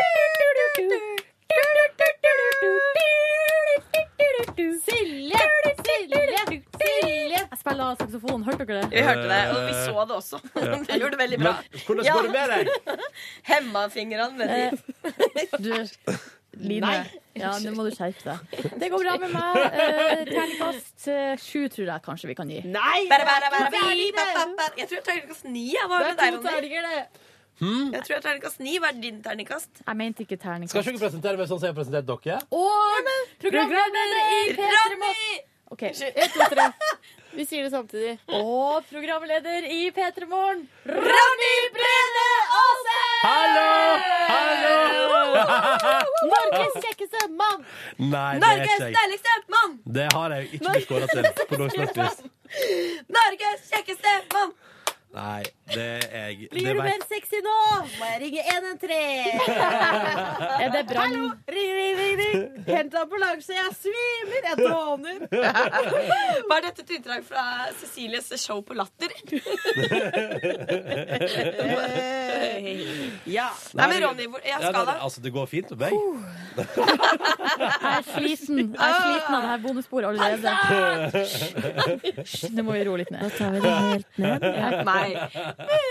Speaker 3: Silje! Silje! Silje! Jeg spiller saksofon. Hørte dere det?
Speaker 8: Vi hørte det, og vi så det også.
Speaker 2: Eh,
Speaker 8: (laughs)
Speaker 2: Ja.
Speaker 8: Det gjorde det veldig bra.
Speaker 2: Men hvordan går det med
Speaker 8: deg? Hemma fingrene med
Speaker 3: Du, Line.
Speaker 8: Nei.
Speaker 3: Ja, nå må du skjerpe deg. Det går bra med meg. Eh, Terningkast eh, sju tror jeg kanskje vi kan gi.
Speaker 8: Nei! Bare, bare, bare, bare. Jeg tror jeg er terningkast ni. Jeg var
Speaker 3: Det er
Speaker 8: med deg,
Speaker 3: to terninger,
Speaker 2: Hmm?
Speaker 8: Jeg tror jeg er terningkast ni. Hva er din terningkast?
Speaker 3: Jeg mente ikke terningkast.
Speaker 2: Skal ikke dere presentere meg sånn som jeg har presentert dere?
Speaker 3: Og programleder i P3 Morgen.
Speaker 8: Ronny!
Speaker 3: OK, ett, to, (laughs) tre. Vi sier det samtidig. Og programleder i P3 Morgen, Ronny Brede Aase!
Speaker 2: Hallo! Hallo!
Speaker 3: Norges kjekkeste mann!
Speaker 2: Nei, det er ikke jeg.
Speaker 8: deiligste mann!
Speaker 2: Det har jeg ikke blitt kåra til. På noe som helst vis.
Speaker 8: Norges kjekkeste mann!
Speaker 2: Nei, det er jeg. Det
Speaker 3: Blir du
Speaker 2: vet-
Speaker 3: mer sexy nå, må jeg ringe 113. er det brann? Hallo! Ring, ring, ring, ring. Hent ambulanse, jeg svimer, jeg dråner.
Speaker 8: Var dette et utdrag fra Cecilies show på Latter? ja. Nei, men Ronny, hvor, ja,
Speaker 2: Ja,
Speaker 8: skal
Speaker 2: nei, altså, det går fint med meg.
Speaker 3: Jeg er sliten. Jeg er sliten av det her bonussporet allerede. Altså! Hysj, nå må vi roe litt ned. Nå tar vi det helt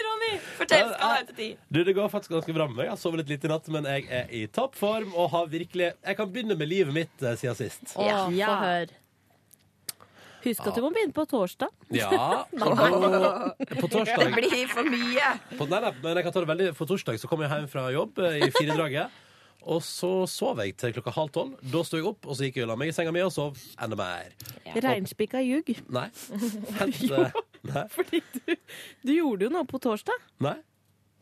Speaker 8: Ronny, fortell. Skal ha etter ti.
Speaker 2: Du, Det går faktisk ganske bra med meg. Jeg har sovet litt lite i natt, men jeg er i toppform og har virkelig Jeg kan begynne med livet mitt eh, siden sist.
Speaker 3: Å, få høre. Husk at du må begynne på torsdag.
Speaker 2: Ja.
Speaker 3: Nei.
Speaker 2: På torsdag.
Speaker 8: Det blir for mye.
Speaker 2: På, nei, nei, men jeg kan ta det veldig For torsdag så kom jeg hjem fra jobb eh, i firedraget. Og så sov jeg til klokka halv tolv. Da sto jeg opp, og så gikk jeg og la meg i senga mi og sov enda mer.
Speaker 5: Reinspikka ljug.
Speaker 2: Nei. Helt, eh, nei.
Speaker 5: Du gjorde jo noe på torsdag.
Speaker 2: nei.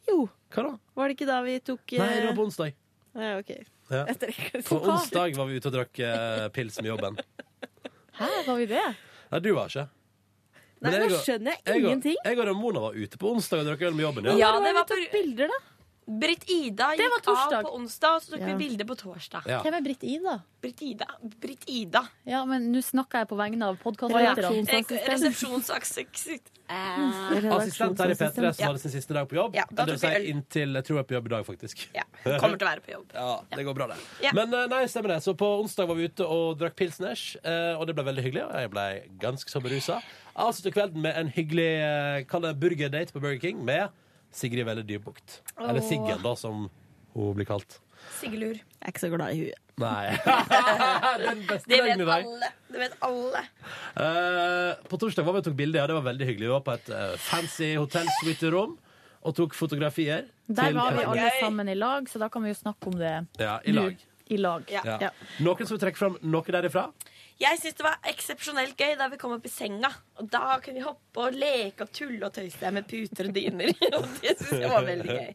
Speaker 5: Jo.
Speaker 2: Hva da?
Speaker 5: Var det ikke da vi tok eh,
Speaker 2: Nei, det var på onsdag.
Speaker 5: Ja, ok.
Speaker 2: Ja.
Speaker 5: Jeg trekker det
Speaker 2: På
Speaker 5: så hardt.
Speaker 2: onsdag var vi ute og drakk eh, pils med jobben.
Speaker 5: Hæ, var vi det?
Speaker 2: Nei, du var ikke.
Speaker 5: Nei,
Speaker 2: Men
Speaker 5: nå
Speaker 2: og-
Speaker 5: skjønner jeg
Speaker 2: og-
Speaker 5: ingenting.
Speaker 2: Jeg og Ramona var ute på onsdag og drakk øl med jobben.
Speaker 8: Ja, det var på
Speaker 5: bilder, da.
Speaker 8: Britt Ida
Speaker 3: Det
Speaker 8: gikk
Speaker 3: var
Speaker 8: av
Speaker 3: torsdag.
Speaker 8: på onsdag, og så tok
Speaker 3: Ja.
Speaker 8: vi bilde på torsdag.
Speaker 2: Ja.
Speaker 3: Hvem er Britt Ida?
Speaker 8: Britt Ida. Britt Ida.
Speaker 3: Ja, men nå snakker jeg på vegne av
Speaker 8: Resepsjonsassistent.
Speaker 3: podkastlytterne.
Speaker 2: Assistent her i P3 som hadde sin siste dag på jobb.
Speaker 8: Ja, da
Speaker 2: det vil
Speaker 8: tok vi
Speaker 2: si inntil jeg tror jeg er på jobb i dag, faktisk.
Speaker 8: Ja, Kommer til å være på jobb.
Speaker 2: Ja, det går bra, det.
Speaker 8: Ja.
Speaker 2: Men eh, nei, stemmer det. Så på onsdag var vi ute og drakk pilsners, eh, og det ble veldig hyggelig. Og jeg ble ganske så berusa. Avsluttet kvelden med en hyggelig eh, kall det burgerdate på Burger King med Sigrid Velle Dybukt. Eller
Speaker 5: Åh.
Speaker 2: Siggen, da, som hun blir kalt.
Speaker 8: Sigelur.
Speaker 5: Jeg er ikke så glad i huet.
Speaker 2: Nei. Den beste
Speaker 8: Det
Speaker 2: dagen
Speaker 8: vet
Speaker 2: i dag.
Speaker 8: alle. Det vet alle.
Speaker 2: Eh, på torsdag var vi og tok bilder, ja, det var veldig hyggelig. Vi var på et eh, fancy hotellsuite-rom og tok fotografier.
Speaker 3: Der
Speaker 2: til-
Speaker 3: var vi alle sammen i lag, så da kan vi jo snakke om det
Speaker 2: Ja, i lag.
Speaker 3: i lag.
Speaker 2: Ja. Noen som vil trekke fram noe derifra?
Speaker 8: Jeg syns det var eksepsjonelt gøy da vi kom opp i senga. Og da kunne vi hoppe og leke og tulle og tøyse med puter og dyner. (laughs) Og det syns jeg var veldig gøy.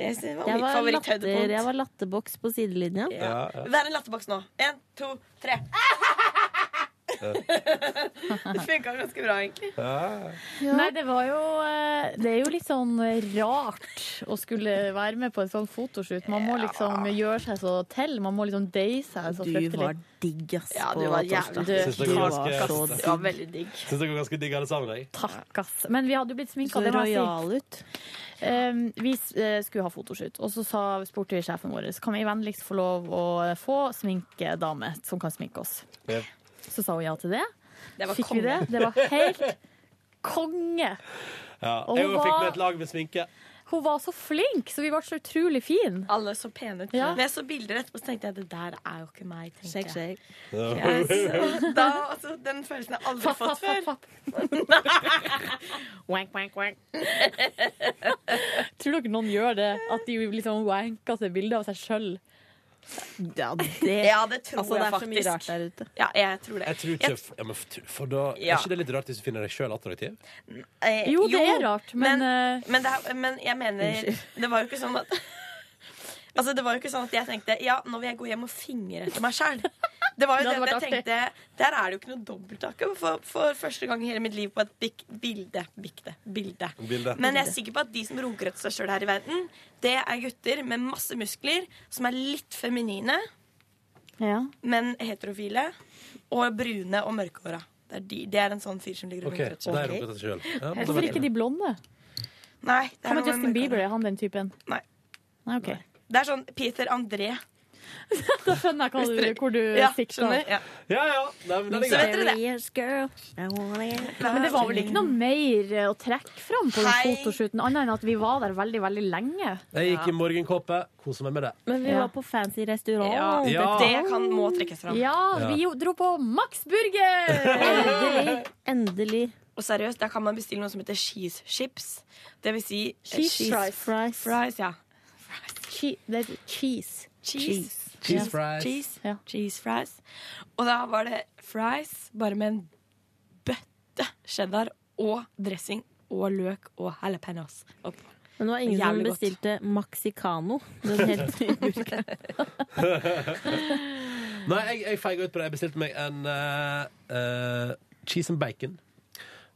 Speaker 8: Det synes jeg var
Speaker 5: Jeg
Speaker 8: mitt
Speaker 5: var, latter, jeg
Speaker 8: favoritthøydepunkt.
Speaker 5: var latterboks på sidelinja.
Speaker 8: Ja. Det er en latterboks nå. Én, to, tre. det funka ganske bra, egentlig.
Speaker 3: Nei, det var jo eh, Det er jo litt sånn rart å skulle være med på et sånt fotoshoot. Man må liksom gjøre seg så til. Man må liksom deie seg så
Speaker 5: Du
Speaker 3: fryktelig.
Speaker 5: var digg, ass.
Speaker 3: Ja,
Speaker 5: på
Speaker 3: du var
Speaker 5: torsdag.
Speaker 3: jævlig digg.
Speaker 2: Syns
Speaker 5: Du
Speaker 2: dere var
Speaker 5: var
Speaker 2: ganske-
Speaker 5: så
Speaker 2: Syns
Speaker 5: digg.
Speaker 2: dere
Speaker 8: veldig digg.
Speaker 2: Syns dere var ganske digg alle sammen? Jeg?
Speaker 3: Takk, ass. Men vi hadde jo blitt sminka.
Speaker 5: Så rojal
Speaker 3: ut. Um, vi eh, skulle ha fotoshoot, og så sa, spurte vi sjefen vår Kan vi vennligst få lov å få sminkedame som kan sminke oss. Så sa hun ja til det.
Speaker 8: Det var
Speaker 3: Fikk
Speaker 8: konge.
Speaker 3: vi det? Det var helt (laughs) konge.
Speaker 2: Ja.
Speaker 3: Og
Speaker 2: Jeg
Speaker 3: hun
Speaker 2: fikk
Speaker 3: var-
Speaker 2: med et lag med sminke.
Speaker 3: Hun var så flink, så vi ble så utrolig fine.
Speaker 8: Alle så pene ut.
Speaker 3: Ja.
Speaker 8: Men jeg så bilder etterpå, så tenkte jeg det der er jo ikke meg. tenkte
Speaker 3: Shake,
Speaker 8: jeg.
Speaker 3: shake.
Speaker 8: Ja, så da, altså, den følelsen har jeg aldri
Speaker 3: Fapp,
Speaker 8: fått
Speaker 3: fapp, fapp,
Speaker 8: før.
Speaker 3: fapp. Wank, wank, wank. Tror dere noen gjør det? At de liksom wanker seg bilder av seg sjøl?
Speaker 5: Ja,
Speaker 1: (laughs)
Speaker 8: Ja, det tror
Speaker 5: altså,
Speaker 8: jeg
Speaker 5: det er så mye
Speaker 8: faktisk.
Speaker 5: rart der ute.
Speaker 8: Ja, jeg tror det.
Speaker 2: Jeg tror ikke, ja, men for, for da,
Speaker 8: Ja.
Speaker 2: Er ikke det litt rart hvis du finner deg sjøl attraktiv?
Speaker 8: Eh,
Speaker 3: Jo, det er rart, men, eh,
Speaker 8: men, det er, men jeg mener Det var jo ikke sånn at (laughs) Altså, det var jo ikke sånn at jeg tenkte Ja, nå vil jeg gå hjem og fingre etter meg sjæl. Det var jo det,
Speaker 3: Det hadde
Speaker 8: at jeg
Speaker 3: vært
Speaker 8: tenkte Der er det jo ikke noe dobbelttak. For, for første gang i hele mitt liv på et bik, bilde. Bikte. Bilde.
Speaker 2: Bilde.
Speaker 8: Men jeg er sikker på at de som runker etter seg sjøl her i verden, det er gutter med masse muskler, som er litt feminine, men heterofile, og brune og mørkhåra. Det er, de, det er en sånn fyr som ligger og
Speaker 2: Ok,
Speaker 8: runker etter
Speaker 2: så
Speaker 8: seg
Speaker 2: der runker jeg selv. Ja, men da
Speaker 3: Hvorfor
Speaker 2: vet
Speaker 3: ikke
Speaker 2: jeg.
Speaker 3: de blonde?
Speaker 8: Nei, det
Speaker 3: Hva
Speaker 8: er
Speaker 3: med
Speaker 8: noe
Speaker 3: Justin
Speaker 8: mørkhåra.
Speaker 3: Bieber? Er han den typen?
Speaker 8: Nei.
Speaker 3: Nei, ok.
Speaker 8: Det er sånn Peter André.
Speaker 3: Da skjønner jeg hva du, hvor du
Speaker 8: Ja,
Speaker 3: sikter.
Speaker 8: skjønner, ja.
Speaker 2: Ja, ja. Nei, men den er
Speaker 8: Så vet
Speaker 2: grei.
Speaker 8: dere det.
Speaker 3: Men det var vel ikke noe mer eh, å trekke fram på den fotoshooten, annet enn at vi var der veldig, veldig lenge.
Speaker 2: Jeg gikk i morgenkåpe, kosa meg med det.
Speaker 5: Men vi
Speaker 3: Ja.
Speaker 5: var på fancy restaurant.
Speaker 2: Ja, Ja. det
Speaker 8: kan- må trekkes fram.
Speaker 3: Ja,
Speaker 2: Ja.
Speaker 3: vi jo dro på Max Burger!
Speaker 8: (laughs) Endelig,
Speaker 5: Endelig.
Speaker 8: Og seriøst, der kan man bestille noe som heter cheese chips. Det vil si
Speaker 5: Cheese fries.
Speaker 8: fries. Fries, ja.
Speaker 5: Che det er cheese.
Speaker 8: Cheese.
Speaker 5: Cheese
Speaker 8: Ja.
Speaker 5: fries.
Speaker 8: Cheese. cheese fries. Og da var det fries bare med en bøtte cheddar og dressing og løk og jalapeños oppå.
Speaker 5: Men det var ingen
Speaker 8: Jævlig
Speaker 5: som
Speaker 8: godt.
Speaker 5: bestilte Maxicano. Den
Speaker 1: (laughs)
Speaker 5: helt nye burgeren.
Speaker 2: Nei, jeg, jeg feiga ut på det. Jeg bestilte meg en eh, eh, cheese and bacon.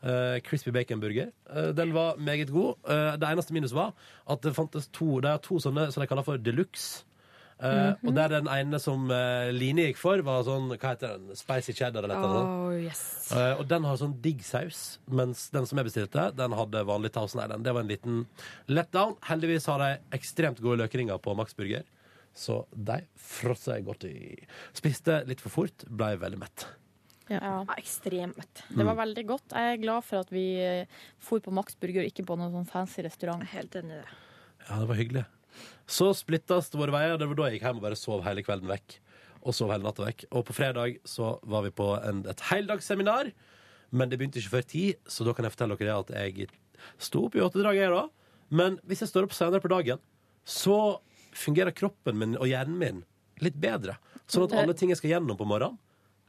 Speaker 2: Eh, crispy bacon-burger. Eh, den var meget god. Eh, det eneste minus var at det fantes to De har to sånne som de kaller for deluxe. Eh,
Speaker 8: Mhm.
Speaker 2: Og der den ene som eh, Line gikk for, var sånn Hva heter den? Spicy cheddar eller noe sånt.
Speaker 8: Oh, yes.
Speaker 2: Eh, og den har sånn digg saus, mens den som jeg bestilte, den hadde vanlig Thousand Island. Det var en liten letdown. Heldigvis har de ekstremt gode løkringer på Max Burger, så de frosset jeg godt i. Spiste litt for fort, ble veldig mett. Mm.
Speaker 3: Ja.
Speaker 8: Ekstremt mett.
Speaker 3: Det var veldig godt. Jeg er glad for at vi eh, for på Max Burger, ikke på noen sånn fancy restaurant.
Speaker 8: Helt enig i det.
Speaker 2: Ja, det var hyggelig. Så splittes våre veier. Det var da jeg gikk hjem og bare sov hele kvelden vekk. Og sov hele natta vekk. Og på fredag så var vi på en, et heldagsseminar, men det begynte ikke før ti, så da kan jeg fortelle dere det at jeg sto opp i åttedraget, jeg da. Men hvis jeg står opp senere på dagen, så fungerer kroppen min og hjernen min litt bedre. Sånn at alle ting jeg skal gjennom på morgenen,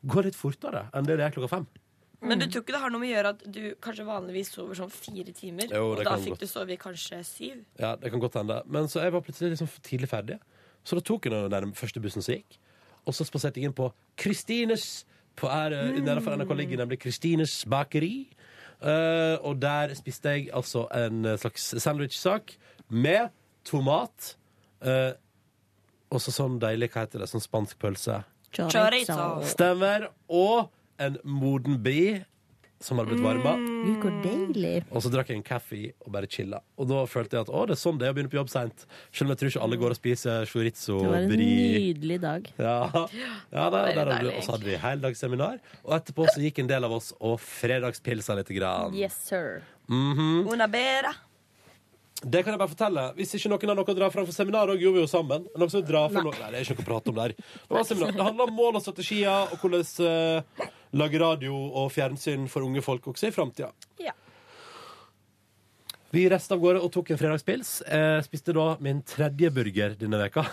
Speaker 2: går litt fortere enn det det er klokka fem.
Speaker 8: Men du tror ikke det har noe med å gjøre at du kanskje vanligvis sover sånn fire timer,
Speaker 2: Jo,
Speaker 8: og
Speaker 2: det
Speaker 8: da
Speaker 2: kan
Speaker 8: fikk
Speaker 2: godt.
Speaker 8: du sove i kanskje syv?
Speaker 2: Ja, det kan godt hende. Men så jeg var plutselig liksom for tidlig ferdig. Så da tok jeg den der første bussen som gikk. Og så spaserte jeg inn på Kristines. På her, eh, Nedenfor NRK ligger nemlig Kristines bakeri. Eh, og der spiste jeg altså en slags sandwich-sak med tomat. eh, og så sånn deilig, hva heter det, sånn spansk pølse.
Speaker 8: Chorizo.
Speaker 2: Stemmer. Og en moden bri som hadde blitt varma.
Speaker 5: Gud, hvor deilig.
Speaker 2: Og så drakk jeg en kaffe i og bare chilla. Og da følte jeg at å, det er sånn det er å begynne på jobb seint. Selv om jeg tror ikke alle går og spiser chorizo
Speaker 5: Det var en
Speaker 2: brie.
Speaker 5: nydelig dag.
Speaker 2: Ja, ja der,
Speaker 5: Veldig
Speaker 2: der hadde vi,
Speaker 5: deilig,
Speaker 2: Og så hadde vi heldagsseminar. Og etterpå så gikk en del av oss og fredagspilsa litt. Grann.
Speaker 3: Yes, sir.
Speaker 2: Mhm.
Speaker 8: Una bera.
Speaker 2: Det kan jeg bare fortelle. Hvis ikke noen har noe å dra fram for seminar, òg, gjorde vi jo sammen. Noen som vil dra fram
Speaker 13: Nei.
Speaker 2: noe- Nei, det er ikke noe å prate om der. Det, var seminar. det handler om mål og strategier, og hvordan eh, lage radio og fjernsyn for unge folk også i framtida.
Speaker 8: Ja.
Speaker 2: Vi reiste av gårde og tok en fredagspils. Eh, spiste da min tredje burger denne veka.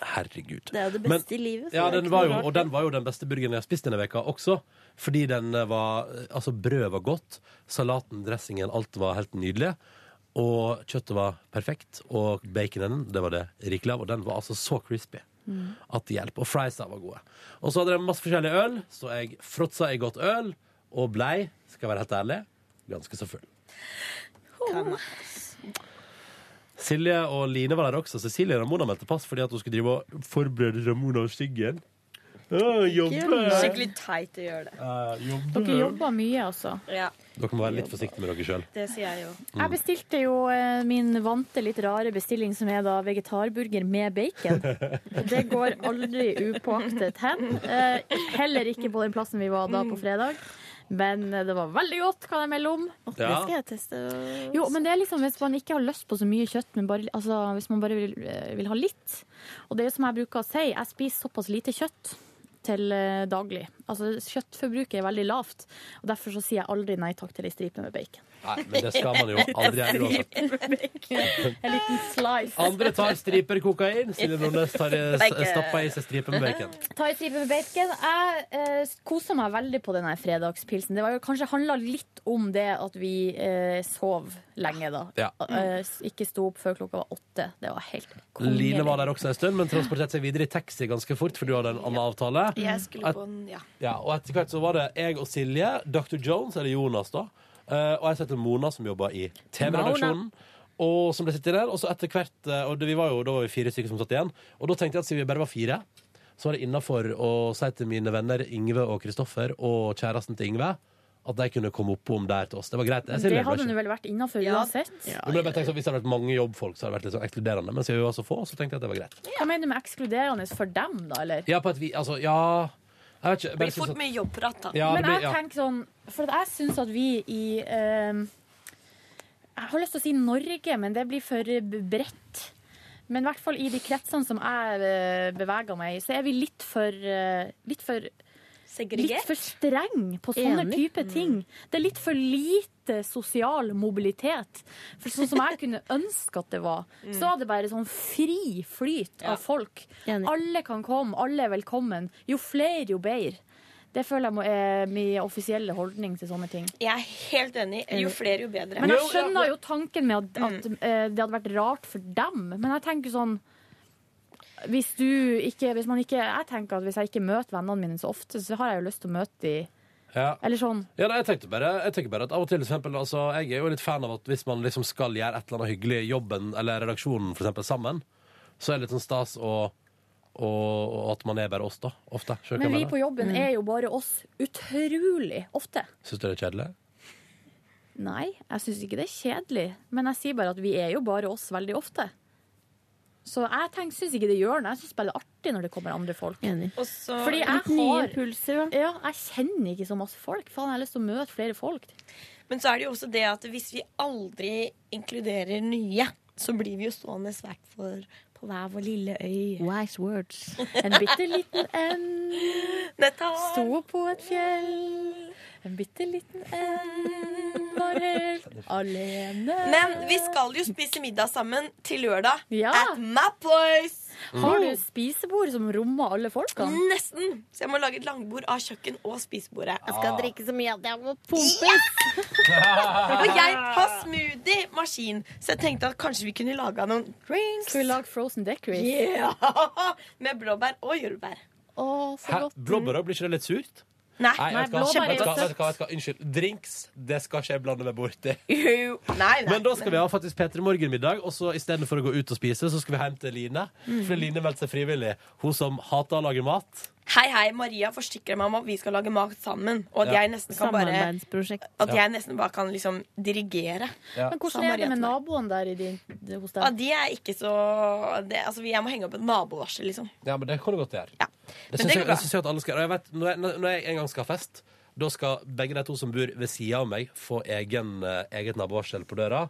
Speaker 2: Herregud.
Speaker 5: Det er jo det
Speaker 2: Men-
Speaker 5: beste i livet. så
Speaker 2: Ja,
Speaker 5: det er
Speaker 2: den
Speaker 5: ikke
Speaker 2: var
Speaker 5: noe
Speaker 2: jo,
Speaker 5: rart.
Speaker 2: og den var jo den beste burgeren jeg har spist denne veka også. Fordi den eh, var Altså, brødet var godt, salaten, dressingen, alt var helt nydelig. Og kjøttet var perfekt. Og baconen, det var det rikelig av. Og den var altså så crispy
Speaker 5: Mm.
Speaker 2: at det hjelper. Og friesa var gode. Og så hadde de masse forskjellig øl, så jeg fråtsa i godt øl og blei, skal jeg være helt ærlig, ganske så full. Silje og Line var der også. Cecilie Ramona meldte pass fordi at hun skulle drive og forberede Ramona og Siggen. Å, jobbe!
Speaker 8: Skikkelig teit å gjøre det.
Speaker 2: Ja, jobbe.
Speaker 3: Dere jobber mye, altså.
Speaker 8: Ja,
Speaker 2: Dere må være litt forsiktige med dere sjøl.
Speaker 8: det sier jeg jo.
Speaker 2: Mm.
Speaker 3: Jeg bestilte jo eh, min vante, litt rare bestilling, som er da vegetarburger med bacon. Det går aldri upåaktet hen. Eh, Heller ikke på den plassen vi var da på fredag. Men eh, det var veldig godt, kan jeg melde om.
Speaker 5: Det skal jeg teste.
Speaker 3: Jo, men det er liksom hvis man ikke har lyst på så mye kjøtt, men bare, altså, hvis man bare vil, eh, vil ha litt. Og det er som jeg bruker å si, jeg spiser såpass lite kjøtt til eh, daglig. Altså kjøttforbruket er veldig lavt, og derfor så sier jeg aldri nei takk til ei stripe med bacon.
Speaker 2: Nei, men det skal man jo aldri gjøre uansett.
Speaker 3: En stripe med bacon. En liten slice.
Speaker 2: Andre tar striper kokain. Silje Nordnes tar eh, s-
Speaker 3: Bacon.
Speaker 2: stappa i seg striper med bacon.
Speaker 3: Ta en stripe med bacon. Jeg eh, koser meg veldig på denne fredagspilsen. Det var jo kanskje handla litt om det at vi eh, sov lenge, da.
Speaker 2: Ja.
Speaker 3: Eh, s- ikke sto opp før klokka var åtte. Det var helt kongelig.
Speaker 2: Line var der også en stund, men transporterte seg videre i taxi ganske fort, for du hadde en annen avtale.
Speaker 8: Jeg skulle
Speaker 2: Et-
Speaker 8: på en Ja.
Speaker 2: Ja, og etter hvert så var det jeg og Silje, Dr. Jones, eller Jonas da, eh, og jeg som heter Mona som jobber i TV-redaksjonen. Og som ble sittet der, og så etter hvert, eh, og det, vi var jo, da var vi fire stykker som satt igjen, og da tenkte jeg at siden vi bare var fire, så var det innenfor å si til mine venner Yngve og Kristoffer og kjæresten til Yngve, at de kunne komme opp om der til oss. Det var greit. Jeg, Silje, ble
Speaker 3: Det hadde
Speaker 2: ikke-
Speaker 3: nå vel vært innafor uansett.
Speaker 2: Men jeg bare tenkte sånn, Hvis det hadde vært mange jobbfolk, så hadde det vært litt sånn ekskluderende. Men siden vi var så få, så tenkte jeg at det var greit.
Speaker 3: Hva mener du med ekskluderende for dem, da, eller?
Speaker 2: Ja, på et vi, altså, ja Jeg vet ikke. jeg bare
Speaker 8: Blir
Speaker 2: synes
Speaker 8: fort
Speaker 2: at-
Speaker 8: mye jobbprat, da.
Speaker 2: Ja, det
Speaker 3: Men
Speaker 2: blir-
Speaker 3: jeg tenker sånn For at jeg syns at vi i eh, Jeg har lyst til å si Norge, men det blir for b- bredt. Men i hvert fall i de kretsene som jeg eh, beveger meg i, så er vi litt for eh, Litt for Litt for streng på sånne
Speaker 5: Enig.
Speaker 3: type ting. Det er litt for lite sosial mobilitet. For sånn
Speaker 5: (laughs)
Speaker 3: som jeg kunne ønske at det var,
Speaker 5: Mm.
Speaker 3: så var det bare sånn fri flyt
Speaker 5: Ja.
Speaker 3: av folk. Alle kan komme, alle er velkommen. Jo flere, jo bedre. Det føler jeg må, er min offisielle holdning til sånne ting.
Speaker 8: Jeg er helt enig. Jo flere, jo bedre.
Speaker 3: Men jeg skjønner jo tanken med at, at eh, det hadde vært rart for dem. Men jeg tenker sånn Hvis du ikke Hvis man ikke Jeg tenker at hvis jeg ikke møter vennene mine så ofte, så har jeg jo lyst til å møte de
Speaker 2: Ja.
Speaker 3: Eller sånn.
Speaker 2: Ja, nei, jeg, tenkte bare, jeg tenker bare at av og til, for eksempel, altså, jeg er jo litt fan av at hvis man liksom skal gjøre et eller annet hyggelig i jobben, eller redaksjonen for eksempel, sammen, så er det litt sånn stas å, å, å, at man er bare oss, da. Ofte. Skjønner du
Speaker 3: Men
Speaker 2: hva
Speaker 3: vi
Speaker 2: jeg
Speaker 3: på jobben
Speaker 2: mener?
Speaker 3: er jo bare oss utrolig ofte.
Speaker 2: Syns du det er kjedelig?
Speaker 3: Nei, jeg syns ikke det er kjedelig. Men jeg sier bare at vi er jo bare oss veldig ofte. Så jeg tenker- syns ikke det gjør noe. Jeg syns bare det er artig når det kommer andre folk. Fordi jeg
Speaker 5: Litt nye
Speaker 3: har ja, Jeg kjenner ikke så masse folk. Faen, jeg har lyst til å møte flere folk.
Speaker 8: Men så er det jo også det at hvis vi aldri inkluderer nye, så blir vi jo stående svært for på hver vår lille øy.
Speaker 5: Wise words.
Speaker 3: En bitte liten en sto på et fjell. En bitte liten en var helt alene.
Speaker 8: Men vi skal jo spise middag sammen til lørdag.
Speaker 3: Ja.
Speaker 8: At my place!
Speaker 3: Har du spisebord som rommer alle folkene?
Speaker 8: Nesten. Så jeg må lage et langbord av kjøkken og spisebordet.
Speaker 5: Jeg skal drikke så mye at jeg må
Speaker 3: Mm.
Speaker 5: pumpes.
Speaker 8: Og jeg har smoothie-maskin, så jeg tenkte at kanskje vi kunne laga noen
Speaker 5: (laughs)
Speaker 8: drinks.
Speaker 3: Skal vi lage frozen deckeries?
Speaker 8: Yeah. Med blåbær og jordbær.
Speaker 3: Å,
Speaker 2: Hæ? Blåbær, blir ikke det litt surt?
Speaker 8: Nei,
Speaker 2: vet du hva?
Speaker 8: blåbær er
Speaker 2: Vet du hva,
Speaker 8: jo
Speaker 2: vet du hva, vet du hva? Unnskyld. Drinks, det skal ikke jeg blande meg borti.
Speaker 8: Jo, nei, nei.
Speaker 2: Men da skal vi ha faktisk Peter Morgen-middag, og så istedenfor å gå ut og spise, så skal vi hjem til Line.
Speaker 8: Mm.
Speaker 2: For Line meldte seg frivillig. Hun som hater å lage mat.
Speaker 8: Hei, hei, Maria forsikrer meg om at vi skal lage mat sammen. Og at
Speaker 2: Ja.
Speaker 8: jeg nesten kan bare
Speaker 5: Samarbeidsprosjekt.
Speaker 8: At
Speaker 2: Ja.
Speaker 8: jeg nesten bare kan liksom dirigere.
Speaker 2: Ja.
Speaker 3: Men hvordan er det med naboene der i din, hos
Speaker 8: Ja,
Speaker 3: deg?
Speaker 8: de er ikke så det, altså, Jeg må henge opp et nabovarsel, liksom.
Speaker 2: Ja, men det kan du godt gjøre. Det
Speaker 8: Men
Speaker 2: syns
Speaker 8: det
Speaker 2: jeg,
Speaker 8: går bra.
Speaker 2: det syns jeg at alle skal gjøre. Og jeg vet, når, jeg, når jeg en gang skal ha fest, da skal begge de to som bor ved sida av meg, få egen, eh, eget nabovarsel på døra.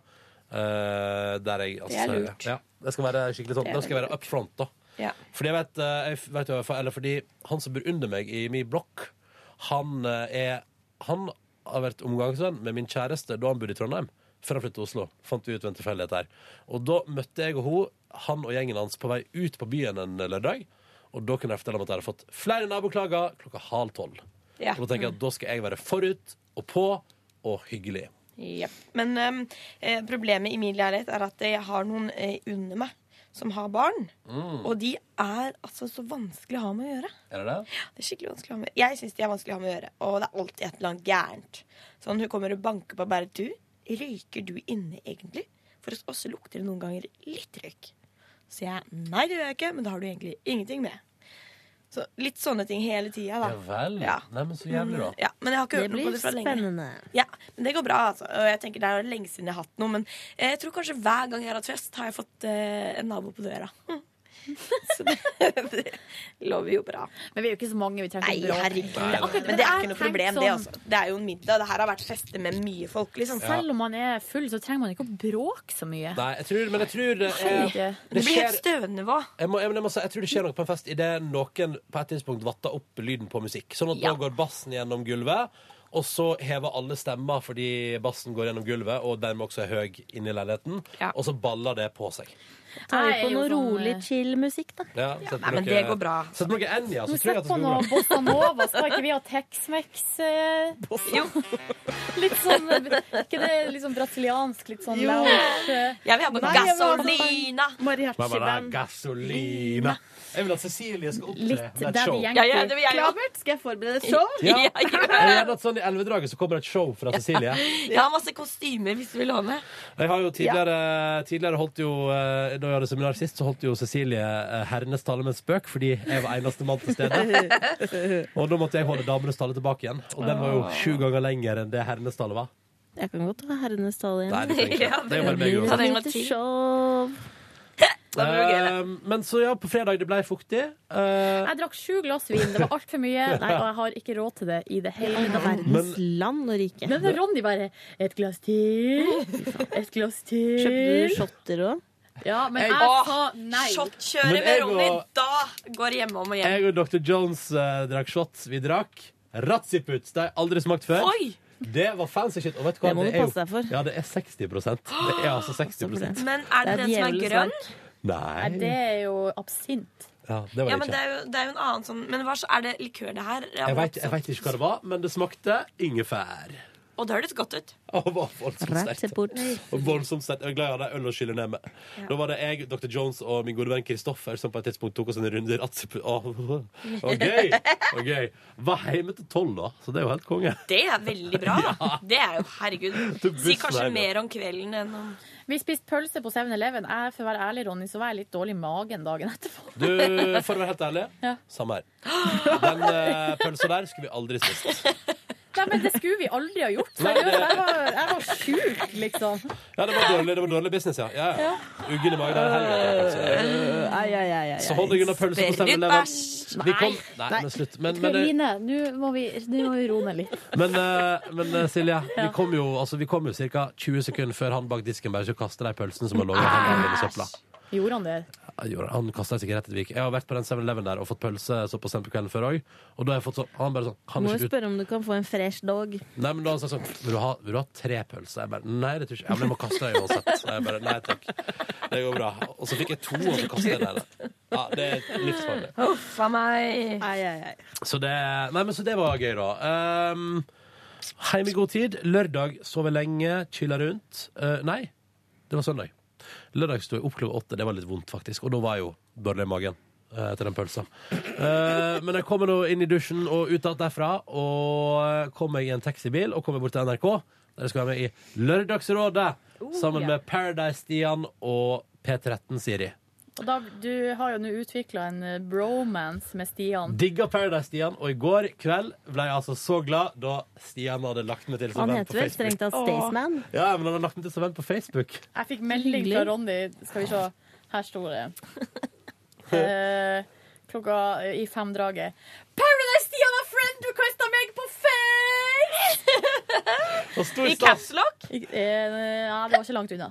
Speaker 2: eh, der jeg,
Speaker 13: Det er lurt.
Speaker 2: Ja, det skal være skikkelig sånn.
Speaker 13: Det er
Speaker 2: Da skal jeg
Speaker 13: veldig
Speaker 2: være up front, da.
Speaker 8: Ja.
Speaker 2: Fordi jeg vet, eh, jeg vet jo, i hvert fall- eller fordi han som bor under meg i min blokk, han eh, er Han har vært omgangsvenn med min kjæreste da han bodde i Trondheim. Før han flyttet til Oslo, fant vi ut ved en tilfeldighet her. Og da møtte jeg og hun, han og gjengen hans, på vei ut på byen en lørdag. Og da kunne jeg fortelle om at jeg hadde fått flere naboklager klokka halv tolv.
Speaker 8: Ja.
Speaker 2: Og da tenker jeg at da skal jeg være forut og på og hyggelig.
Speaker 8: Jep. Men ehm, eh, problemet i min leilighet er at jeg har noen eh, under meg som har barn.
Speaker 2: Mm.
Speaker 8: Og de er altså så vanskelig å ha med å gjøre.
Speaker 2: Er det det?
Speaker 8: Det er skikkelig vanskelig å ha med Jeg syns de er vanskelig å ha med å gjøre, og det er alltid et eller annet gærent. Sånn, Hun kommer og banker på og bare Du, røyker du inne egentlig? For hos oss lukter det noen ganger litt røyk. Så jeg Nei, det gjør jeg ikke, men det har du egentlig ingenting med. Så Litt sånne ting hele tida, da.
Speaker 2: Ja vel. Nei, men så jævlig, da.
Speaker 8: Ja, men jeg har ikke hørt noe på det fra lenge. Ja, men det går bra, altså. Og jeg tenker det er lenge siden jeg har hatt noe, men jeg tror kanskje hver gang jeg har hatt fest, har jeg fått eh, en eh, nabo på døra. (laughs) Hm.
Speaker 5: Så
Speaker 8: (laughs)
Speaker 5: det lover jo bra. Men vi er jo ikke så mange. Vi trenger
Speaker 15: Nei,
Speaker 5: ikke bråk.
Speaker 15: herregud.
Speaker 5: Det er akkurat
Speaker 15: Men det
Speaker 5: jeg
Speaker 15: er
Speaker 5: har
Speaker 15: ikke noe
Speaker 5: tenkt
Speaker 15: problem, det.
Speaker 5: sånn.
Speaker 15: altså. Det er jo en middag. Det her har vært feste med mye folk, liksom.
Speaker 5: Selv om man er full, så trenger man ikke å bråke så mye.
Speaker 2: Nei, jeg tror, men jeg tror det,
Speaker 5: Nei.
Speaker 2: er,
Speaker 5: Det blir helt
Speaker 15: støvnivå.
Speaker 2: Jeg, må, jeg, men jeg, må, si, jeg tror det skjer noe på en fest idet noen på et tidspunkt vatter opp lyden på musikk. Sånn at
Speaker 5: Ja.
Speaker 2: nå går bassen gjennom gulvet, og så hever alle stemmer fordi bassen går gjennom gulvet, og dermed også er høy inne i leiligheten. Og så baller det på seg.
Speaker 3: Tar vi
Speaker 5: Jeg
Speaker 3: på
Speaker 5: er jo
Speaker 3: noe
Speaker 5: sånn,
Speaker 3: rolig, chill musikk, da?
Speaker 2: Ja, sett på
Speaker 3: nei, men
Speaker 2: noe-
Speaker 3: det går bra.
Speaker 2: Sett på noe Enja,
Speaker 3: Vi
Speaker 2: så tror jeg
Speaker 3: setter
Speaker 2: at
Speaker 3: på
Speaker 2: det
Speaker 3: noe
Speaker 2: går bra.
Speaker 3: Bossa Nova. Skal ikke vi ha Tex-Mex? Eh, litt sånn eh, Ikke det litt sånn brasiliansk, litt sånn
Speaker 15: Jo.
Speaker 3: lounge? eh.
Speaker 15: Jeg vil ha på
Speaker 3: Nei, jeg vil ha sånn
Speaker 15: Gasolina.
Speaker 3: Mariachi-band.
Speaker 2: Gasolina. Jeg vil at Cecilie skal opptre
Speaker 3: Litt
Speaker 2: med et
Speaker 3: Daddy
Speaker 2: show.
Speaker 3: Yankee. Klabert, skal jeg forberede
Speaker 15: (laughs)
Speaker 3: et show?
Speaker 2: Ja. Jeg gjør at sånn I elvedraget så kommer et show fra
Speaker 3: (laughs)
Speaker 2: Cecilie.
Speaker 15: Jeg har masse kostymer hvis du vil ha med.
Speaker 2: Jeg har jo tidligere, tidligere holdt jo eh, Da jeg hadde seminar sist, så holdt jo Cecilie eh, herrenes tale med en spøk, fordi jeg var eneste mann til stede.
Speaker 15: (laughs)
Speaker 2: Og da måtte jeg holde damenes tale tilbake igjen. Og den var jo
Speaker 15: Ah.
Speaker 2: sju ganger lenger enn det herrenes tale var.
Speaker 3: Jeg kan godt ha herrenes tale igjen.
Speaker 2: Nei, det trenger ikke.
Speaker 15: (laughs)
Speaker 2: Ja, Det er jo bare meg
Speaker 3: blir
Speaker 2: uansett.
Speaker 3: et lite show.
Speaker 2: Eh, Men så ja, på fredag det ble fuktig. Eh,
Speaker 3: Jeg drakk sju glass vin. Det var altfor mye. Nei, og jeg har ikke råd til det i det hele tatt.
Speaker 2: Men-
Speaker 3: land og rike. Men Ronny bare Et glass til. Et glass til.
Speaker 15: Kjøpte du
Speaker 3: shotter òg? Ja, men
Speaker 15: Øy.
Speaker 3: jeg
Speaker 15: Åh,
Speaker 3: sa nei.
Speaker 15: Shotkjøret
Speaker 2: Men
Speaker 15: med
Speaker 2: jeg
Speaker 15: Ronny,
Speaker 2: og-
Speaker 15: da går det hjemme om og hjem.
Speaker 2: Jeg og Dr. Jones eh, drakk shots. Vi drakk Ratziputz. Det har jeg aldri smakt før.
Speaker 15: Oi!
Speaker 2: Det var fancy shit. Og vet du hva?
Speaker 15: Det må du
Speaker 2: er jo-
Speaker 15: passe deg for.
Speaker 2: Ja, det er 60 Det er
Speaker 15: (gasps)
Speaker 2: altså 60
Speaker 15: Men er det,
Speaker 3: Det er
Speaker 15: den som er
Speaker 3: djevelens
Speaker 15: grønn?
Speaker 2: Nei.
Speaker 3: Nei, det er jo absint.
Speaker 2: Ja, det var
Speaker 15: Ja,
Speaker 2: det
Speaker 15: men det
Speaker 2: ikke.
Speaker 15: er jo, det er jo en annen sånn Men hva så- er det likør, det her? Ja,
Speaker 2: Jeg
Speaker 15: men-
Speaker 2: vet, jeg vet ikke hva det var, men det smakte ingefær. (laughs)
Speaker 15: Og det hørtes godt ut.
Speaker 2: Og var voldsomt sterkt. Og voldsomt sterkt. Jeg er glad jeg hadde øl å skylle ned med. Da var det jeg, Dr. Jones og min gode venn Kristoffer som på et tidspunkt tok oss en runde i Ratziputz. (laughs) Åh, det var gøy! Det var gøy. Var hjemme til tolv, da, så det er jo helt konge.
Speaker 15: Det er veldig bra,
Speaker 2: (laughs)
Speaker 15: da. Det er jo herregud. Si
Speaker 2: bussen her, ja.
Speaker 15: kanskje mer om kvelden enn om
Speaker 3: Vi spiste pølse på 7-Eleven. Jeg, For å være ærlig, Ronny, så var jeg litt dårlig i magen dagen etterpå.
Speaker 2: Du, for å være helt ærlig,
Speaker 3: Ja.
Speaker 2: samme her. Den eh, pølsa der skulle vi aldri spist.
Speaker 3: Nei, men det skulle vi aldri ha gjort.
Speaker 2: Nei,
Speaker 3: Seriøst,
Speaker 2: det-
Speaker 3: jeg var, jeg var sjuk, liksom.
Speaker 2: Ja, det var dårlig, det var dårlig business, ja. ja, ja. Uggen i magen der.
Speaker 3: Eh,
Speaker 2: helvete, altså.
Speaker 3: Ai, ai, ai, ai, ai.
Speaker 2: Så hold deg unna pølse på 7-Eleven. Vi kom- Nei, men slutt. Men, men, eh,
Speaker 3: Karoline, nå må vi, nå må vi roe ned litt.
Speaker 2: men, eh, men eh, Silje, vi
Speaker 3: Ja.
Speaker 2: kom jo, altså, vi kom jo ca. 20 sekunder før han bak disken bare skulle kaste de pølsene som lå i hendene i søpla.
Speaker 3: Ah. Gjorde han det?
Speaker 2: Ja, gjorde det. Han kastet sikkert rett etter Vik. Jeg har vært på den 7-Eleven der og fått pølse såpass sent på kvelden før òg. Og da har jeg fått sånn Han bare sånn kan
Speaker 10: Må
Speaker 2: ikke
Speaker 10: jo
Speaker 2: du
Speaker 10: spørre om du kan få en fresh dog.
Speaker 2: Nei, men da sa jeg sånn vil du, ha, vil du ha tre pølser? Jeg bare Nei, det tror jeg ikke. Ja, men jeg må kaste deg uansett. Så jeg bare Nei takk. Det går bra. Og så fikk jeg to, og så kastet jeg den. Ja, det er livsfarlig.
Speaker 15: Huff a meg.
Speaker 2: Så det, nei, men så det var gøy, da. Um, Heim i god tid. Lørdag sove lenge, chilla rundt. Eh, nei, det var søndag. Lørdag sto jeg opp klokka åtte. Det var litt vondt, faktisk. Og da var jeg jo dårlig i magen eh, etter den pølsa. Eh, men jeg kommer nå inn i dusjen og ut igjen derfra, og kom meg i en taxibil og kommer bort til NRK, der jeg skal være med i Lørdagsrådet sammen
Speaker 3: ja.
Speaker 2: med Paradise-Stian og P13-Siri.
Speaker 3: Og da, du har jo nå utvikla en eh, bromance med Stian.
Speaker 2: Digga Paradise-Stian, og i går kveld ble jeg altså så glad da Stian hadde lagt meg til som
Speaker 10: Han
Speaker 2: venn på
Speaker 10: heter vel
Speaker 2: Facebook.
Speaker 10: strengt tatt Staysman.
Speaker 2: Ja, men han hadde lagt meg til som venn på Facebook.
Speaker 3: Jeg fikk melding fra
Speaker 10: Hyggelig.
Speaker 3: Ronny. Skal vi se. Her sto det. Eh, klokka i fem-draget. Paradise-Stian har friend requesta meg på face!
Speaker 15: I caps lock?
Speaker 3: I- (laughs) eh, Ja, det var ikke langt unna.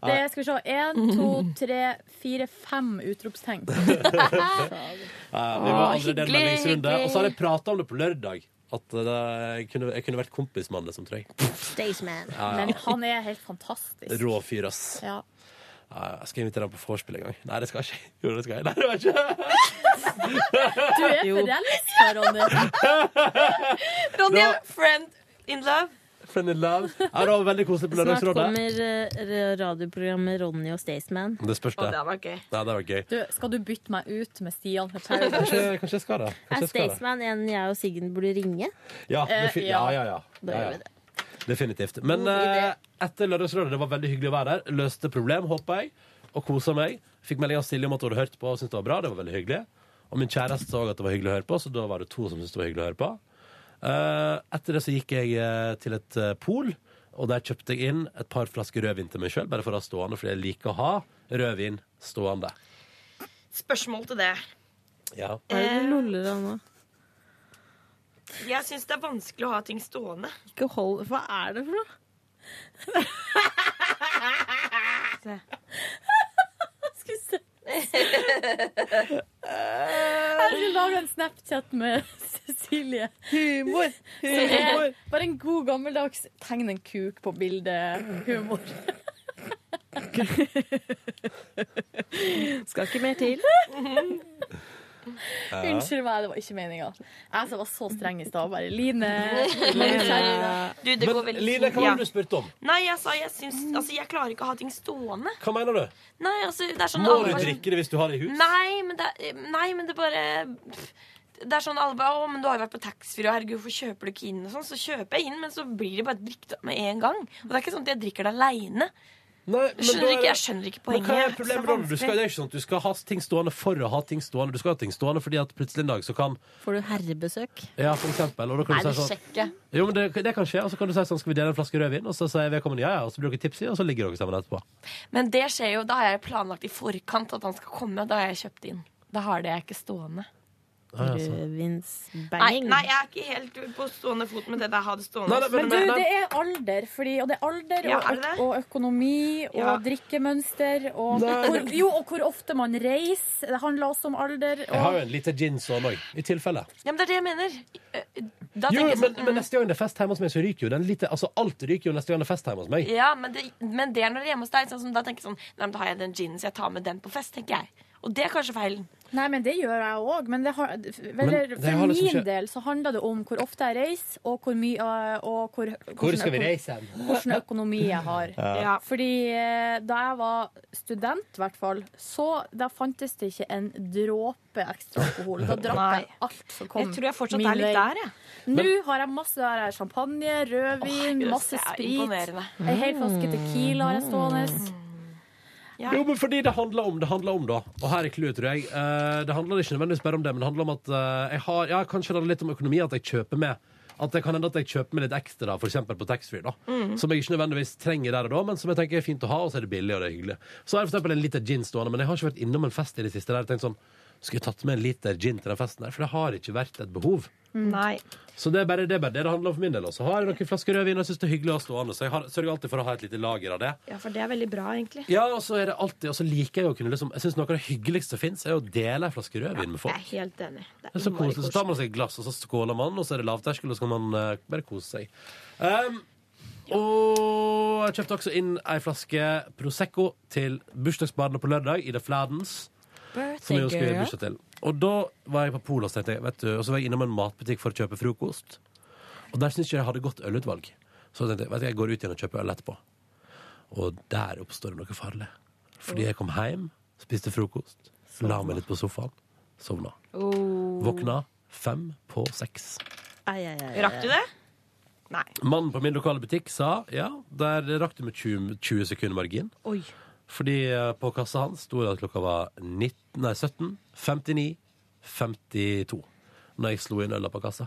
Speaker 3: Det skal vi se. Én, to, tre, fire, fem (laughs) utropstegn.
Speaker 2: Ja, vi var andre del
Speaker 3: hyggelig,
Speaker 2: meldingsrunde,
Speaker 3: hyggelig.
Speaker 2: og så har jeg prata om det på lørdag. At eh, jeg kunne, jeg kunne vært kompis med han, liksom, tror jeg.
Speaker 10: Staysman.
Speaker 2: Ja, ja.
Speaker 3: Men han er helt fantastisk.
Speaker 2: Rå fyr, ass.
Speaker 3: Ja.
Speaker 2: Ja, ja, jeg skal invitere han på vorspiel en gang. Nei, det skal jeg ikke. Jo, det skal jeg. Nei, det var ikke. (laughs)
Speaker 3: Du er
Speaker 2: Jo.
Speaker 3: forelska, Ronny.
Speaker 15: Ronny
Speaker 2: Da-
Speaker 15: er friend in love.
Speaker 2: Friend in love. Ja, det var veldig koselig på
Speaker 10: Snart
Speaker 2: Lørdagsrådet.
Speaker 10: kommer eh, ra- radioprogrammet Ronny og Staysman.
Speaker 2: Det spørs, det. Å, det hadde
Speaker 15: vært gøy.
Speaker 2: Nei, det var gøy.
Speaker 3: Du, skal du bytte meg ut med Stian fra
Speaker 2: Kanskje,
Speaker 3: Paradise?
Speaker 2: kanskje jeg skal det.
Speaker 10: Er
Speaker 2: Kanskje jeg skal det.
Speaker 10: Staysman en jeg og Siggen burde ringe?
Speaker 2: Ja, det fin-
Speaker 10: Eh,
Speaker 2: ja,
Speaker 10: ja.
Speaker 2: ja, ja.
Speaker 10: Da
Speaker 2: ja,
Speaker 10: gjør
Speaker 2: ja.
Speaker 10: vi
Speaker 2: Definitivt. Men
Speaker 10: God idé.
Speaker 2: eh, etter Lørdagsrådet, det var veldig hyggelig å være der. Løste problem, håper jeg, og kosa meg. Fikk melding av Silje om at hun hadde hørt på og syntes det var bra. Det var veldig hyggelig. Og min kjæreste så at det var hyggelig å høre på, så da var det to som syntes det var hyggelig å høre på. Eh, etter det så gikk jeg eh, til et eh, pol, og der kjøpte jeg inn et par flasker rødvin til meg sjøl, bare for å ha stående, fordi jeg liker å ha rødvin stående.
Speaker 8: spørsmål til det.
Speaker 2: Ja.
Speaker 8: Hva er det du
Speaker 10: loller av nå?
Speaker 8: Jeg syns det er vanskelig å ha ting stående.
Speaker 10: Ikke hold Hva er det for noe?
Speaker 8: Skal vi se.
Speaker 3: Jeg skulle lage en Snapchat med Cecilie.
Speaker 10: Humor.
Speaker 3: Som
Speaker 10: Humor.
Speaker 3: er bare en god gammeldags tegn en kuk på bildet. Humor.
Speaker 10: Skal ikke mer til.
Speaker 3: (laughs) Unnskyld meg, det var ikke meninga. Jeg som var så streng i stad, bare Line.
Speaker 8: Du, det går veldig
Speaker 2: Line, hva
Speaker 8: Ja.
Speaker 2: var det du spurte om?
Speaker 8: Nei, jeg sa jeg syns Altså, jeg klarer ikke å ha ting stående.
Speaker 2: Hva mener du?
Speaker 8: Nei, altså, det er sånn
Speaker 2: Må
Speaker 8: alle
Speaker 2: du
Speaker 8: bare-
Speaker 2: drikke det hvis du har det i hus?
Speaker 8: Nei, men det, er- nei, men det bare pff, Det er sånn alle bare Å, men du har jo vært på taxfree, og herregud, hvorfor kjøper du ikke inn? Og sånn. Så kjøper jeg inn, men så blir det bare drukket opp med en gang. Og det er ikke sånn at jeg drikker det aleine. Skjønner ikke- jeg skjønner ikke
Speaker 2: Men
Speaker 8: poenget.
Speaker 2: hva er
Speaker 8: Jeg synes det er
Speaker 2: problemet da? Du skal,
Speaker 8: vanskelig.
Speaker 2: det er ikke sånn at du skal ha ting stående for å ha ting stående. Du skal ha ting stående fordi at plutselig en dag så kan
Speaker 10: Får du herrebesøk?
Speaker 2: Ja, for eksempel. Og da kan
Speaker 10: Nei,
Speaker 2: du si
Speaker 10: du
Speaker 2: sånn
Speaker 10: sjekker.
Speaker 2: Jo, men det, det kan skje. Og så kan du si sånn, skal vi dele en flaske rødvin? Og så sier vedkommende ja, ja. Og så blir dere tipsy, og så ligger dere sammen etterpå.
Speaker 8: Men det skjer jo, da har jeg planlagt i forkant at han skal komme. Da har jeg kjøpt inn. Da har det jeg ikke stående.
Speaker 2: Ah, ja, sånn.
Speaker 8: Nei,
Speaker 10: Rødvinsbanging.
Speaker 8: nei, jeg er ikke helt på stående fot med det der. Ha det stående.
Speaker 3: Men du, det er alder, fordi, og det er alder
Speaker 8: Ja,
Speaker 3: og,
Speaker 8: er det det?
Speaker 3: øk- og økonomi og
Speaker 8: Ja.
Speaker 3: drikkemønster og
Speaker 2: Nei.
Speaker 3: hvor, Jo, og hvor ofte man reiser. Det handler også om alder.
Speaker 2: Jeg har
Speaker 3: Og,
Speaker 2: jo en liten gin sånn òg, i tilfelle.
Speaker 8: Ja, men det er det jeg mener. Eh, Da
Speaker 2: Jo,
Speaker 8: tenker jeg
Speaker 2: men,
Speaker 8: sånn
Speaker 2: men
Speaker 3: mm.
Speaker 2: neste gang det er fest hjemme hos meg, så ryker jo den lite Altså, alt ryker jo neste gang det er fest hjemme hos meg.
Speaker 8: Ja, men det, men det er når det er hjemme hos deg. Sånn, som da tenker jeg sånn Nei, men da har jeg den ginen, så jeg tar med den på fest, tenker jeg. Og det er kanskje feilen.
Speaker 3: nei, men det gjør jeg òg. Men, det har,
Speaker 2: Men
Speaker 3: eller,
Speaker 2: det har
Speaker 3: for
Speaker 2: liksom
Speaker 3: min
Speaker 2: ikke-
Speaker 3: del så handler det om hvor ofte jeg reiser, og hvor mye øh, og hvor,
Speaker 2: Hvor skal vi
Speaker 3: hvordan øko-
Speaker 2: reise hen?
Speaker 3: Hvordan økonomi jeg har.
Speaker 2: Ja. Ja.
Speaker 3: Fordi eh, da jeg var student, i hvert fall, så da fantes det ikke en dråpe ekstra alkohol. Da drakk jeg alt som kom.
Speaker 8: Jeg tror jeg fortsatt
Speaker 3: min
Speaker 8: er litt
Speaker 3: vei.
Speaker 8: der, jeg.
Speaker 3: Nå
Speaker 8: Men-
Speaker 3: har jeg masse der er champagne, rødvin,
Speaker 8: Åh,
Speaker 3: masse
Speaker 8: det er
Speaker 3: sprit.
Speaker 8: imponerende. Mm.
Speaker 3: Ei hel flaske tequila har jeg stående. Mm.
Speaker 2: Jo, men fordi det handler om, det handler om da. Og her er clouet, tror jeg. Eh, det handler ikke nødvendigvis bare om det, men det handler om at eh, jeg har Ja, kanskje det handler litt om økonomi, at jeg kjøper med. At det kan hende at jeg kjøper med litt ekstra, f.eks. på taxfree. da.
Speaker 14: Mm.
Speaker 2: Som jeg ikke nødvendigvis trenger der og da, men som jeg tenker er fint å ha, og så er det billig og det er hyggelig. Så er det for eksempel en liter gin stående, men jeg har ikke vært innom en fest i det siste der og tenkt sånn Skulle jeg tatt med en liter gin til den festen der? For det har ikke vært et behov.
Speaker 3: Mm.
Speaker 8: Nei.
Speaker 2: Så det er bare det er bare det, det handler om for min del også. Har jeg noen flasker rødvin, og jeg syns det er hyggelig å ha stående, så jeg har, sørger alltid for å ha et lite lager av det.
Speaker 8: Ja, for det er veldig bra, egentlig.
Speaker 2: Ja, og så er det alltid, og så liker jeg å kunne liksom Jeg synes noe av det hyggeligste som fins, er å dele en flaske rødvin med
Speaker 8: Jeg er
Speaker 2: folk.
Speaker 8: helt enig.
Speaker 2: Det
Speaker 8: Det
Speaker 2: er så
Speaker 8: innmari
Speaker 2: koselig. Så tar man seg et glass, og så skåler man, og så er det lavterskel, og så kan man eh, bare kose seg. Um, og jeg kjøpte også inn ei flaske Prosecco til bursdagsbarnet på lørdag, i The Fladens. Som jeg jo skal gjøre bursdag til. Og da var jeg på Polet og så tenkte jeg, vet du, og så var jeg innom en matbutikk for å kjøpe frokost. Og der syntes jeg jeg hadde godt ølutvalg. Så tenkte jeg vet du, jeg går ut igjen og kjøper øl etterpå. Og der oppstår det noe farlig. Fordi jeg kom hjem, spiste frokost, la meg litt på sofaen, sovna.
Speaker 10: Oh.
Speaker 2: Våkna fem på seks.
Speaker 10: Ai, ai, ai, ai.
Speaker 8: Rakk du det? Nei.
Speaker 2: Mannen på min lokale butikk sa ja, der rakk du med 20, 20 sekunder margin.
Speaker 8: Oi.
Speaker 2: Fordi eh, på kassa hans sto det at klokka var 19, nei, 17, 59, 52 når jeg slo inn øla på kassa.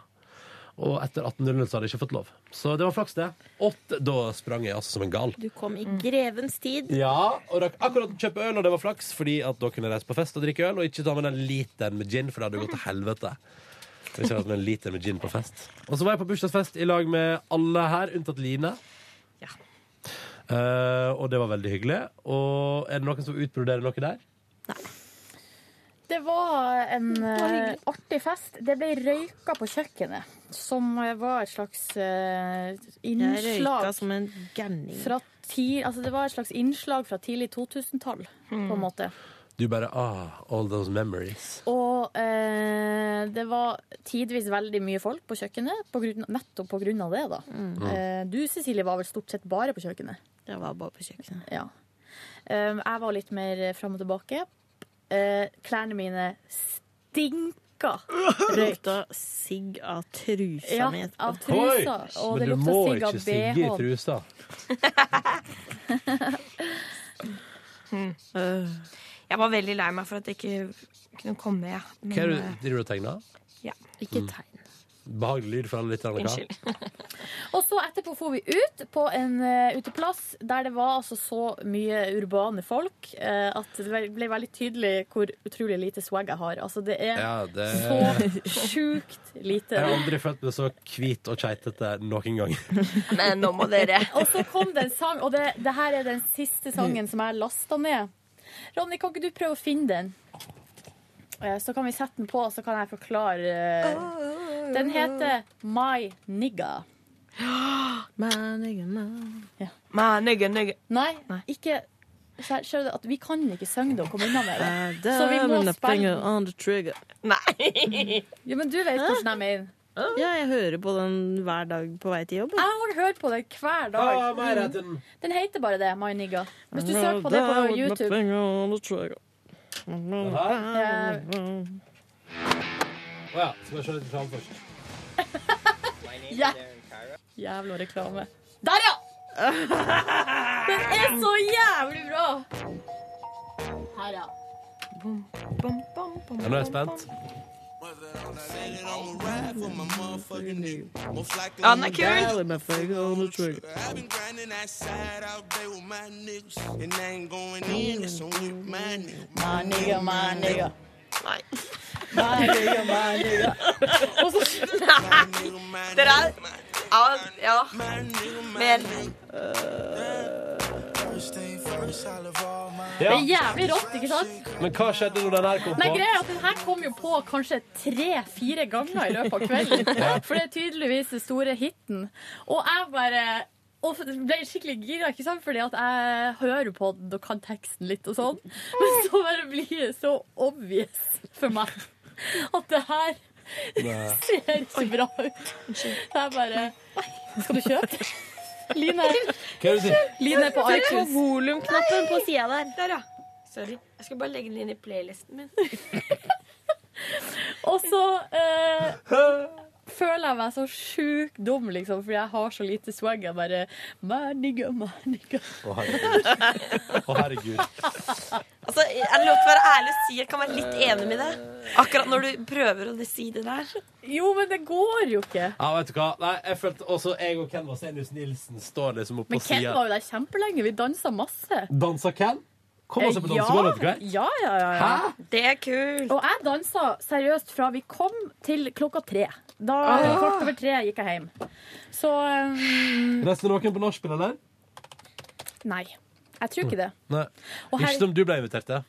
Speaker 2: Og etter 18.00 så hadde jeg ikke fått lov. Så det var flaks, det. Åtte, da sprang jeg altså som en gal.
Speaker 10: Du kom i grevens tid.
Speaker 2: Ja, og rakk akkurat å kjøpe øl, og det var flaks, fordi at da kunne jeg reise på fest og drikke øl, og ikke ta med den literen med gin, for det hadde jo gått til helvete. Hvis jeg hadde hatt med en liter med gin på fest. Og så var jeg på bursdagsfest i lag med alle her, unntatt Line. Eh, og det var veldig hyggelig. Og er det noen som utbroderer noe der?
Speaker 3: Det var en eh, artig fest. Det ble røyka på kjøkkenet, som eh, var et slags eh,
Speaker 10: Jeg røyka
Speaker 3: innslag
Speaker 10: som en gærning.
Speaker 3: fra ti, altså Det var et slags innslag fra tidlig 2000-tall, på en måte.
Speaker 2: Du bare ah, all those memories.
Speaker 3: Og eh, det var tidvis veldig mye folk på kjøkkenet, på grunn, nettopp på grunn av det. da.
Speaker 8: Mm.
Speaker 3: Eh, du, Cecilie, var vel stort sett bare på kjøkkenet?
Speaker 10: Jeg var bare på kjøkkenet.
Speaker 3: Ja. Eh, jeg var litt mer fram og tilbake. Eh, klærne mine stinka røyk.
Speaker 10: Røykte sigg av trusa
Speaker 3: Ja,
Speaker 10: mi. etterpå.
Speaker 3: av trusa. Og det lukta sigg av BH.
Speaker 2: trusa.
Speaker 8: Mm. Jeg var veldig lei meg for at jeg ikke kunne komme, jeg.
Speaker 2: Hva er det
Speaker 8: Men,
Speaker 2: du driver du og tegner?
Speaker 8: eh, ja.
Speaker 2: Ikke
Speaker 8: tegn.
Speaker 2: Behagelig lyd for alle lytterne. hva?
Speaker 3: Og så etterpå for vi ut på en eh, uteplass der det var altså så mye urbane folk eh, at det ble- ble veldig tydelig hvor utrolig lite swag jeg har. Altså det er
Speaker 2: Ja, det-
Speaker 3: så sjukt lite.
Speaker 2: Jeg har aldri følt meg så hvit og keitete noen gang.
Speaker 15: Men nå må dere
Speaker 8: (laughs)
Speaker 3: Og så kom det en sang, og det, det her er den siste sangen som jeg lasta ned. Ronny, kan ikke du prøve å finne den? Eh, Så kan vi sette den på, og så kan jeg forklare. eh, Den heter My Nigga. My nigga, my. Ja.
Speaker 15: My nigga, nigga.
Speaker 3: Nei, ikke så her, skjønner du at Vi kan ikke synge det og komme unna med det.
Speaker 10: damn,
Speaker 3: Så vi må
Speaker 10: and a
Speaker 3: spille
Speaker 10: finger
Speaker 3: den.
Speaker 10: on the trigger.
Speaker 3: Nei! Jo, men du vet hvordan jeg mener.
Speaker 10: Ja, jeg hører på den hver dag på vei til jobb.
Speaker 3: Jeg har hørt på den hver dag.
Speaker 10: Ja, mer enn den.
Speaker 3: Den heter bare det, My Nigga. Hvis du søker på det på YouTube
Speaker 2: Mm.
Speaker 3: eh,
Speaker 10: YouTube.
Speaker 2: Å ja, skal jeg kjøre litt fram først?
Speaker 3: Ja. Jævla reklame. Der, ja! Den er så jævlig bra! Her, ja.
Speaker 2: Ja, nå er jeg spent.
Speaker 15: Ja, den er kul.
Speaker 3: My nigga, my nigga.
Speaker 15: Nei.
Speaker 3: My nigga, my nigga. Og så
Speaker 15: Nei. (laughs) Dere er Ja. ja. Mer.
Speaker 3: Det er jævlig rått, ikke sant?
Speaker 2: Men hva skjedde når den her kom
Speaker 3: Nei,
Speaker 2: på?
Speaker 3: greia er at den her kom jo på kanskje tre-fire ganger i løpet av kvelden. For det er tydeligvis den store hiten. Og jeg bare og ble skikkelig gira, ikke sant? fordi at jeg hører på den og kan teksten litt og sånn. Men så bare blir det så obvious for meg at det her
Speaker 2: Nei.
Speaker 3: ser ikke bra ut. Det er bare Skal du kjøpe? Line,
Speaker 2: Hva er det du sier?
Speaker 3: Line er på
Speaker 15: Ser du på
Speaker 3: iTunes.
Speaker 15: volumknappen
Speaker 10: på sida der.
Speaker 15: Der, ja. Sorry. Jeg skal bare legge den inn i playlisten min.
Speaker 3: Og så eh, føler jeg meg så sjukt dum, liksom, fordi jeg har så lite swag. Jeg bare my nigga, my nigga.
Speaker 2: Å, herregud. Å, herregud.
Speaker 15: Altså, Er det lov til å være ærlig og si at jeg kan være litt enig med deg? Akkurat når du prøver å si det der.
Speaker 3: Jo, men det går jo ikke.
Speaker 2: Ja, vet du hva? Nei, jeg følte også jeg og Ken Vasenius Nilsen står liksom oppe
Speaker 3: Men
Speaker 2: på
Speaker 3: Ken
Speaker 2: sida.
Speaker 3: var jo der kjempelenge. Vi dansa masse.
Speaker 2: Dansa Ken? Kom og se på
Speaker 3: Eh, ja.
Speaker 2: dansegulvet etter hvert.
Speaker 3: Ja, ja, ja, ja.
Speaker 15: Hæ? Det er kult.
Speaker 3: Og jeg dansa seriøst fra vi kom til klokka tre. Da
Speaker 2: Ah.
Speaker 3: Kvart over tre gikk jeg hjem. Så um,
Speaker 2: Resten noen på nachspiel, eller?
Speaker 3: nei. Jeg tror ikke det.
Speaker 2: Nei.
Speaker 3: Og her-
Speaker 2: Ikke som du ble invitert til.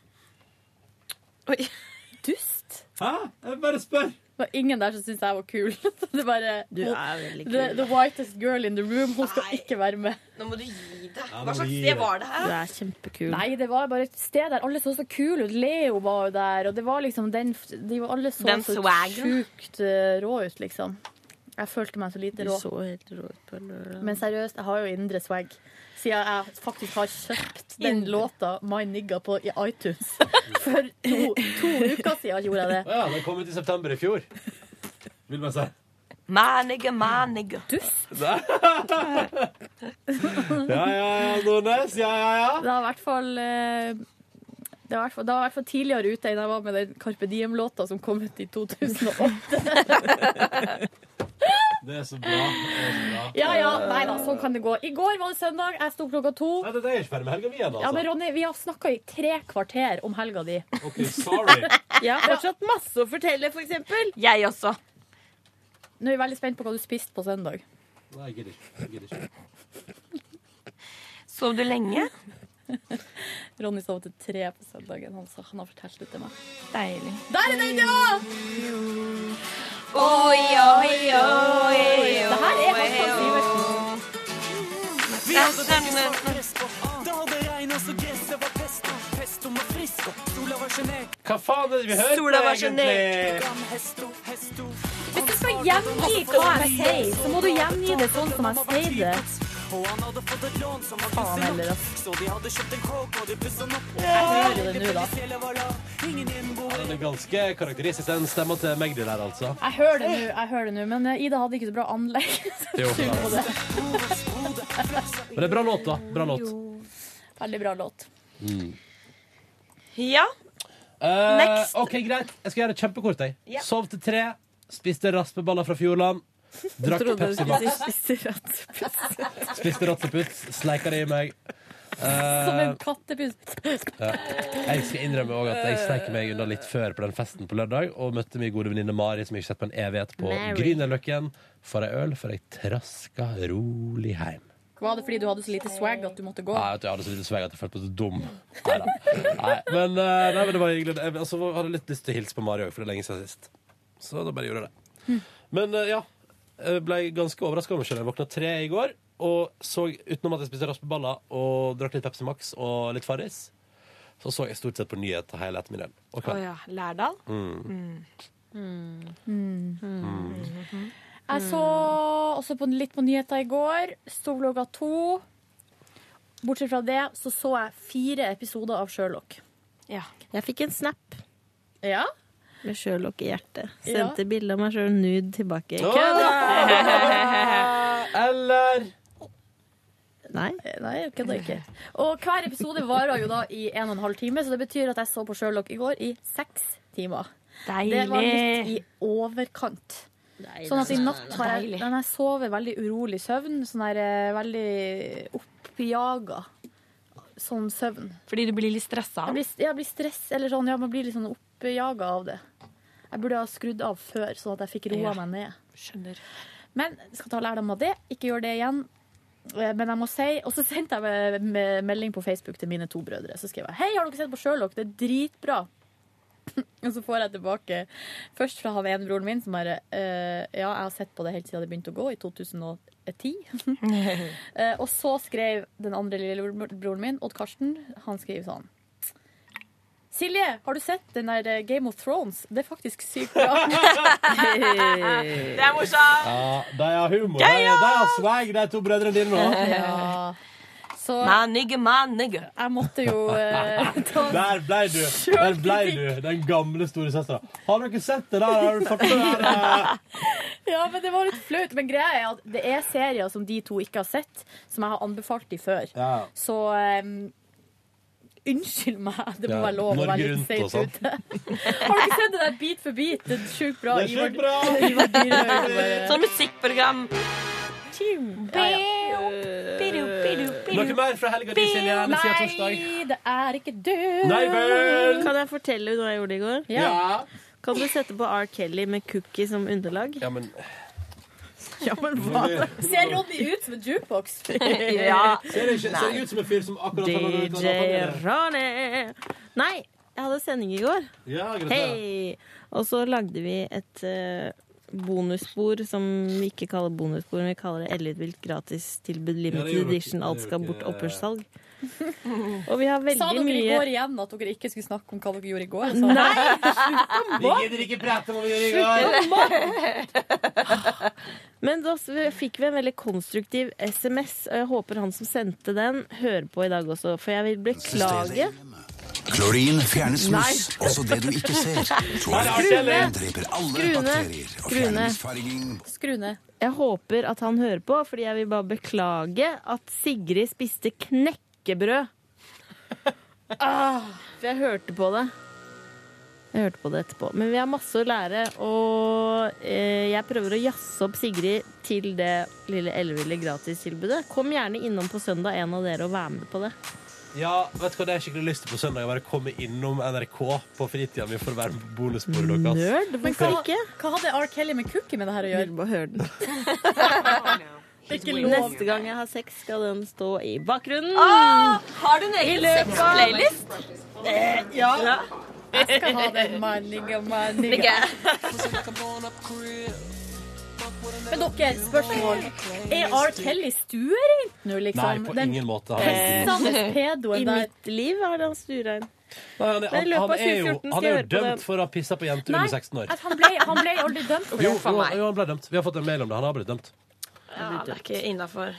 Speaker 3: Dust.
Speaker 2: Hæ? Jeg bare spør.
Speaker 3: Det var ingen der som syntes jeg var kul. (laughs) Det er bare,
Speaker 10: Du er veldig kul.
Speaker 3: The, the whitest girl in the room. Hun skal ikke være med.
Speaker 15: Nå må du gi deg.
Speaker 10: Ja, nå
Speaker 15: Hva
Speaker 10: må du
Speaker 15: slags
Speaker 10: gi
Speaker 15: sted
Speaker 10: deg.
Speaker 15: var det her?
Speaker 10: Du er kjempekul.
Speaker 3: Nei, det var bare et sted der alle så så kule ut. Leo var jo der, og det var liksom den de var Alle så
Speaker 10: Den
Speaker 3: så
Speaker 10: swaggen.
Speaker 3: sjukt eh, rå ut, liksom. Jeg følte meg så lite
Speaker 10: Du
Speaker 3: rå.
Speaker 10: så helt rå ut på lørdag.
Speaker 3: Men seriøst, jeg har jo indre swag. Siden jeg faktisk har kjøpt den
Speaker 10: Indre.
Speaker 3: låta My Nigga på i iTunes. (laughs) For to, to uker siden gjorde jeg
Speaker 2: Å
Speaker 3: det.
Speaker 2: ja, den kom ut i september i fjor. Vil man si.
Speaker 15: My nigga, my nigga.
Speaker 3: Dust.
Speaker 2: Nei. Ja, ja, ja, Nordnes. Ja, ja, ja.
Speaker 3: Det var i hvert fall eh, det var i hvert fall- det var i hvert fall tidligere ute enn jeg var med den Carpe Diem-låta som kom ut i 2008.
Speaker 2: Det er så bra. Det er så bra.
Speaker 3: Ja, ja, nei da, sånn kan det gå. I går var det søndag, jeg sto klokka to.
Speaker 2: Nei, det er ikke ferdig med helga mi ennå,
Speaker 3: Ja, men
Speaker 2: altså.
Speaker 3: Ronny, vi har snakka i tre kvarter om helga
Speaker 2: (laughs)
Speaker 3: di.
Speaker 2: OK, sorry.
Speaker 3: Ja,
Speaker 10: fortsatt masse å fortelle, for eksempel.
Speaker 15: Jeg også.
Speaker 3: Nå er vi veldig spent på hva du spiste på søndag.
Speaker 2: Nei, jeg gidder ikke. Jeg gidder ikke.
Speaker 15: Sov du lenge?
Speaker 3: Ronny sov til tre på søndagen, han, sa- han har fortalt det til meg.
Speaker 15: Deilig.
Speaker 3: Der er den, ja!
Speaker 15: Oi, oi, oi, oi.
Speaker 3: Det her er Håkon
Speaker 16: Vi hadde regnet på resten. Det hadde regnet så gresset var pesto. Pesto var frisk, og sola var sjenert.
Speaker 2: Hva faen er det vi hører
Speaker 16: Sola
Speaker 2: på,
Speaker 16: var
Speaker 2: egentlig?
Speaker 16: Gam hesto, hesto.
Speaker 3: Hvis du skal gjengi hva jeg sier, så må du gjengi det sånn som jeg sier det.
Speaker 16: Og han hadde fått et lån som var
Speaker 3: Faen
Speaker 16: pussig
Speaker 3: heller,
Speaker 16: nok. Så de hadde kjøpt en kåk, og de pusset den opp.
Speaker 3: Jeg hører det nå, da.
Speaker 2: Den er ganske karakteristisk, den stemma til Magdi der, altså.
Speaker 3: Jeg hører det nå, jeg hører det nå, men eh, Ida hadde ikke så bra anlegg. (laughs) så
Speaker 2: Jo.
Speaker 3: jeg skylder på det.
Speaker 2: Men det er bra låt, da. Bra låt.
Speaker 3: Veldig bra låt.
Speaker 2: Mm.
Speaker 15: Ja.
Speaker 2: Eh,
Speaker 15: Next.
Speaker 2: OK, greit. Eh, Jeg skal gjøre det kjempekort. Jeg.
Speaker 15: Ja.
Speaker 2: Sov til tre. Spiste raspeballer fra Fjordland. Drakk
Speaker 10: Trodde du
Speaker 2: Pepsi
Speaker 10: skulle
Speaker 2: Max.
Speaker 10: si spise rattepus.
Speaker 2: Spiste rotteputz. Sleika det i meg. Eh,
Speaker 10: Som en kattepus.
Speaker 2: ja. Jeg skal innrømme også at jeg sneik meg unna litt før på den festen på lørdag og møtte min gode venninne Mari, som jeg ikke har sett på en evighet, på
Speaker 10: Mary.
Speaker 2: Grünerløkken. For ei øl, for jeg traska rolig hjem.
Speaker 3: Var det fordi du hadde så lite swag at du måtte gå?
Speaker 2: Nei, vet du, jeg hadde så lite sveg at jeg følte meg så dum. Neida. Nei, men, eh, nei, men det var hyggelig. Jeg altså, hadde litt lyst til å hilse på Mari òg, for det er lenge siden sist. Så da bare gjorde jeg det. Men eh, ja, jeg ble ganske overraska over meg sjøl. Jeg våkna tre i går og så, utenom at jeg spiste raspeballer og drakk litt Pepsi Max og litt Farris, så så jeg stort sett på nyheter hele ettermiddagen.
Speaker 15: Å
Speaker 2: Og kvelden.
Speaker 15: ja. Lærdal?
Speaker 2: Mm.
Speaker 15: Mm.
Speaker 3: Jeg så også på, litt på nyheter i går. Sto klokka to. Bortsett fra det så så jeg fire episoder av Sherlock.
Speaker 10: Jeg fikk en snap
Speaker 3: Ja?
Speaker 10: med Sherlock i hjertet.
Speaker 3: Ja.
Speaker 10: Sendte bilde av meg sjøl nude tilbake.
Speaker 3: Åh!
Speaker 10: Kødda!
Speaker 2: Eller
Speaker 10: Nei.
Speaker 3: Nei, jeg kødder ikke. Og hver episode varer jo da i en og en halv time, så det betyr at jeg så på Sherlock i går i seks timer. Det var litt i overkant. Sånn at i natt har jeg, men jeg sover veldig urolig søvn. Sånn her, eh, veldig oppjaga sånn søvn.
Speaker 15: Fordi du blir litt stressa?
Speaker 3: Jeg blir, jeg blir stress, eller sånn, ja, man blir litt sånn oppjaga av det. Jeg burde ha skrudd av før, sånn at jeg fikk
Speaker 15: Ja.
Speaker 3: roa meg ned.
Speaker 15: Skjønner.
Speaker 3: Men skal ta lærdom av det. Ikke gjør det igjen. Eh, Men jeg må si, Og så sendte jeg me- me- melding på Facebook til mine to brødre. Så skrev jeg Hei, har dere sett på Sherlock? Det er dritbra. (laughs) Og så får jeg tilbake først fra han ene broren min som bare eh, Ja, jeg har sett på det helt siden det begynte å gå, i 2010. Eh, og så skrev den andre lillebroren min, Odd Karsten, han skriver sånn Silje, har du sett den der eh, Game of Thrones? Det er faktisk sykt bra.
Speaker 15: Det er morsomt!
Speaker 2: Ja, de har humor. De de har sveig, de to brødrene dine nå.
Speaker 3: Ja. Eh, Så
Speaker 15: Manige, manige.
Speaker 3: Jeg måtte
Speaker 2: (laughs)
Speaker 3: jo eh, ta
Speaker 2: Der ble du! Der ble du, Den gamle storesøstera. Har dere sett det der? Har du fått med det der?
Speaker 3: Ja, men det var litt flaut. Men greia er at det er serier som de to ikke har sett, som jeg har anbefalt de før.
Speaker 2: Ja.
Speaker 3: Så em, unnskyld meg, det må
Speaker 2: Ja,
Speaker 3: være lov å
Speaker 2: Norge
Speaker 3: være litt
Speaker 2: Rundt og
Speaker 3: seint
Speaker 2: sånn.
Speaker 3: ute. Har du ikke sett det der Bit for bit? Det er sjukt bra.
Speaker 15: Det er sjukt
Speaker 3: Ivar-
Speaker 15: bra!
Speaker 10: (laughs)
Speaker 3: Ivar
Speaker 2: (laughs)
Speaker 3: Dyrhaug bare-
Speaker 15: Sånn musikkprogram.
Speaker 3: Ja, ja.
Speaker 2: Noe mer fra helga di, Silje? Eller siden torsdag?
Speaker 10: Nei, det er ikke du.
Speaker 2: Nei vel.
Speaker 10: Kan jeg fortelle hva jeg gjorde i går?
Speaker 2: Ja. Ja.
Speaker 10: Kan du sette på R. Kelly med cookie som underlag?
Speaker 2: Ja, men
Speaker 10: Ja, men hva?
Speaker 3: Ser Ronny ut som en jukebox?
Speaker 10: Ja. (laughs)
Speaker 2: Ser det ikke- ser det ut som en fyr som akkurat har vært ute og
Speaker 10: DJ
Speaker 2: hatt det?
Speaker 10: Ronny! Nei, jeg hadde sending i går.
Speaker 2: Ja, gratulerer.
Speaker 10: Hei! Og så lagde vi et eh, bonusspor som vi ikke kaller bonusspor, men vi kaller det Elitvilt gratistilbud limited
Speaker 3: gjorde dere-
Speaker 10: edition. Alt skal bort opphørssalg.
Speaker 3: Og
Speaker 10: vi har veldig
Speaker 3: Sa dere i
Speaker 10: mye-
Speaker 3: går igjen at dere ikke skulle snakke om hva dere gjorde i går?
Speaker 10: Nei,
Speaker 2: Vi gidder ikke prate om hva vi gjør i
Speaker 10: Slutt
Speaker 2: går.
Speaker 10: Men da s- fikk vi en veldig konstruktiv SMS, og jeg håper han som sendte den, hører på i dag også, for jeg vil beklage.
Speaker 17: Klorin fjerner smuss,
Speaker 10: Nei.
Speaker 17: også det du ikke
Speaker 10: (laughs)
Speaker 17: ser.
Speaker 10: Skru
Speaker 17: Klorine
Speaker 10: ned.
Speaker 17: dreper alle
Speaker 10: Skru ned.
Speaker 17: bakterier og
Speaker 10: Skru ned.
Speaker 17: fjerner farging.
Speaker 3: Skru ned.
Speaker 10: Jeg håper at han hører på, fordi jeg vil bare beklage at Sigrid spiste
Speaker 3: (laughs)
Speaker 10: knekkebrød. Ah, for jeg hørte på det. Jeg hørte på det etterpå. Men vi har masse å lære, og eh, jeg prøver å jazze opp Sigrid til det lille elleville gratistilbudet. Kom gjerne innom på søndag, en av dere, og vær med på det.
Speaker 2: Ja, vet du hva, det er skikkelig lyst til på søndag. å Bare komme innom NRK på fritida mi for å være bonusbordet deres.
Speaker 3: Men hva, hva hadde R. Kelly med cookie med det her å gjøre?
Speaker 10: Vil bare høre den.
Speaker 3: Det er ikke lov.
Speaker 10: Neste gang jeg har sex, skal den stå i bakgrunnen.
Speaker 3: Ah, har du en
Speaker 10: I
Speaker 3: egen
Speaker 10: løpet av-
Speaker 3: sex-playlist?
Speaker 10: Eh,
Speaker 3: Ja. Jeg skal ha den manninga,
Speaker 10: (laughs)
Speaker 3: manninga. Men dere, spørsmål. Er R. Kelly stuereint nå, liksom?
Speaker 2: Nei, på
Speaker 3: Den
Speaker 2: ingen måte. Han er
Speaker 3: samme
Speaker 2: drit.
Speaker 3: pedoen
Speaker 10: I
Speaker 3: der.
Speaker 10: mitt liv har han stuerein.
Speaker 2: Nei, han, er-
Speaker 10: Men i
Speaker 2: han,
Speaker 10: løpet
Speaker 2: han
Speaker 10: av
Speaker 2: er jo,
Speaker 10: 2014 skal
Speaker 2: han er
Speaker 10: jeg
Speaker 2: jo
Speaker 10: høre på
Speaker 2: dømt
Speaker 10: det.
Speaker 2: for å ha pissa på jenter
Speaker 3: Nei,
Speaker 2: under 16 år.
Speaker 3: at han ble, han ble aldri dømt for
Speaker 2: Jo,
Speaker 3: det.
Speaker 2: jo, jo, han ble dømt. Vi har fått en mail om det. Han har blitt dømt.
Speaker 15: Ja, det er ikke innafor.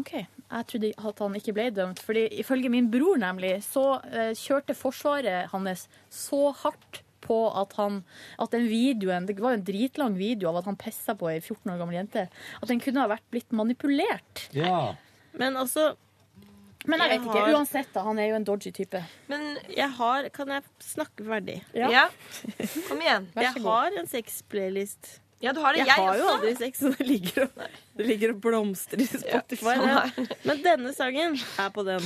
Speaker 3: Ok, Jeg trodde at han ikke ble dømt. Fordi ifølge min bror nemlig, så eh, kjørte forsvaret hans så hardt på at, han, at den videoen Det var jo en dritlang video av at han pissa på ei
Speaker 10: (laughs)
Speaker 3: 14 år gammel jente. At den kunne ha vært blitt manipulert.
Speaker 2: Ja.
Speaker 10: Men også
Speaker 3: Men jeg vet ikke.
Speaker 10: har-
Speaker 3: Uansett, da. Han er jo en dodgy type.
Speaker 10: Men jeg har Kan jeg snakke ferdig?
Speaker 3: Ja.
Speaker 8: (laughs)
Speaker 10: Kom igjen.
Speaker 3: Vær så
Speaker 10: Jeg
Speaker 3: god.
Speaker 10: har
Speaker 8: (laughs)
Speaker 10: en sexplaylist.
Speaker 8: Ja, du har det.
Speaker 10: Jeg,
Speaker 8: Jeg
Speaker 10: har jo
Speaker 8: også.
Speaker 10: aldri sex, så det ligger og, det ligger og blomstrer i Spotify.
Speaker 8: Ja,
Speaker 10: det. Men denne sangen er på den.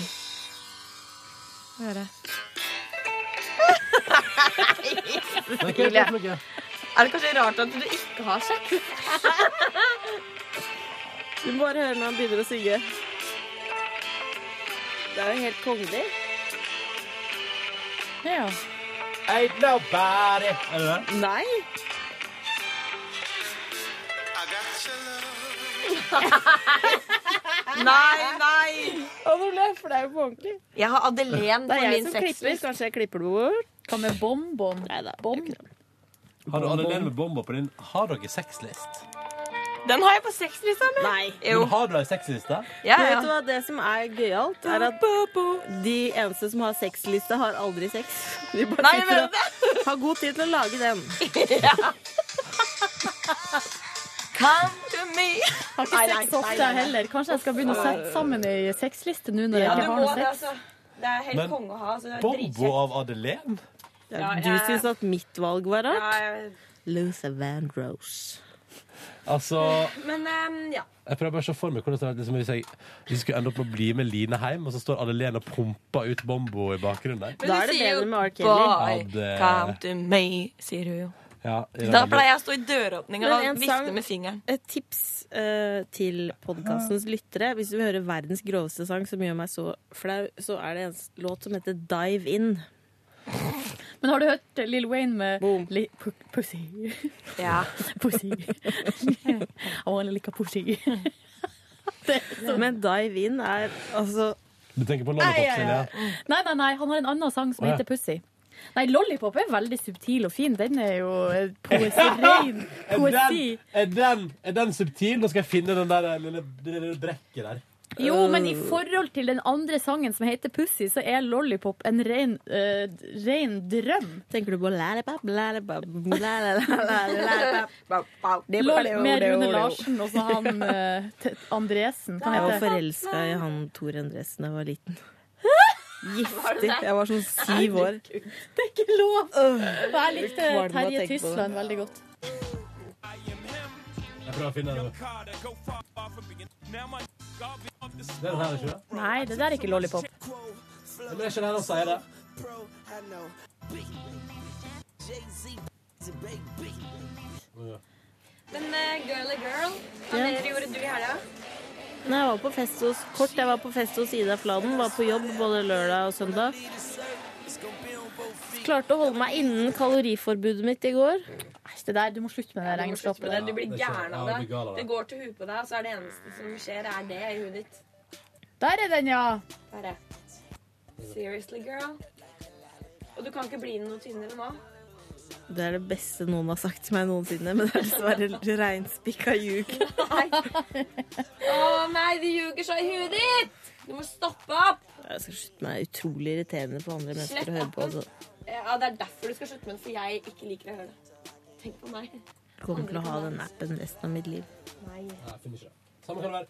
Speaker 10: Hva er det?
Speaker 8: Cecilie. Er det kanskje rart at du ikke har sex?
Speaker 10: Du må bare høre når han begynner å synge. Det er jo helt kongelig. Ja.
Speaker 18: Ain't nobody Er det det?
Speaker 10: Nei.
Speaker 8: Nei, nei!
Speaker 10: Og nå ble jeg flau på ordentlig.
Speaker 8: Jeg har Adelén
Speaker 10: Det
Speaker 8: på
Speaker 10: er jeg
Speaker 8: min
Speaker 10: som klipper.
Speaker 8: sexlist.
Speaker 10: Kanskje jeg klipper det bort. Hva med bonbon?
Speaker 2: Har du Adelene med bomba på din? Har dere sexlist?
Speaker 10: Den har jeg på sexlista mi. Nei.
Speaker 2: Men har du ei sexliste?
Speaker 10: Men Vet du hva det som er gøyalt, er at de eneste som har sexliste, har aldri sex. De bare
Speaker 8: Nei,
Speaker 10: sitter og har god tid til å lage den.
Speaker 8: Come to me.
Speaker 3: Har ikke sex ofte heller. Kanskje jeg skal begynne å sette sammen ei sexliste nå når
Speaker 8: Ja,
Speaker 3: jeg
Speaker 8: du
Speaker 3: ikke
Speaker 8: må
Speaker 3: har
Speaker 8: det,
Speaker 3: noe sex.
Speaker 8: altså. Det er helt
Speaker 2: Men
Speaker 8: konge å ha. Så det er
Speaker 2: Bombo
Speaker 8: dritkjekt.
Speaker 2: av Adelene?
Speaker 8: Ja,
Speaker 10: Du
Speaker 8: jeg-
Speaker 10: syns at mitt valg var rart?
Speaker 8: Ja, jeg-
Speaker 10: Luther Vandross.
Speaker 2: Altså
Speaker 8: Men ehm, ja.
Speaker 2: Jeg prøver bare å se for meg hvordan det er liksom, hvis, jeg, hvis jeg skulle ende opp med å bli med Line hjem, og så står Adelene og pumper ut bombo i bakgrunnen der.
Speaker 8: Men du sier jo
Speaker 2: Ja,
Speaker 8: 'boy,
Speaker 2: det-
Speaker 8: come to me', sier hun jo.
Speaker 2: Ja, det er
Speaker 8: Da
Speaker 2: veldig-
Speaker 8: pleier jeg å stå i døråpninga
Speaker 10: Men en
Speaker 8: og vifte
Speaker 10: sang-
Speaker 8: med fingeren.
Speaker 10: Et tips eh, til podkastens lyttere. Hvis du vil høre verdens groveste sang som gjør meg så flau, så er det en s- låt som heter Dive In.
Speaker 3: Men har du hørt Lill Wayne med li pu Pussy?
Speaker 8: Ja.
Speaker 3: (laughs) Pussy. I wanna lick a pussy.
Speaker 10: Men Dive In er altså
Speaker 2: Du tenker på
Speaker 3: Nei,
Speaker 2: Lollipop,
Speaker 3: ja,
Speaker 2: Silje?
Speaker 3: ja. nei, nei, nei, han har en annen sang som
Speaker 2: Å, ja.
Speaker 3: heter Pussy. Nei, Lollipop er veldig subtil og fin. Den er jo eh, poesi, ren
Speaker 2: Er den,
Speaker 3: poesi.
Speaker 2: er, den, er den subtil? Nå skal jeg finne den der eh, lille, det lille brekket der.
Speaker 3: Jo, men i forhold til den andre sangen som heter Pussy, så er Lollipop en ren, eh, ren drøm.
Speaker 10: Tenker du på Lollipop, Lollipop, Lollipop
Speaker 3: Lollipop med Rune Larsen og så han eh, Ted Andresen. Hva
Speaker 10: Jeg var
Speaker 3: heter det?
Speaker 10: forelska i han Tor Endresen da jeg var liten. Giftig. Jeg var sånn syv år.
Speaker 3: Det er ikke lov! Og jeg likte
Speaker 10: Kvalm av å
Speaker 3: eh, Terje
Speaker 10: tenke på det.
Speaker 3: Tysland veldig godt.
Speaker 2: Jeg prøver å finne den. Det er den her, ikke det?
Speaker 3: Nei, det der er ikke Lollipop.
Speaker 2: Men det er ikke den han sier det.
Speaker 8: Men eh, girly girl, hva
Speaker 10: Ja.
Speaker 8: mer gjorde du i helga?
Speaker 10: Nei, jeg var på fest hos Kort. Jeg var på fest hos Ida Fladen. Var på jobb både lørdag og søndag. Klarte å holde meg innen kaloriforbudet mitt i går.
Speaker 3: Det der, Du må slutte med det
Speaker 8: Men
Speaker 3: regnskapet.
Speaker 8: Du blir gæren av
Speaker 3: Ja,
Speaker 8: det.
Speaker 3: du blir gal av det.
Speaker 8: Det går til huet på deg, og så er det eneste som skjer, er det i huet ditt.
Speaker 3: Der er den, ja!
Speaker 8: Der er. Seriously, girl. Og du kan ikke bli noe tynnere nå.
Speaker 10: Det er det beste noen har sagt til meg noensinne, men det er
Speaker 3: (laughs)
Speaker 10: dessverre reinspikka ljug.
Speaker 8: Å nei, de ljuger så i huet ditt! Du må stoppe opp!
Speaker 10: Jeg skal slutte meg utrolig irriterende på andre mennesker å høre på. Altså.
Speaker 8: Ja, Det er derfor du skal slutte med det, for jeg ikke liker å høre det. Tenk på meg.
Speaker 10: Jeg kommer til å ha den appen resten av mitt liv.
Speaker 8: Nei.
Speaker 2: Samme kan det være.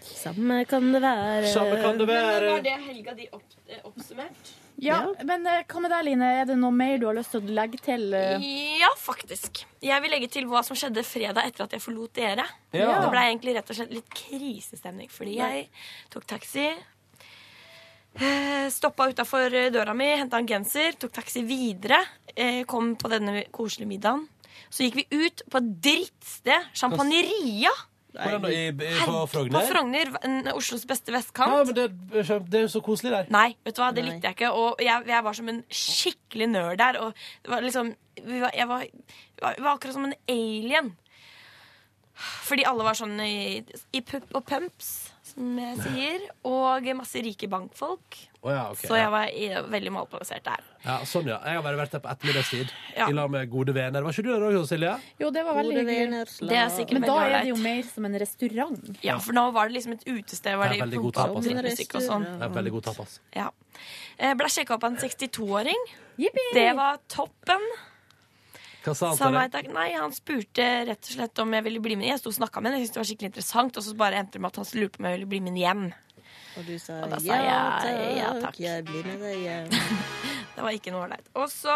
Speaker 10: Samme kan det være.
Speaker 2: Samme kan det
Speaker 8: Men nå var det helga di opp, eh, oppsummert?
Speaker 3: Ja, Men eh, hva med deg, Line? Er det noe mer du har lyst til å legge til? eh?
Speaker 8: Ja, faktisk. Jeg vil legge til hva som skjedde fredag etter at jeg forlot dere.
Speaker 3: Ja.
Speaker 8: Det ble egentlig rett og slett litt krisestemning, fordi
Speaker 3: Nei.
Speaker 8: jeg tok taxi. eh, Stoppa utafor døra mi, henta en genser, tok taxi videre. eh, Kom på denne koselige middagen. Så gikk vi ut på et drittsted. Champagneria.
Speaker 2: Hvordan da? I, i, på
Speaker 8: Herregud,
Speaker 2: Frogner?
Speaker 8: På Frogner, en- Oslos beste vestkant.
Speaker 2: Ja, men det, det er jo så koselig der.
Speaker 8: Nei, vet du hva, det likte jeg ikke. Og jeg, jeg var som en skikkelig nerd der. Og det var liksom vi var, Jeg var, jeg var akkurat som en alien. Fordi alle var sånn i, i pupp og pumps, som jeg sier. Og masse rike bankfolk.
Speaker 2: Å ja, ok,
Speaker 8: Så
Speaker 2: ja.
Speaker 8: jeg var i- veldig malplassert der.
Speaker 2: Ja, sånn, ja. Jeg har bare vært der på ettermiddagstid.
Speaker 8: Ja.
Speaker 2: I lag med gode venner. Var ikke du der òg, Silje?
Speaker 3: Jo, det var veldig
Speaker 8: Gode
Speaker 3: hyggelig.
Speaker 8: venner, Det er sikkert
Speaker 3: Men da
Speaker 8: veldig
Speaker 3: er det jo mer som en restaurant.
Speaker 8: Ja, for nå var det liksom et utested. Var
Speaker 2: Det
Speaker 8: det
Speaker 2: er veldig god
Speaker 8: pumpa opp
Speaker 2: tapas.
Speaker 8: drittmusikk og sånn.
Speaker 2: Det er veldig god tapas.
Speaker 8: Ja. Eh, Ble sjekka opp av en 62-åring. Det var toppen.
Speaker 2: Hva sa han
Speaker 8: Sa
Speaker 2: til
Speaker 8: nei
Speaker 2: deg?
Speaker 8: takk. Nei, han spurte rett og slett om jeg ville bli med. Jeg sto og snakka med ham, jeg syntes det var skikkelig interessant, og så bare endte det med at han lurte på om jeg ville bli med igjen.
Speaker 19: Og du sa
Speaker 8: Og da sa
Speaker 19: ja,
Speaker 8: jeg,
Speaker 19: takk,
Speaker 8: ja, takk.
Speaker 19: jeg blir med deg. ja.
Speaker 8: (laughs) Det var ikke noe ålreit. Og så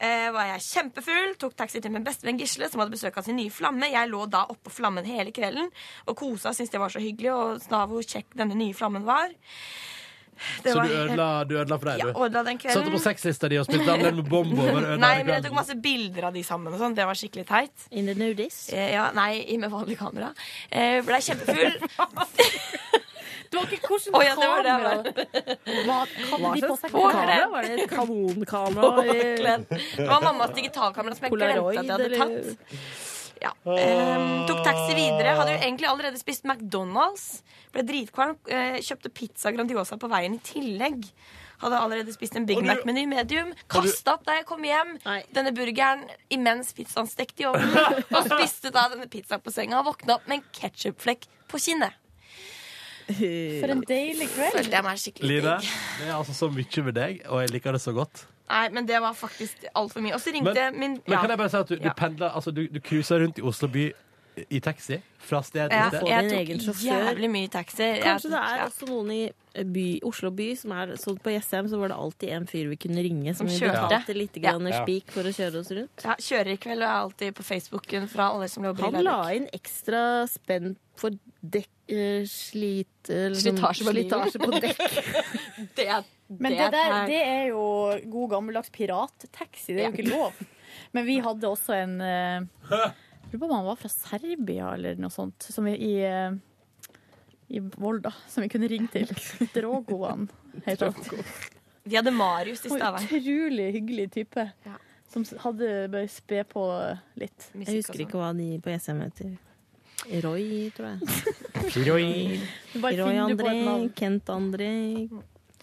Speaker 8: eh, var jeg kjempefull, tok taxi til min bestevenn Gisle, som hadde besøk av sin nye flamme. Jeg lå da oppå flammen hele kvelden og kosa, syntes det var så hyggelig, og sa hvor kjekk denne nye flammen var. Det
Speaker 2: Så
Speaker 8: var
Speaker 2: du
Speaker 8: helt-
Speaker 2: ødela, du ødela for deg,
Speaker 8: Ja,
Speaker 2: du?
Speaker 8: ødela den kvelden.
Speaker 2: Satte på sexlista di og spilte Daniel med bombo? og bare ødela
Speaker 8: Nei,
Speaker 2: hele
Speaker 8: men jeg tok
Speaker 2: kvelden.
Speaker 8: masse bilder av de sammen. og sånn. Det var skikkelig teit. In the nudies? Eh, ja, nei, i- med vanlig kamera. Eh, ble kjempefull.
Speaker 3: Det var ikke hvordan
Speaker 8: Å, ja, det var det,
Speaker 3: kamera. Hva hadde de på seg? Kamera? Var det liksom- et kanonkamera?
Speaker 8: Påkledd. Det var mammas digitalkamera som jeg
Speaker 3: Polaroid,
Speaker 8: glemte at jeg hadde
Speaker 3: eller?
Speaker 8: tatt. Ja. Ehm, tok taxi videre. Hadde jo egentlig allerede spist McDonald's. Ble dritkvalm. eh, Kjøpte pizza Grandiosa på veien i tillegg. Hadde allerede spist en Big
Speaker 2: Og du-
Speaker 8: Mac-meny medium.
Speaker 2: Og du-
Speaker 8: Kasta opp da jeg kom hjem denne burgeren imens pizzaen stekte i ovnen. Og spiste da denne pizzaen på senga og våkna opp med en ketsjupflekk på kinnet.
Speaker 3: For en deilig kveld.
Speaker 8: Følte jeg meg skikkelig
Speaker 2: Line,
Speaker 8: digg.
Speaker 2: det er altså så mye med deg, og jeg liker det så godt.
Speaker 8: Nei, men det var faktisk altfor mye. Og så
Speaker 2: Men,
Speaker 8: ringte min
Speaker 2: men kan jeg bare si at du, du pendler Altså, du, du cruiser rundt i Oslo by i taxi fra sted til sted?
Speaker 8: jeg tok jævlig mye taxi. Jeg
Speaker 10: Kanskje det
Speaker 8: tok-
Speaker 10: er
Speaker 8: ja.
Speaker 10: også noen i by, Oslo by som er sånn På Jessheim så var det alltid en fyr vi kunne ringe som,
Speaker 8: Som
Speaker 10: vi
Speaker 8: kjørte.
Speaker 10: betalte litt
Speaker 8: Ja.
Speaker 10: grann spik for å kjøre oss rundt.
Speaker 8: Ja, kjører i kveld og er alltid på Facebooken fra alle som jobber i
Speaker 10: Han la
Speaker 8: Larvik.
Speaker 10: inn ekstra spenn for dekk... eh, Slit... eh, liksom-
Speaker 3: sånn
Speaker 8: Slitasje på bilen.
Speaker 10: slitasje på dekk.
Speaker 8: det er,
Speaker 3: Men det,
Speaker 10: Det er
Speaker 3: der,
Speaker 10: teit.
Speaker 3: det er jo god gammeldags pirattaxi. Det er jo ikke lov. Men vi hadde også en eh, Jeg lurer på om han var fra Serbia eller noe sånt, som vi, i, eh, i Volda, som vi kunne ringe til. Drogoan heter han.
Speaker 8: Vi hadde Marius i
Speaker 3: Og
Speaker 8: Stavern.
Speaker 3: Utrolig
Speaker 8: (laughs)
Speaker 3: hyggelig type. Som s- hadde bare spe på litt.
Speaker 10: Jeg husker
Speaker 8: sånn.
Speaker 10: ikke hva de på Jessheim heter. Roy, tror jeg.
Speaker 2: Roy.
Speaker 3: Bare
Speaker 10: Roy
Speaker 3: finner du på et
Speaker 10: André.
Speaker 3: navn.
Speaker 10: Kent André.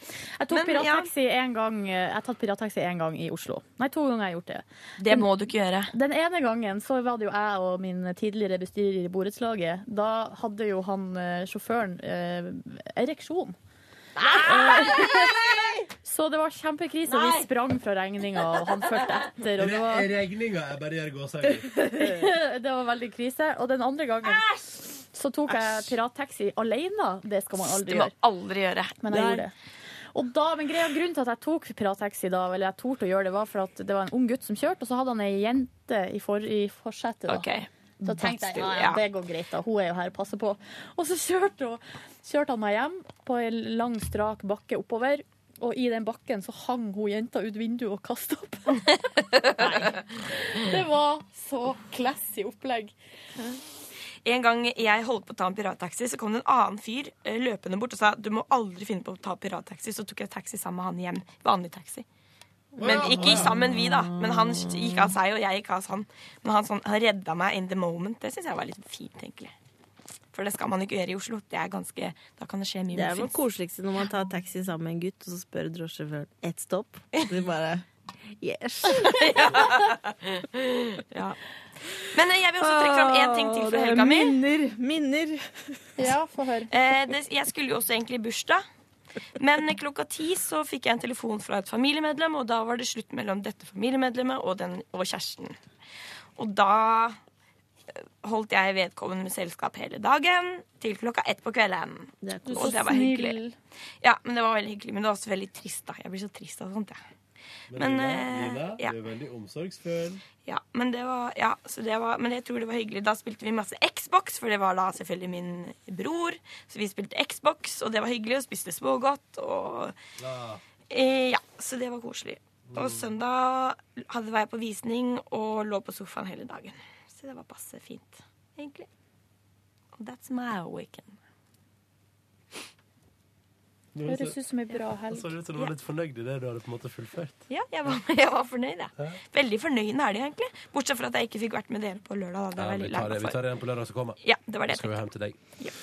Speaker 3: Jeg
Speaker 10: Men, ja.
Speaker 3: tok pirattaxi en gang eh, Jeg har tatt pirattaxi en gang i Oslo. Nei, to ganger har jeg gjort det.
Speaker 8: Det må du ikke gjøre.
Speaker 3: Den ene gangen så var det jo jeg og min tidligere bestyrer i borettslaget. Da hadde jo han eh, sjåføren eh, ereksjon. Eh, (laughs) Så det var kjempekrise, og vi sprang fra regninga, og han fulgte etter. Og det, var,
Speaker 2: Regninga er bare gjør gåseøyne.
Speaker 3: (laughs) det var veldig krise. Og den andre gangen så tok jeg pirattaxi alene. Det skal man
Speaker 8: Det
Speaker 3: aldri
Speaker 8: må
Speaker 3: gjøre.
Speaker 8: aldri gjøre.
Speaker 3: Men jeg gjorde det. Og da, men greia, grunnen til at jeg tok pirattaxi da, eller jeg torde å gjøre det, var for at det var en ung gutt som kjørte, og så hadde han ei jente i, for, i forsetet. Da.
Speaker 8: Ok.
Speaker 3: Da tenkte jeg
Speaker 8: That's still-
Speaker 3: ja, ja,
Speaker 8: ja.
Speaker 3: det går greit, da. Hun er jo her og passer på. Og så kjørte, hun, kjørte han meg hjem på en lang, strak bakke oppover. Og i den bakken så hang hun jenta ut vinduet og kasta opp. (laughs) Nei. Det var så classy opplegg.
Speaker 8: En gang jeg holdt på å ta en pirattaxi, så kom det en annen fyr eh, løpende bort og sa du må aldri finne på å ta pirattaxi. Så tok jeg taxi sammen med han hjem. Vanlig taxi. Men ikke sammen vi, da. Men han gikk av seg, og jeg gikk av han. Men han, sånn, han redda meg in the moment. Det syns jeg var litt fint, egentlig. For det skal man ikke gjøre i Oslo. Det er ganske, da kan det skje mye
Speaker 10: Det er vel
Speaker 8: muffins.
Speaker 10: koseligste når man tar taxi sammen med en gutt, og så spør drosjesjåføren ett stopp. Og du
Speaker 3: (laughs)
Speaker 10: bare Yes!
Speaker 8: ja. Men eh, jeg vil også trekke fram én ting til
Speaker 10: Åh,
Speaker 8: fra
Speaker 10: det er
Speaker 8: helga mi.
Speaker 10: Minner! minner.
Speaker 3: Ja, få høre.
Speaker 8: Eh, Jeg skulle jo også egentlig i bursdag. Men klokka ti så fikk jeg en telefon fra et familiemedlem, og da var det slutt mellom dette familiemedlemmet og, den, og kjæresten. Og da eh, holdt jeg vedkommende med selskap hele dagen til klokka ett på kvelden.
Speaker 10: Det er
Speaker 8: Og
Speaker 10: koselig.
Speaker 8: det var hyggelig. Ja, men det var veldig hyggelig. Men det var også veldig trist, da. Jeg blir så trist av sånt, jeg. Men, eh, ja.
Speaker 2: er veldig omsorgsfull.
Speaker 8: Ja, men det var, ja, så det var Men jeg tror det var hyggelig. Da spilte vi masse Xbox, for det var da selvfølgelig min bror. Så vi spilte Xbox, og det var hyggelig, og spiste smågodt og eh, Ja, så det var koselig.
Speaker 2: Mm.
Speaker 8: Og søndag hadde var jeg på visning og lå på sofaen hele dagen. Så det var passe fint, egentlig. Og that's my weekend.
Speaker 3: Høres ut som ei bra helg.
Speaker 2: Så ut som Altså, du var litt fornøyd i det du hadde på en måte fullført.
Speaker 8: Ja, jeg var, (laughs) jeg var fornøyd, jeg. Veldig fornøyd med helga, egentlig. Bortsett fra at jeg ikke fikk vært med dere på lørdag.
Speaker 2: Ja,
Speaker 8: Da. Det var
Speaker 2: vi,
Speaker 8: jeg veldig lei
Speaker 2: tar det,
Speaker 8: meg
Speaker 2: vi
Speaker 8: for.
Speaker 2: tar det igjen på lørdag som kommer.
Speaker 8: Ja, det var det
Speaker 2: Så skal vi hjem til deg.
Speaker 8: Ja.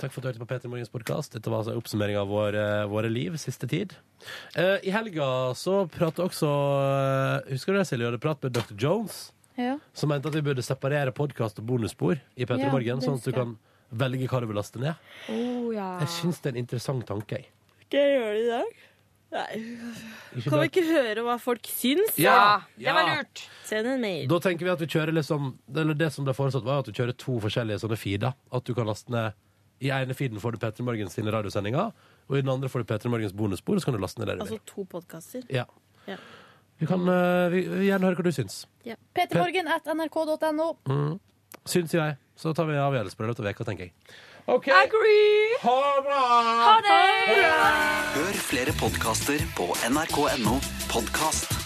Speaker 2: Takk for at du hørte på Peter Morgens podkast. Dette var altså en oppsummering av vår, eh, våre liv siste tid. Eh, I helga så pratet også eh, Husker du det, Silje? Du hadde prat med Dr. Jones,
Speaker 3: Ja.
Speaker 2: som mente at vi burde separere podkast og bonusspor i Peter
Speaker 8: Ja,
Speaker 2: Morgen,
Speaker 8: det
Speaker 2: sånn at du
Speaker 8: husker jeg.
Speaker 2: kan velge hva du vil laste ned.
Speaker 8: Oh, ja.
Speaker 2: Jeg syns det er en interessant tanke. jeg.
Speaker 10: Skal jeg gjøre det i dag? Nei.
Speaker 2: Ikke
Speaker 10: Kan
Speaker 2: bra.
Speaker 10: vi ikke høre hva folk syns?
Speaker 2: Ja, Ja, det var ja.
Speaker 10: lurt. Send en mail.
Speaker 2: Da tenker vi at du kjører liksom eller Det som ble foreslått, var at du kjører to forskjellige sånne feeder. At du kan laste ned I ene feeden får du P3 Morgens sine radiosendinger, og i den andre får du P3 Morgens bonusspor, og så kan du laste ned der du
Speaker 10: Altså
Speaker 2: vil.
Speaker 10: to podkaster.
Speaker 2: Ja.
Speaker 10: Ja.
Speaker 2: Vi kan eh, vi, vi vil gjerne høre hva du syns.
Speaker 10: Ja. Petermorgen at nrk.no.
Speaker 2: Mm. Syns jo jeg. Så tar vi avgjørelse på det i løpet av veka, tenker jeg. OK. Ha det!
Speaker 15: Ha det!
Speaker 17: Hør flere podkaster på nrk.no podkast.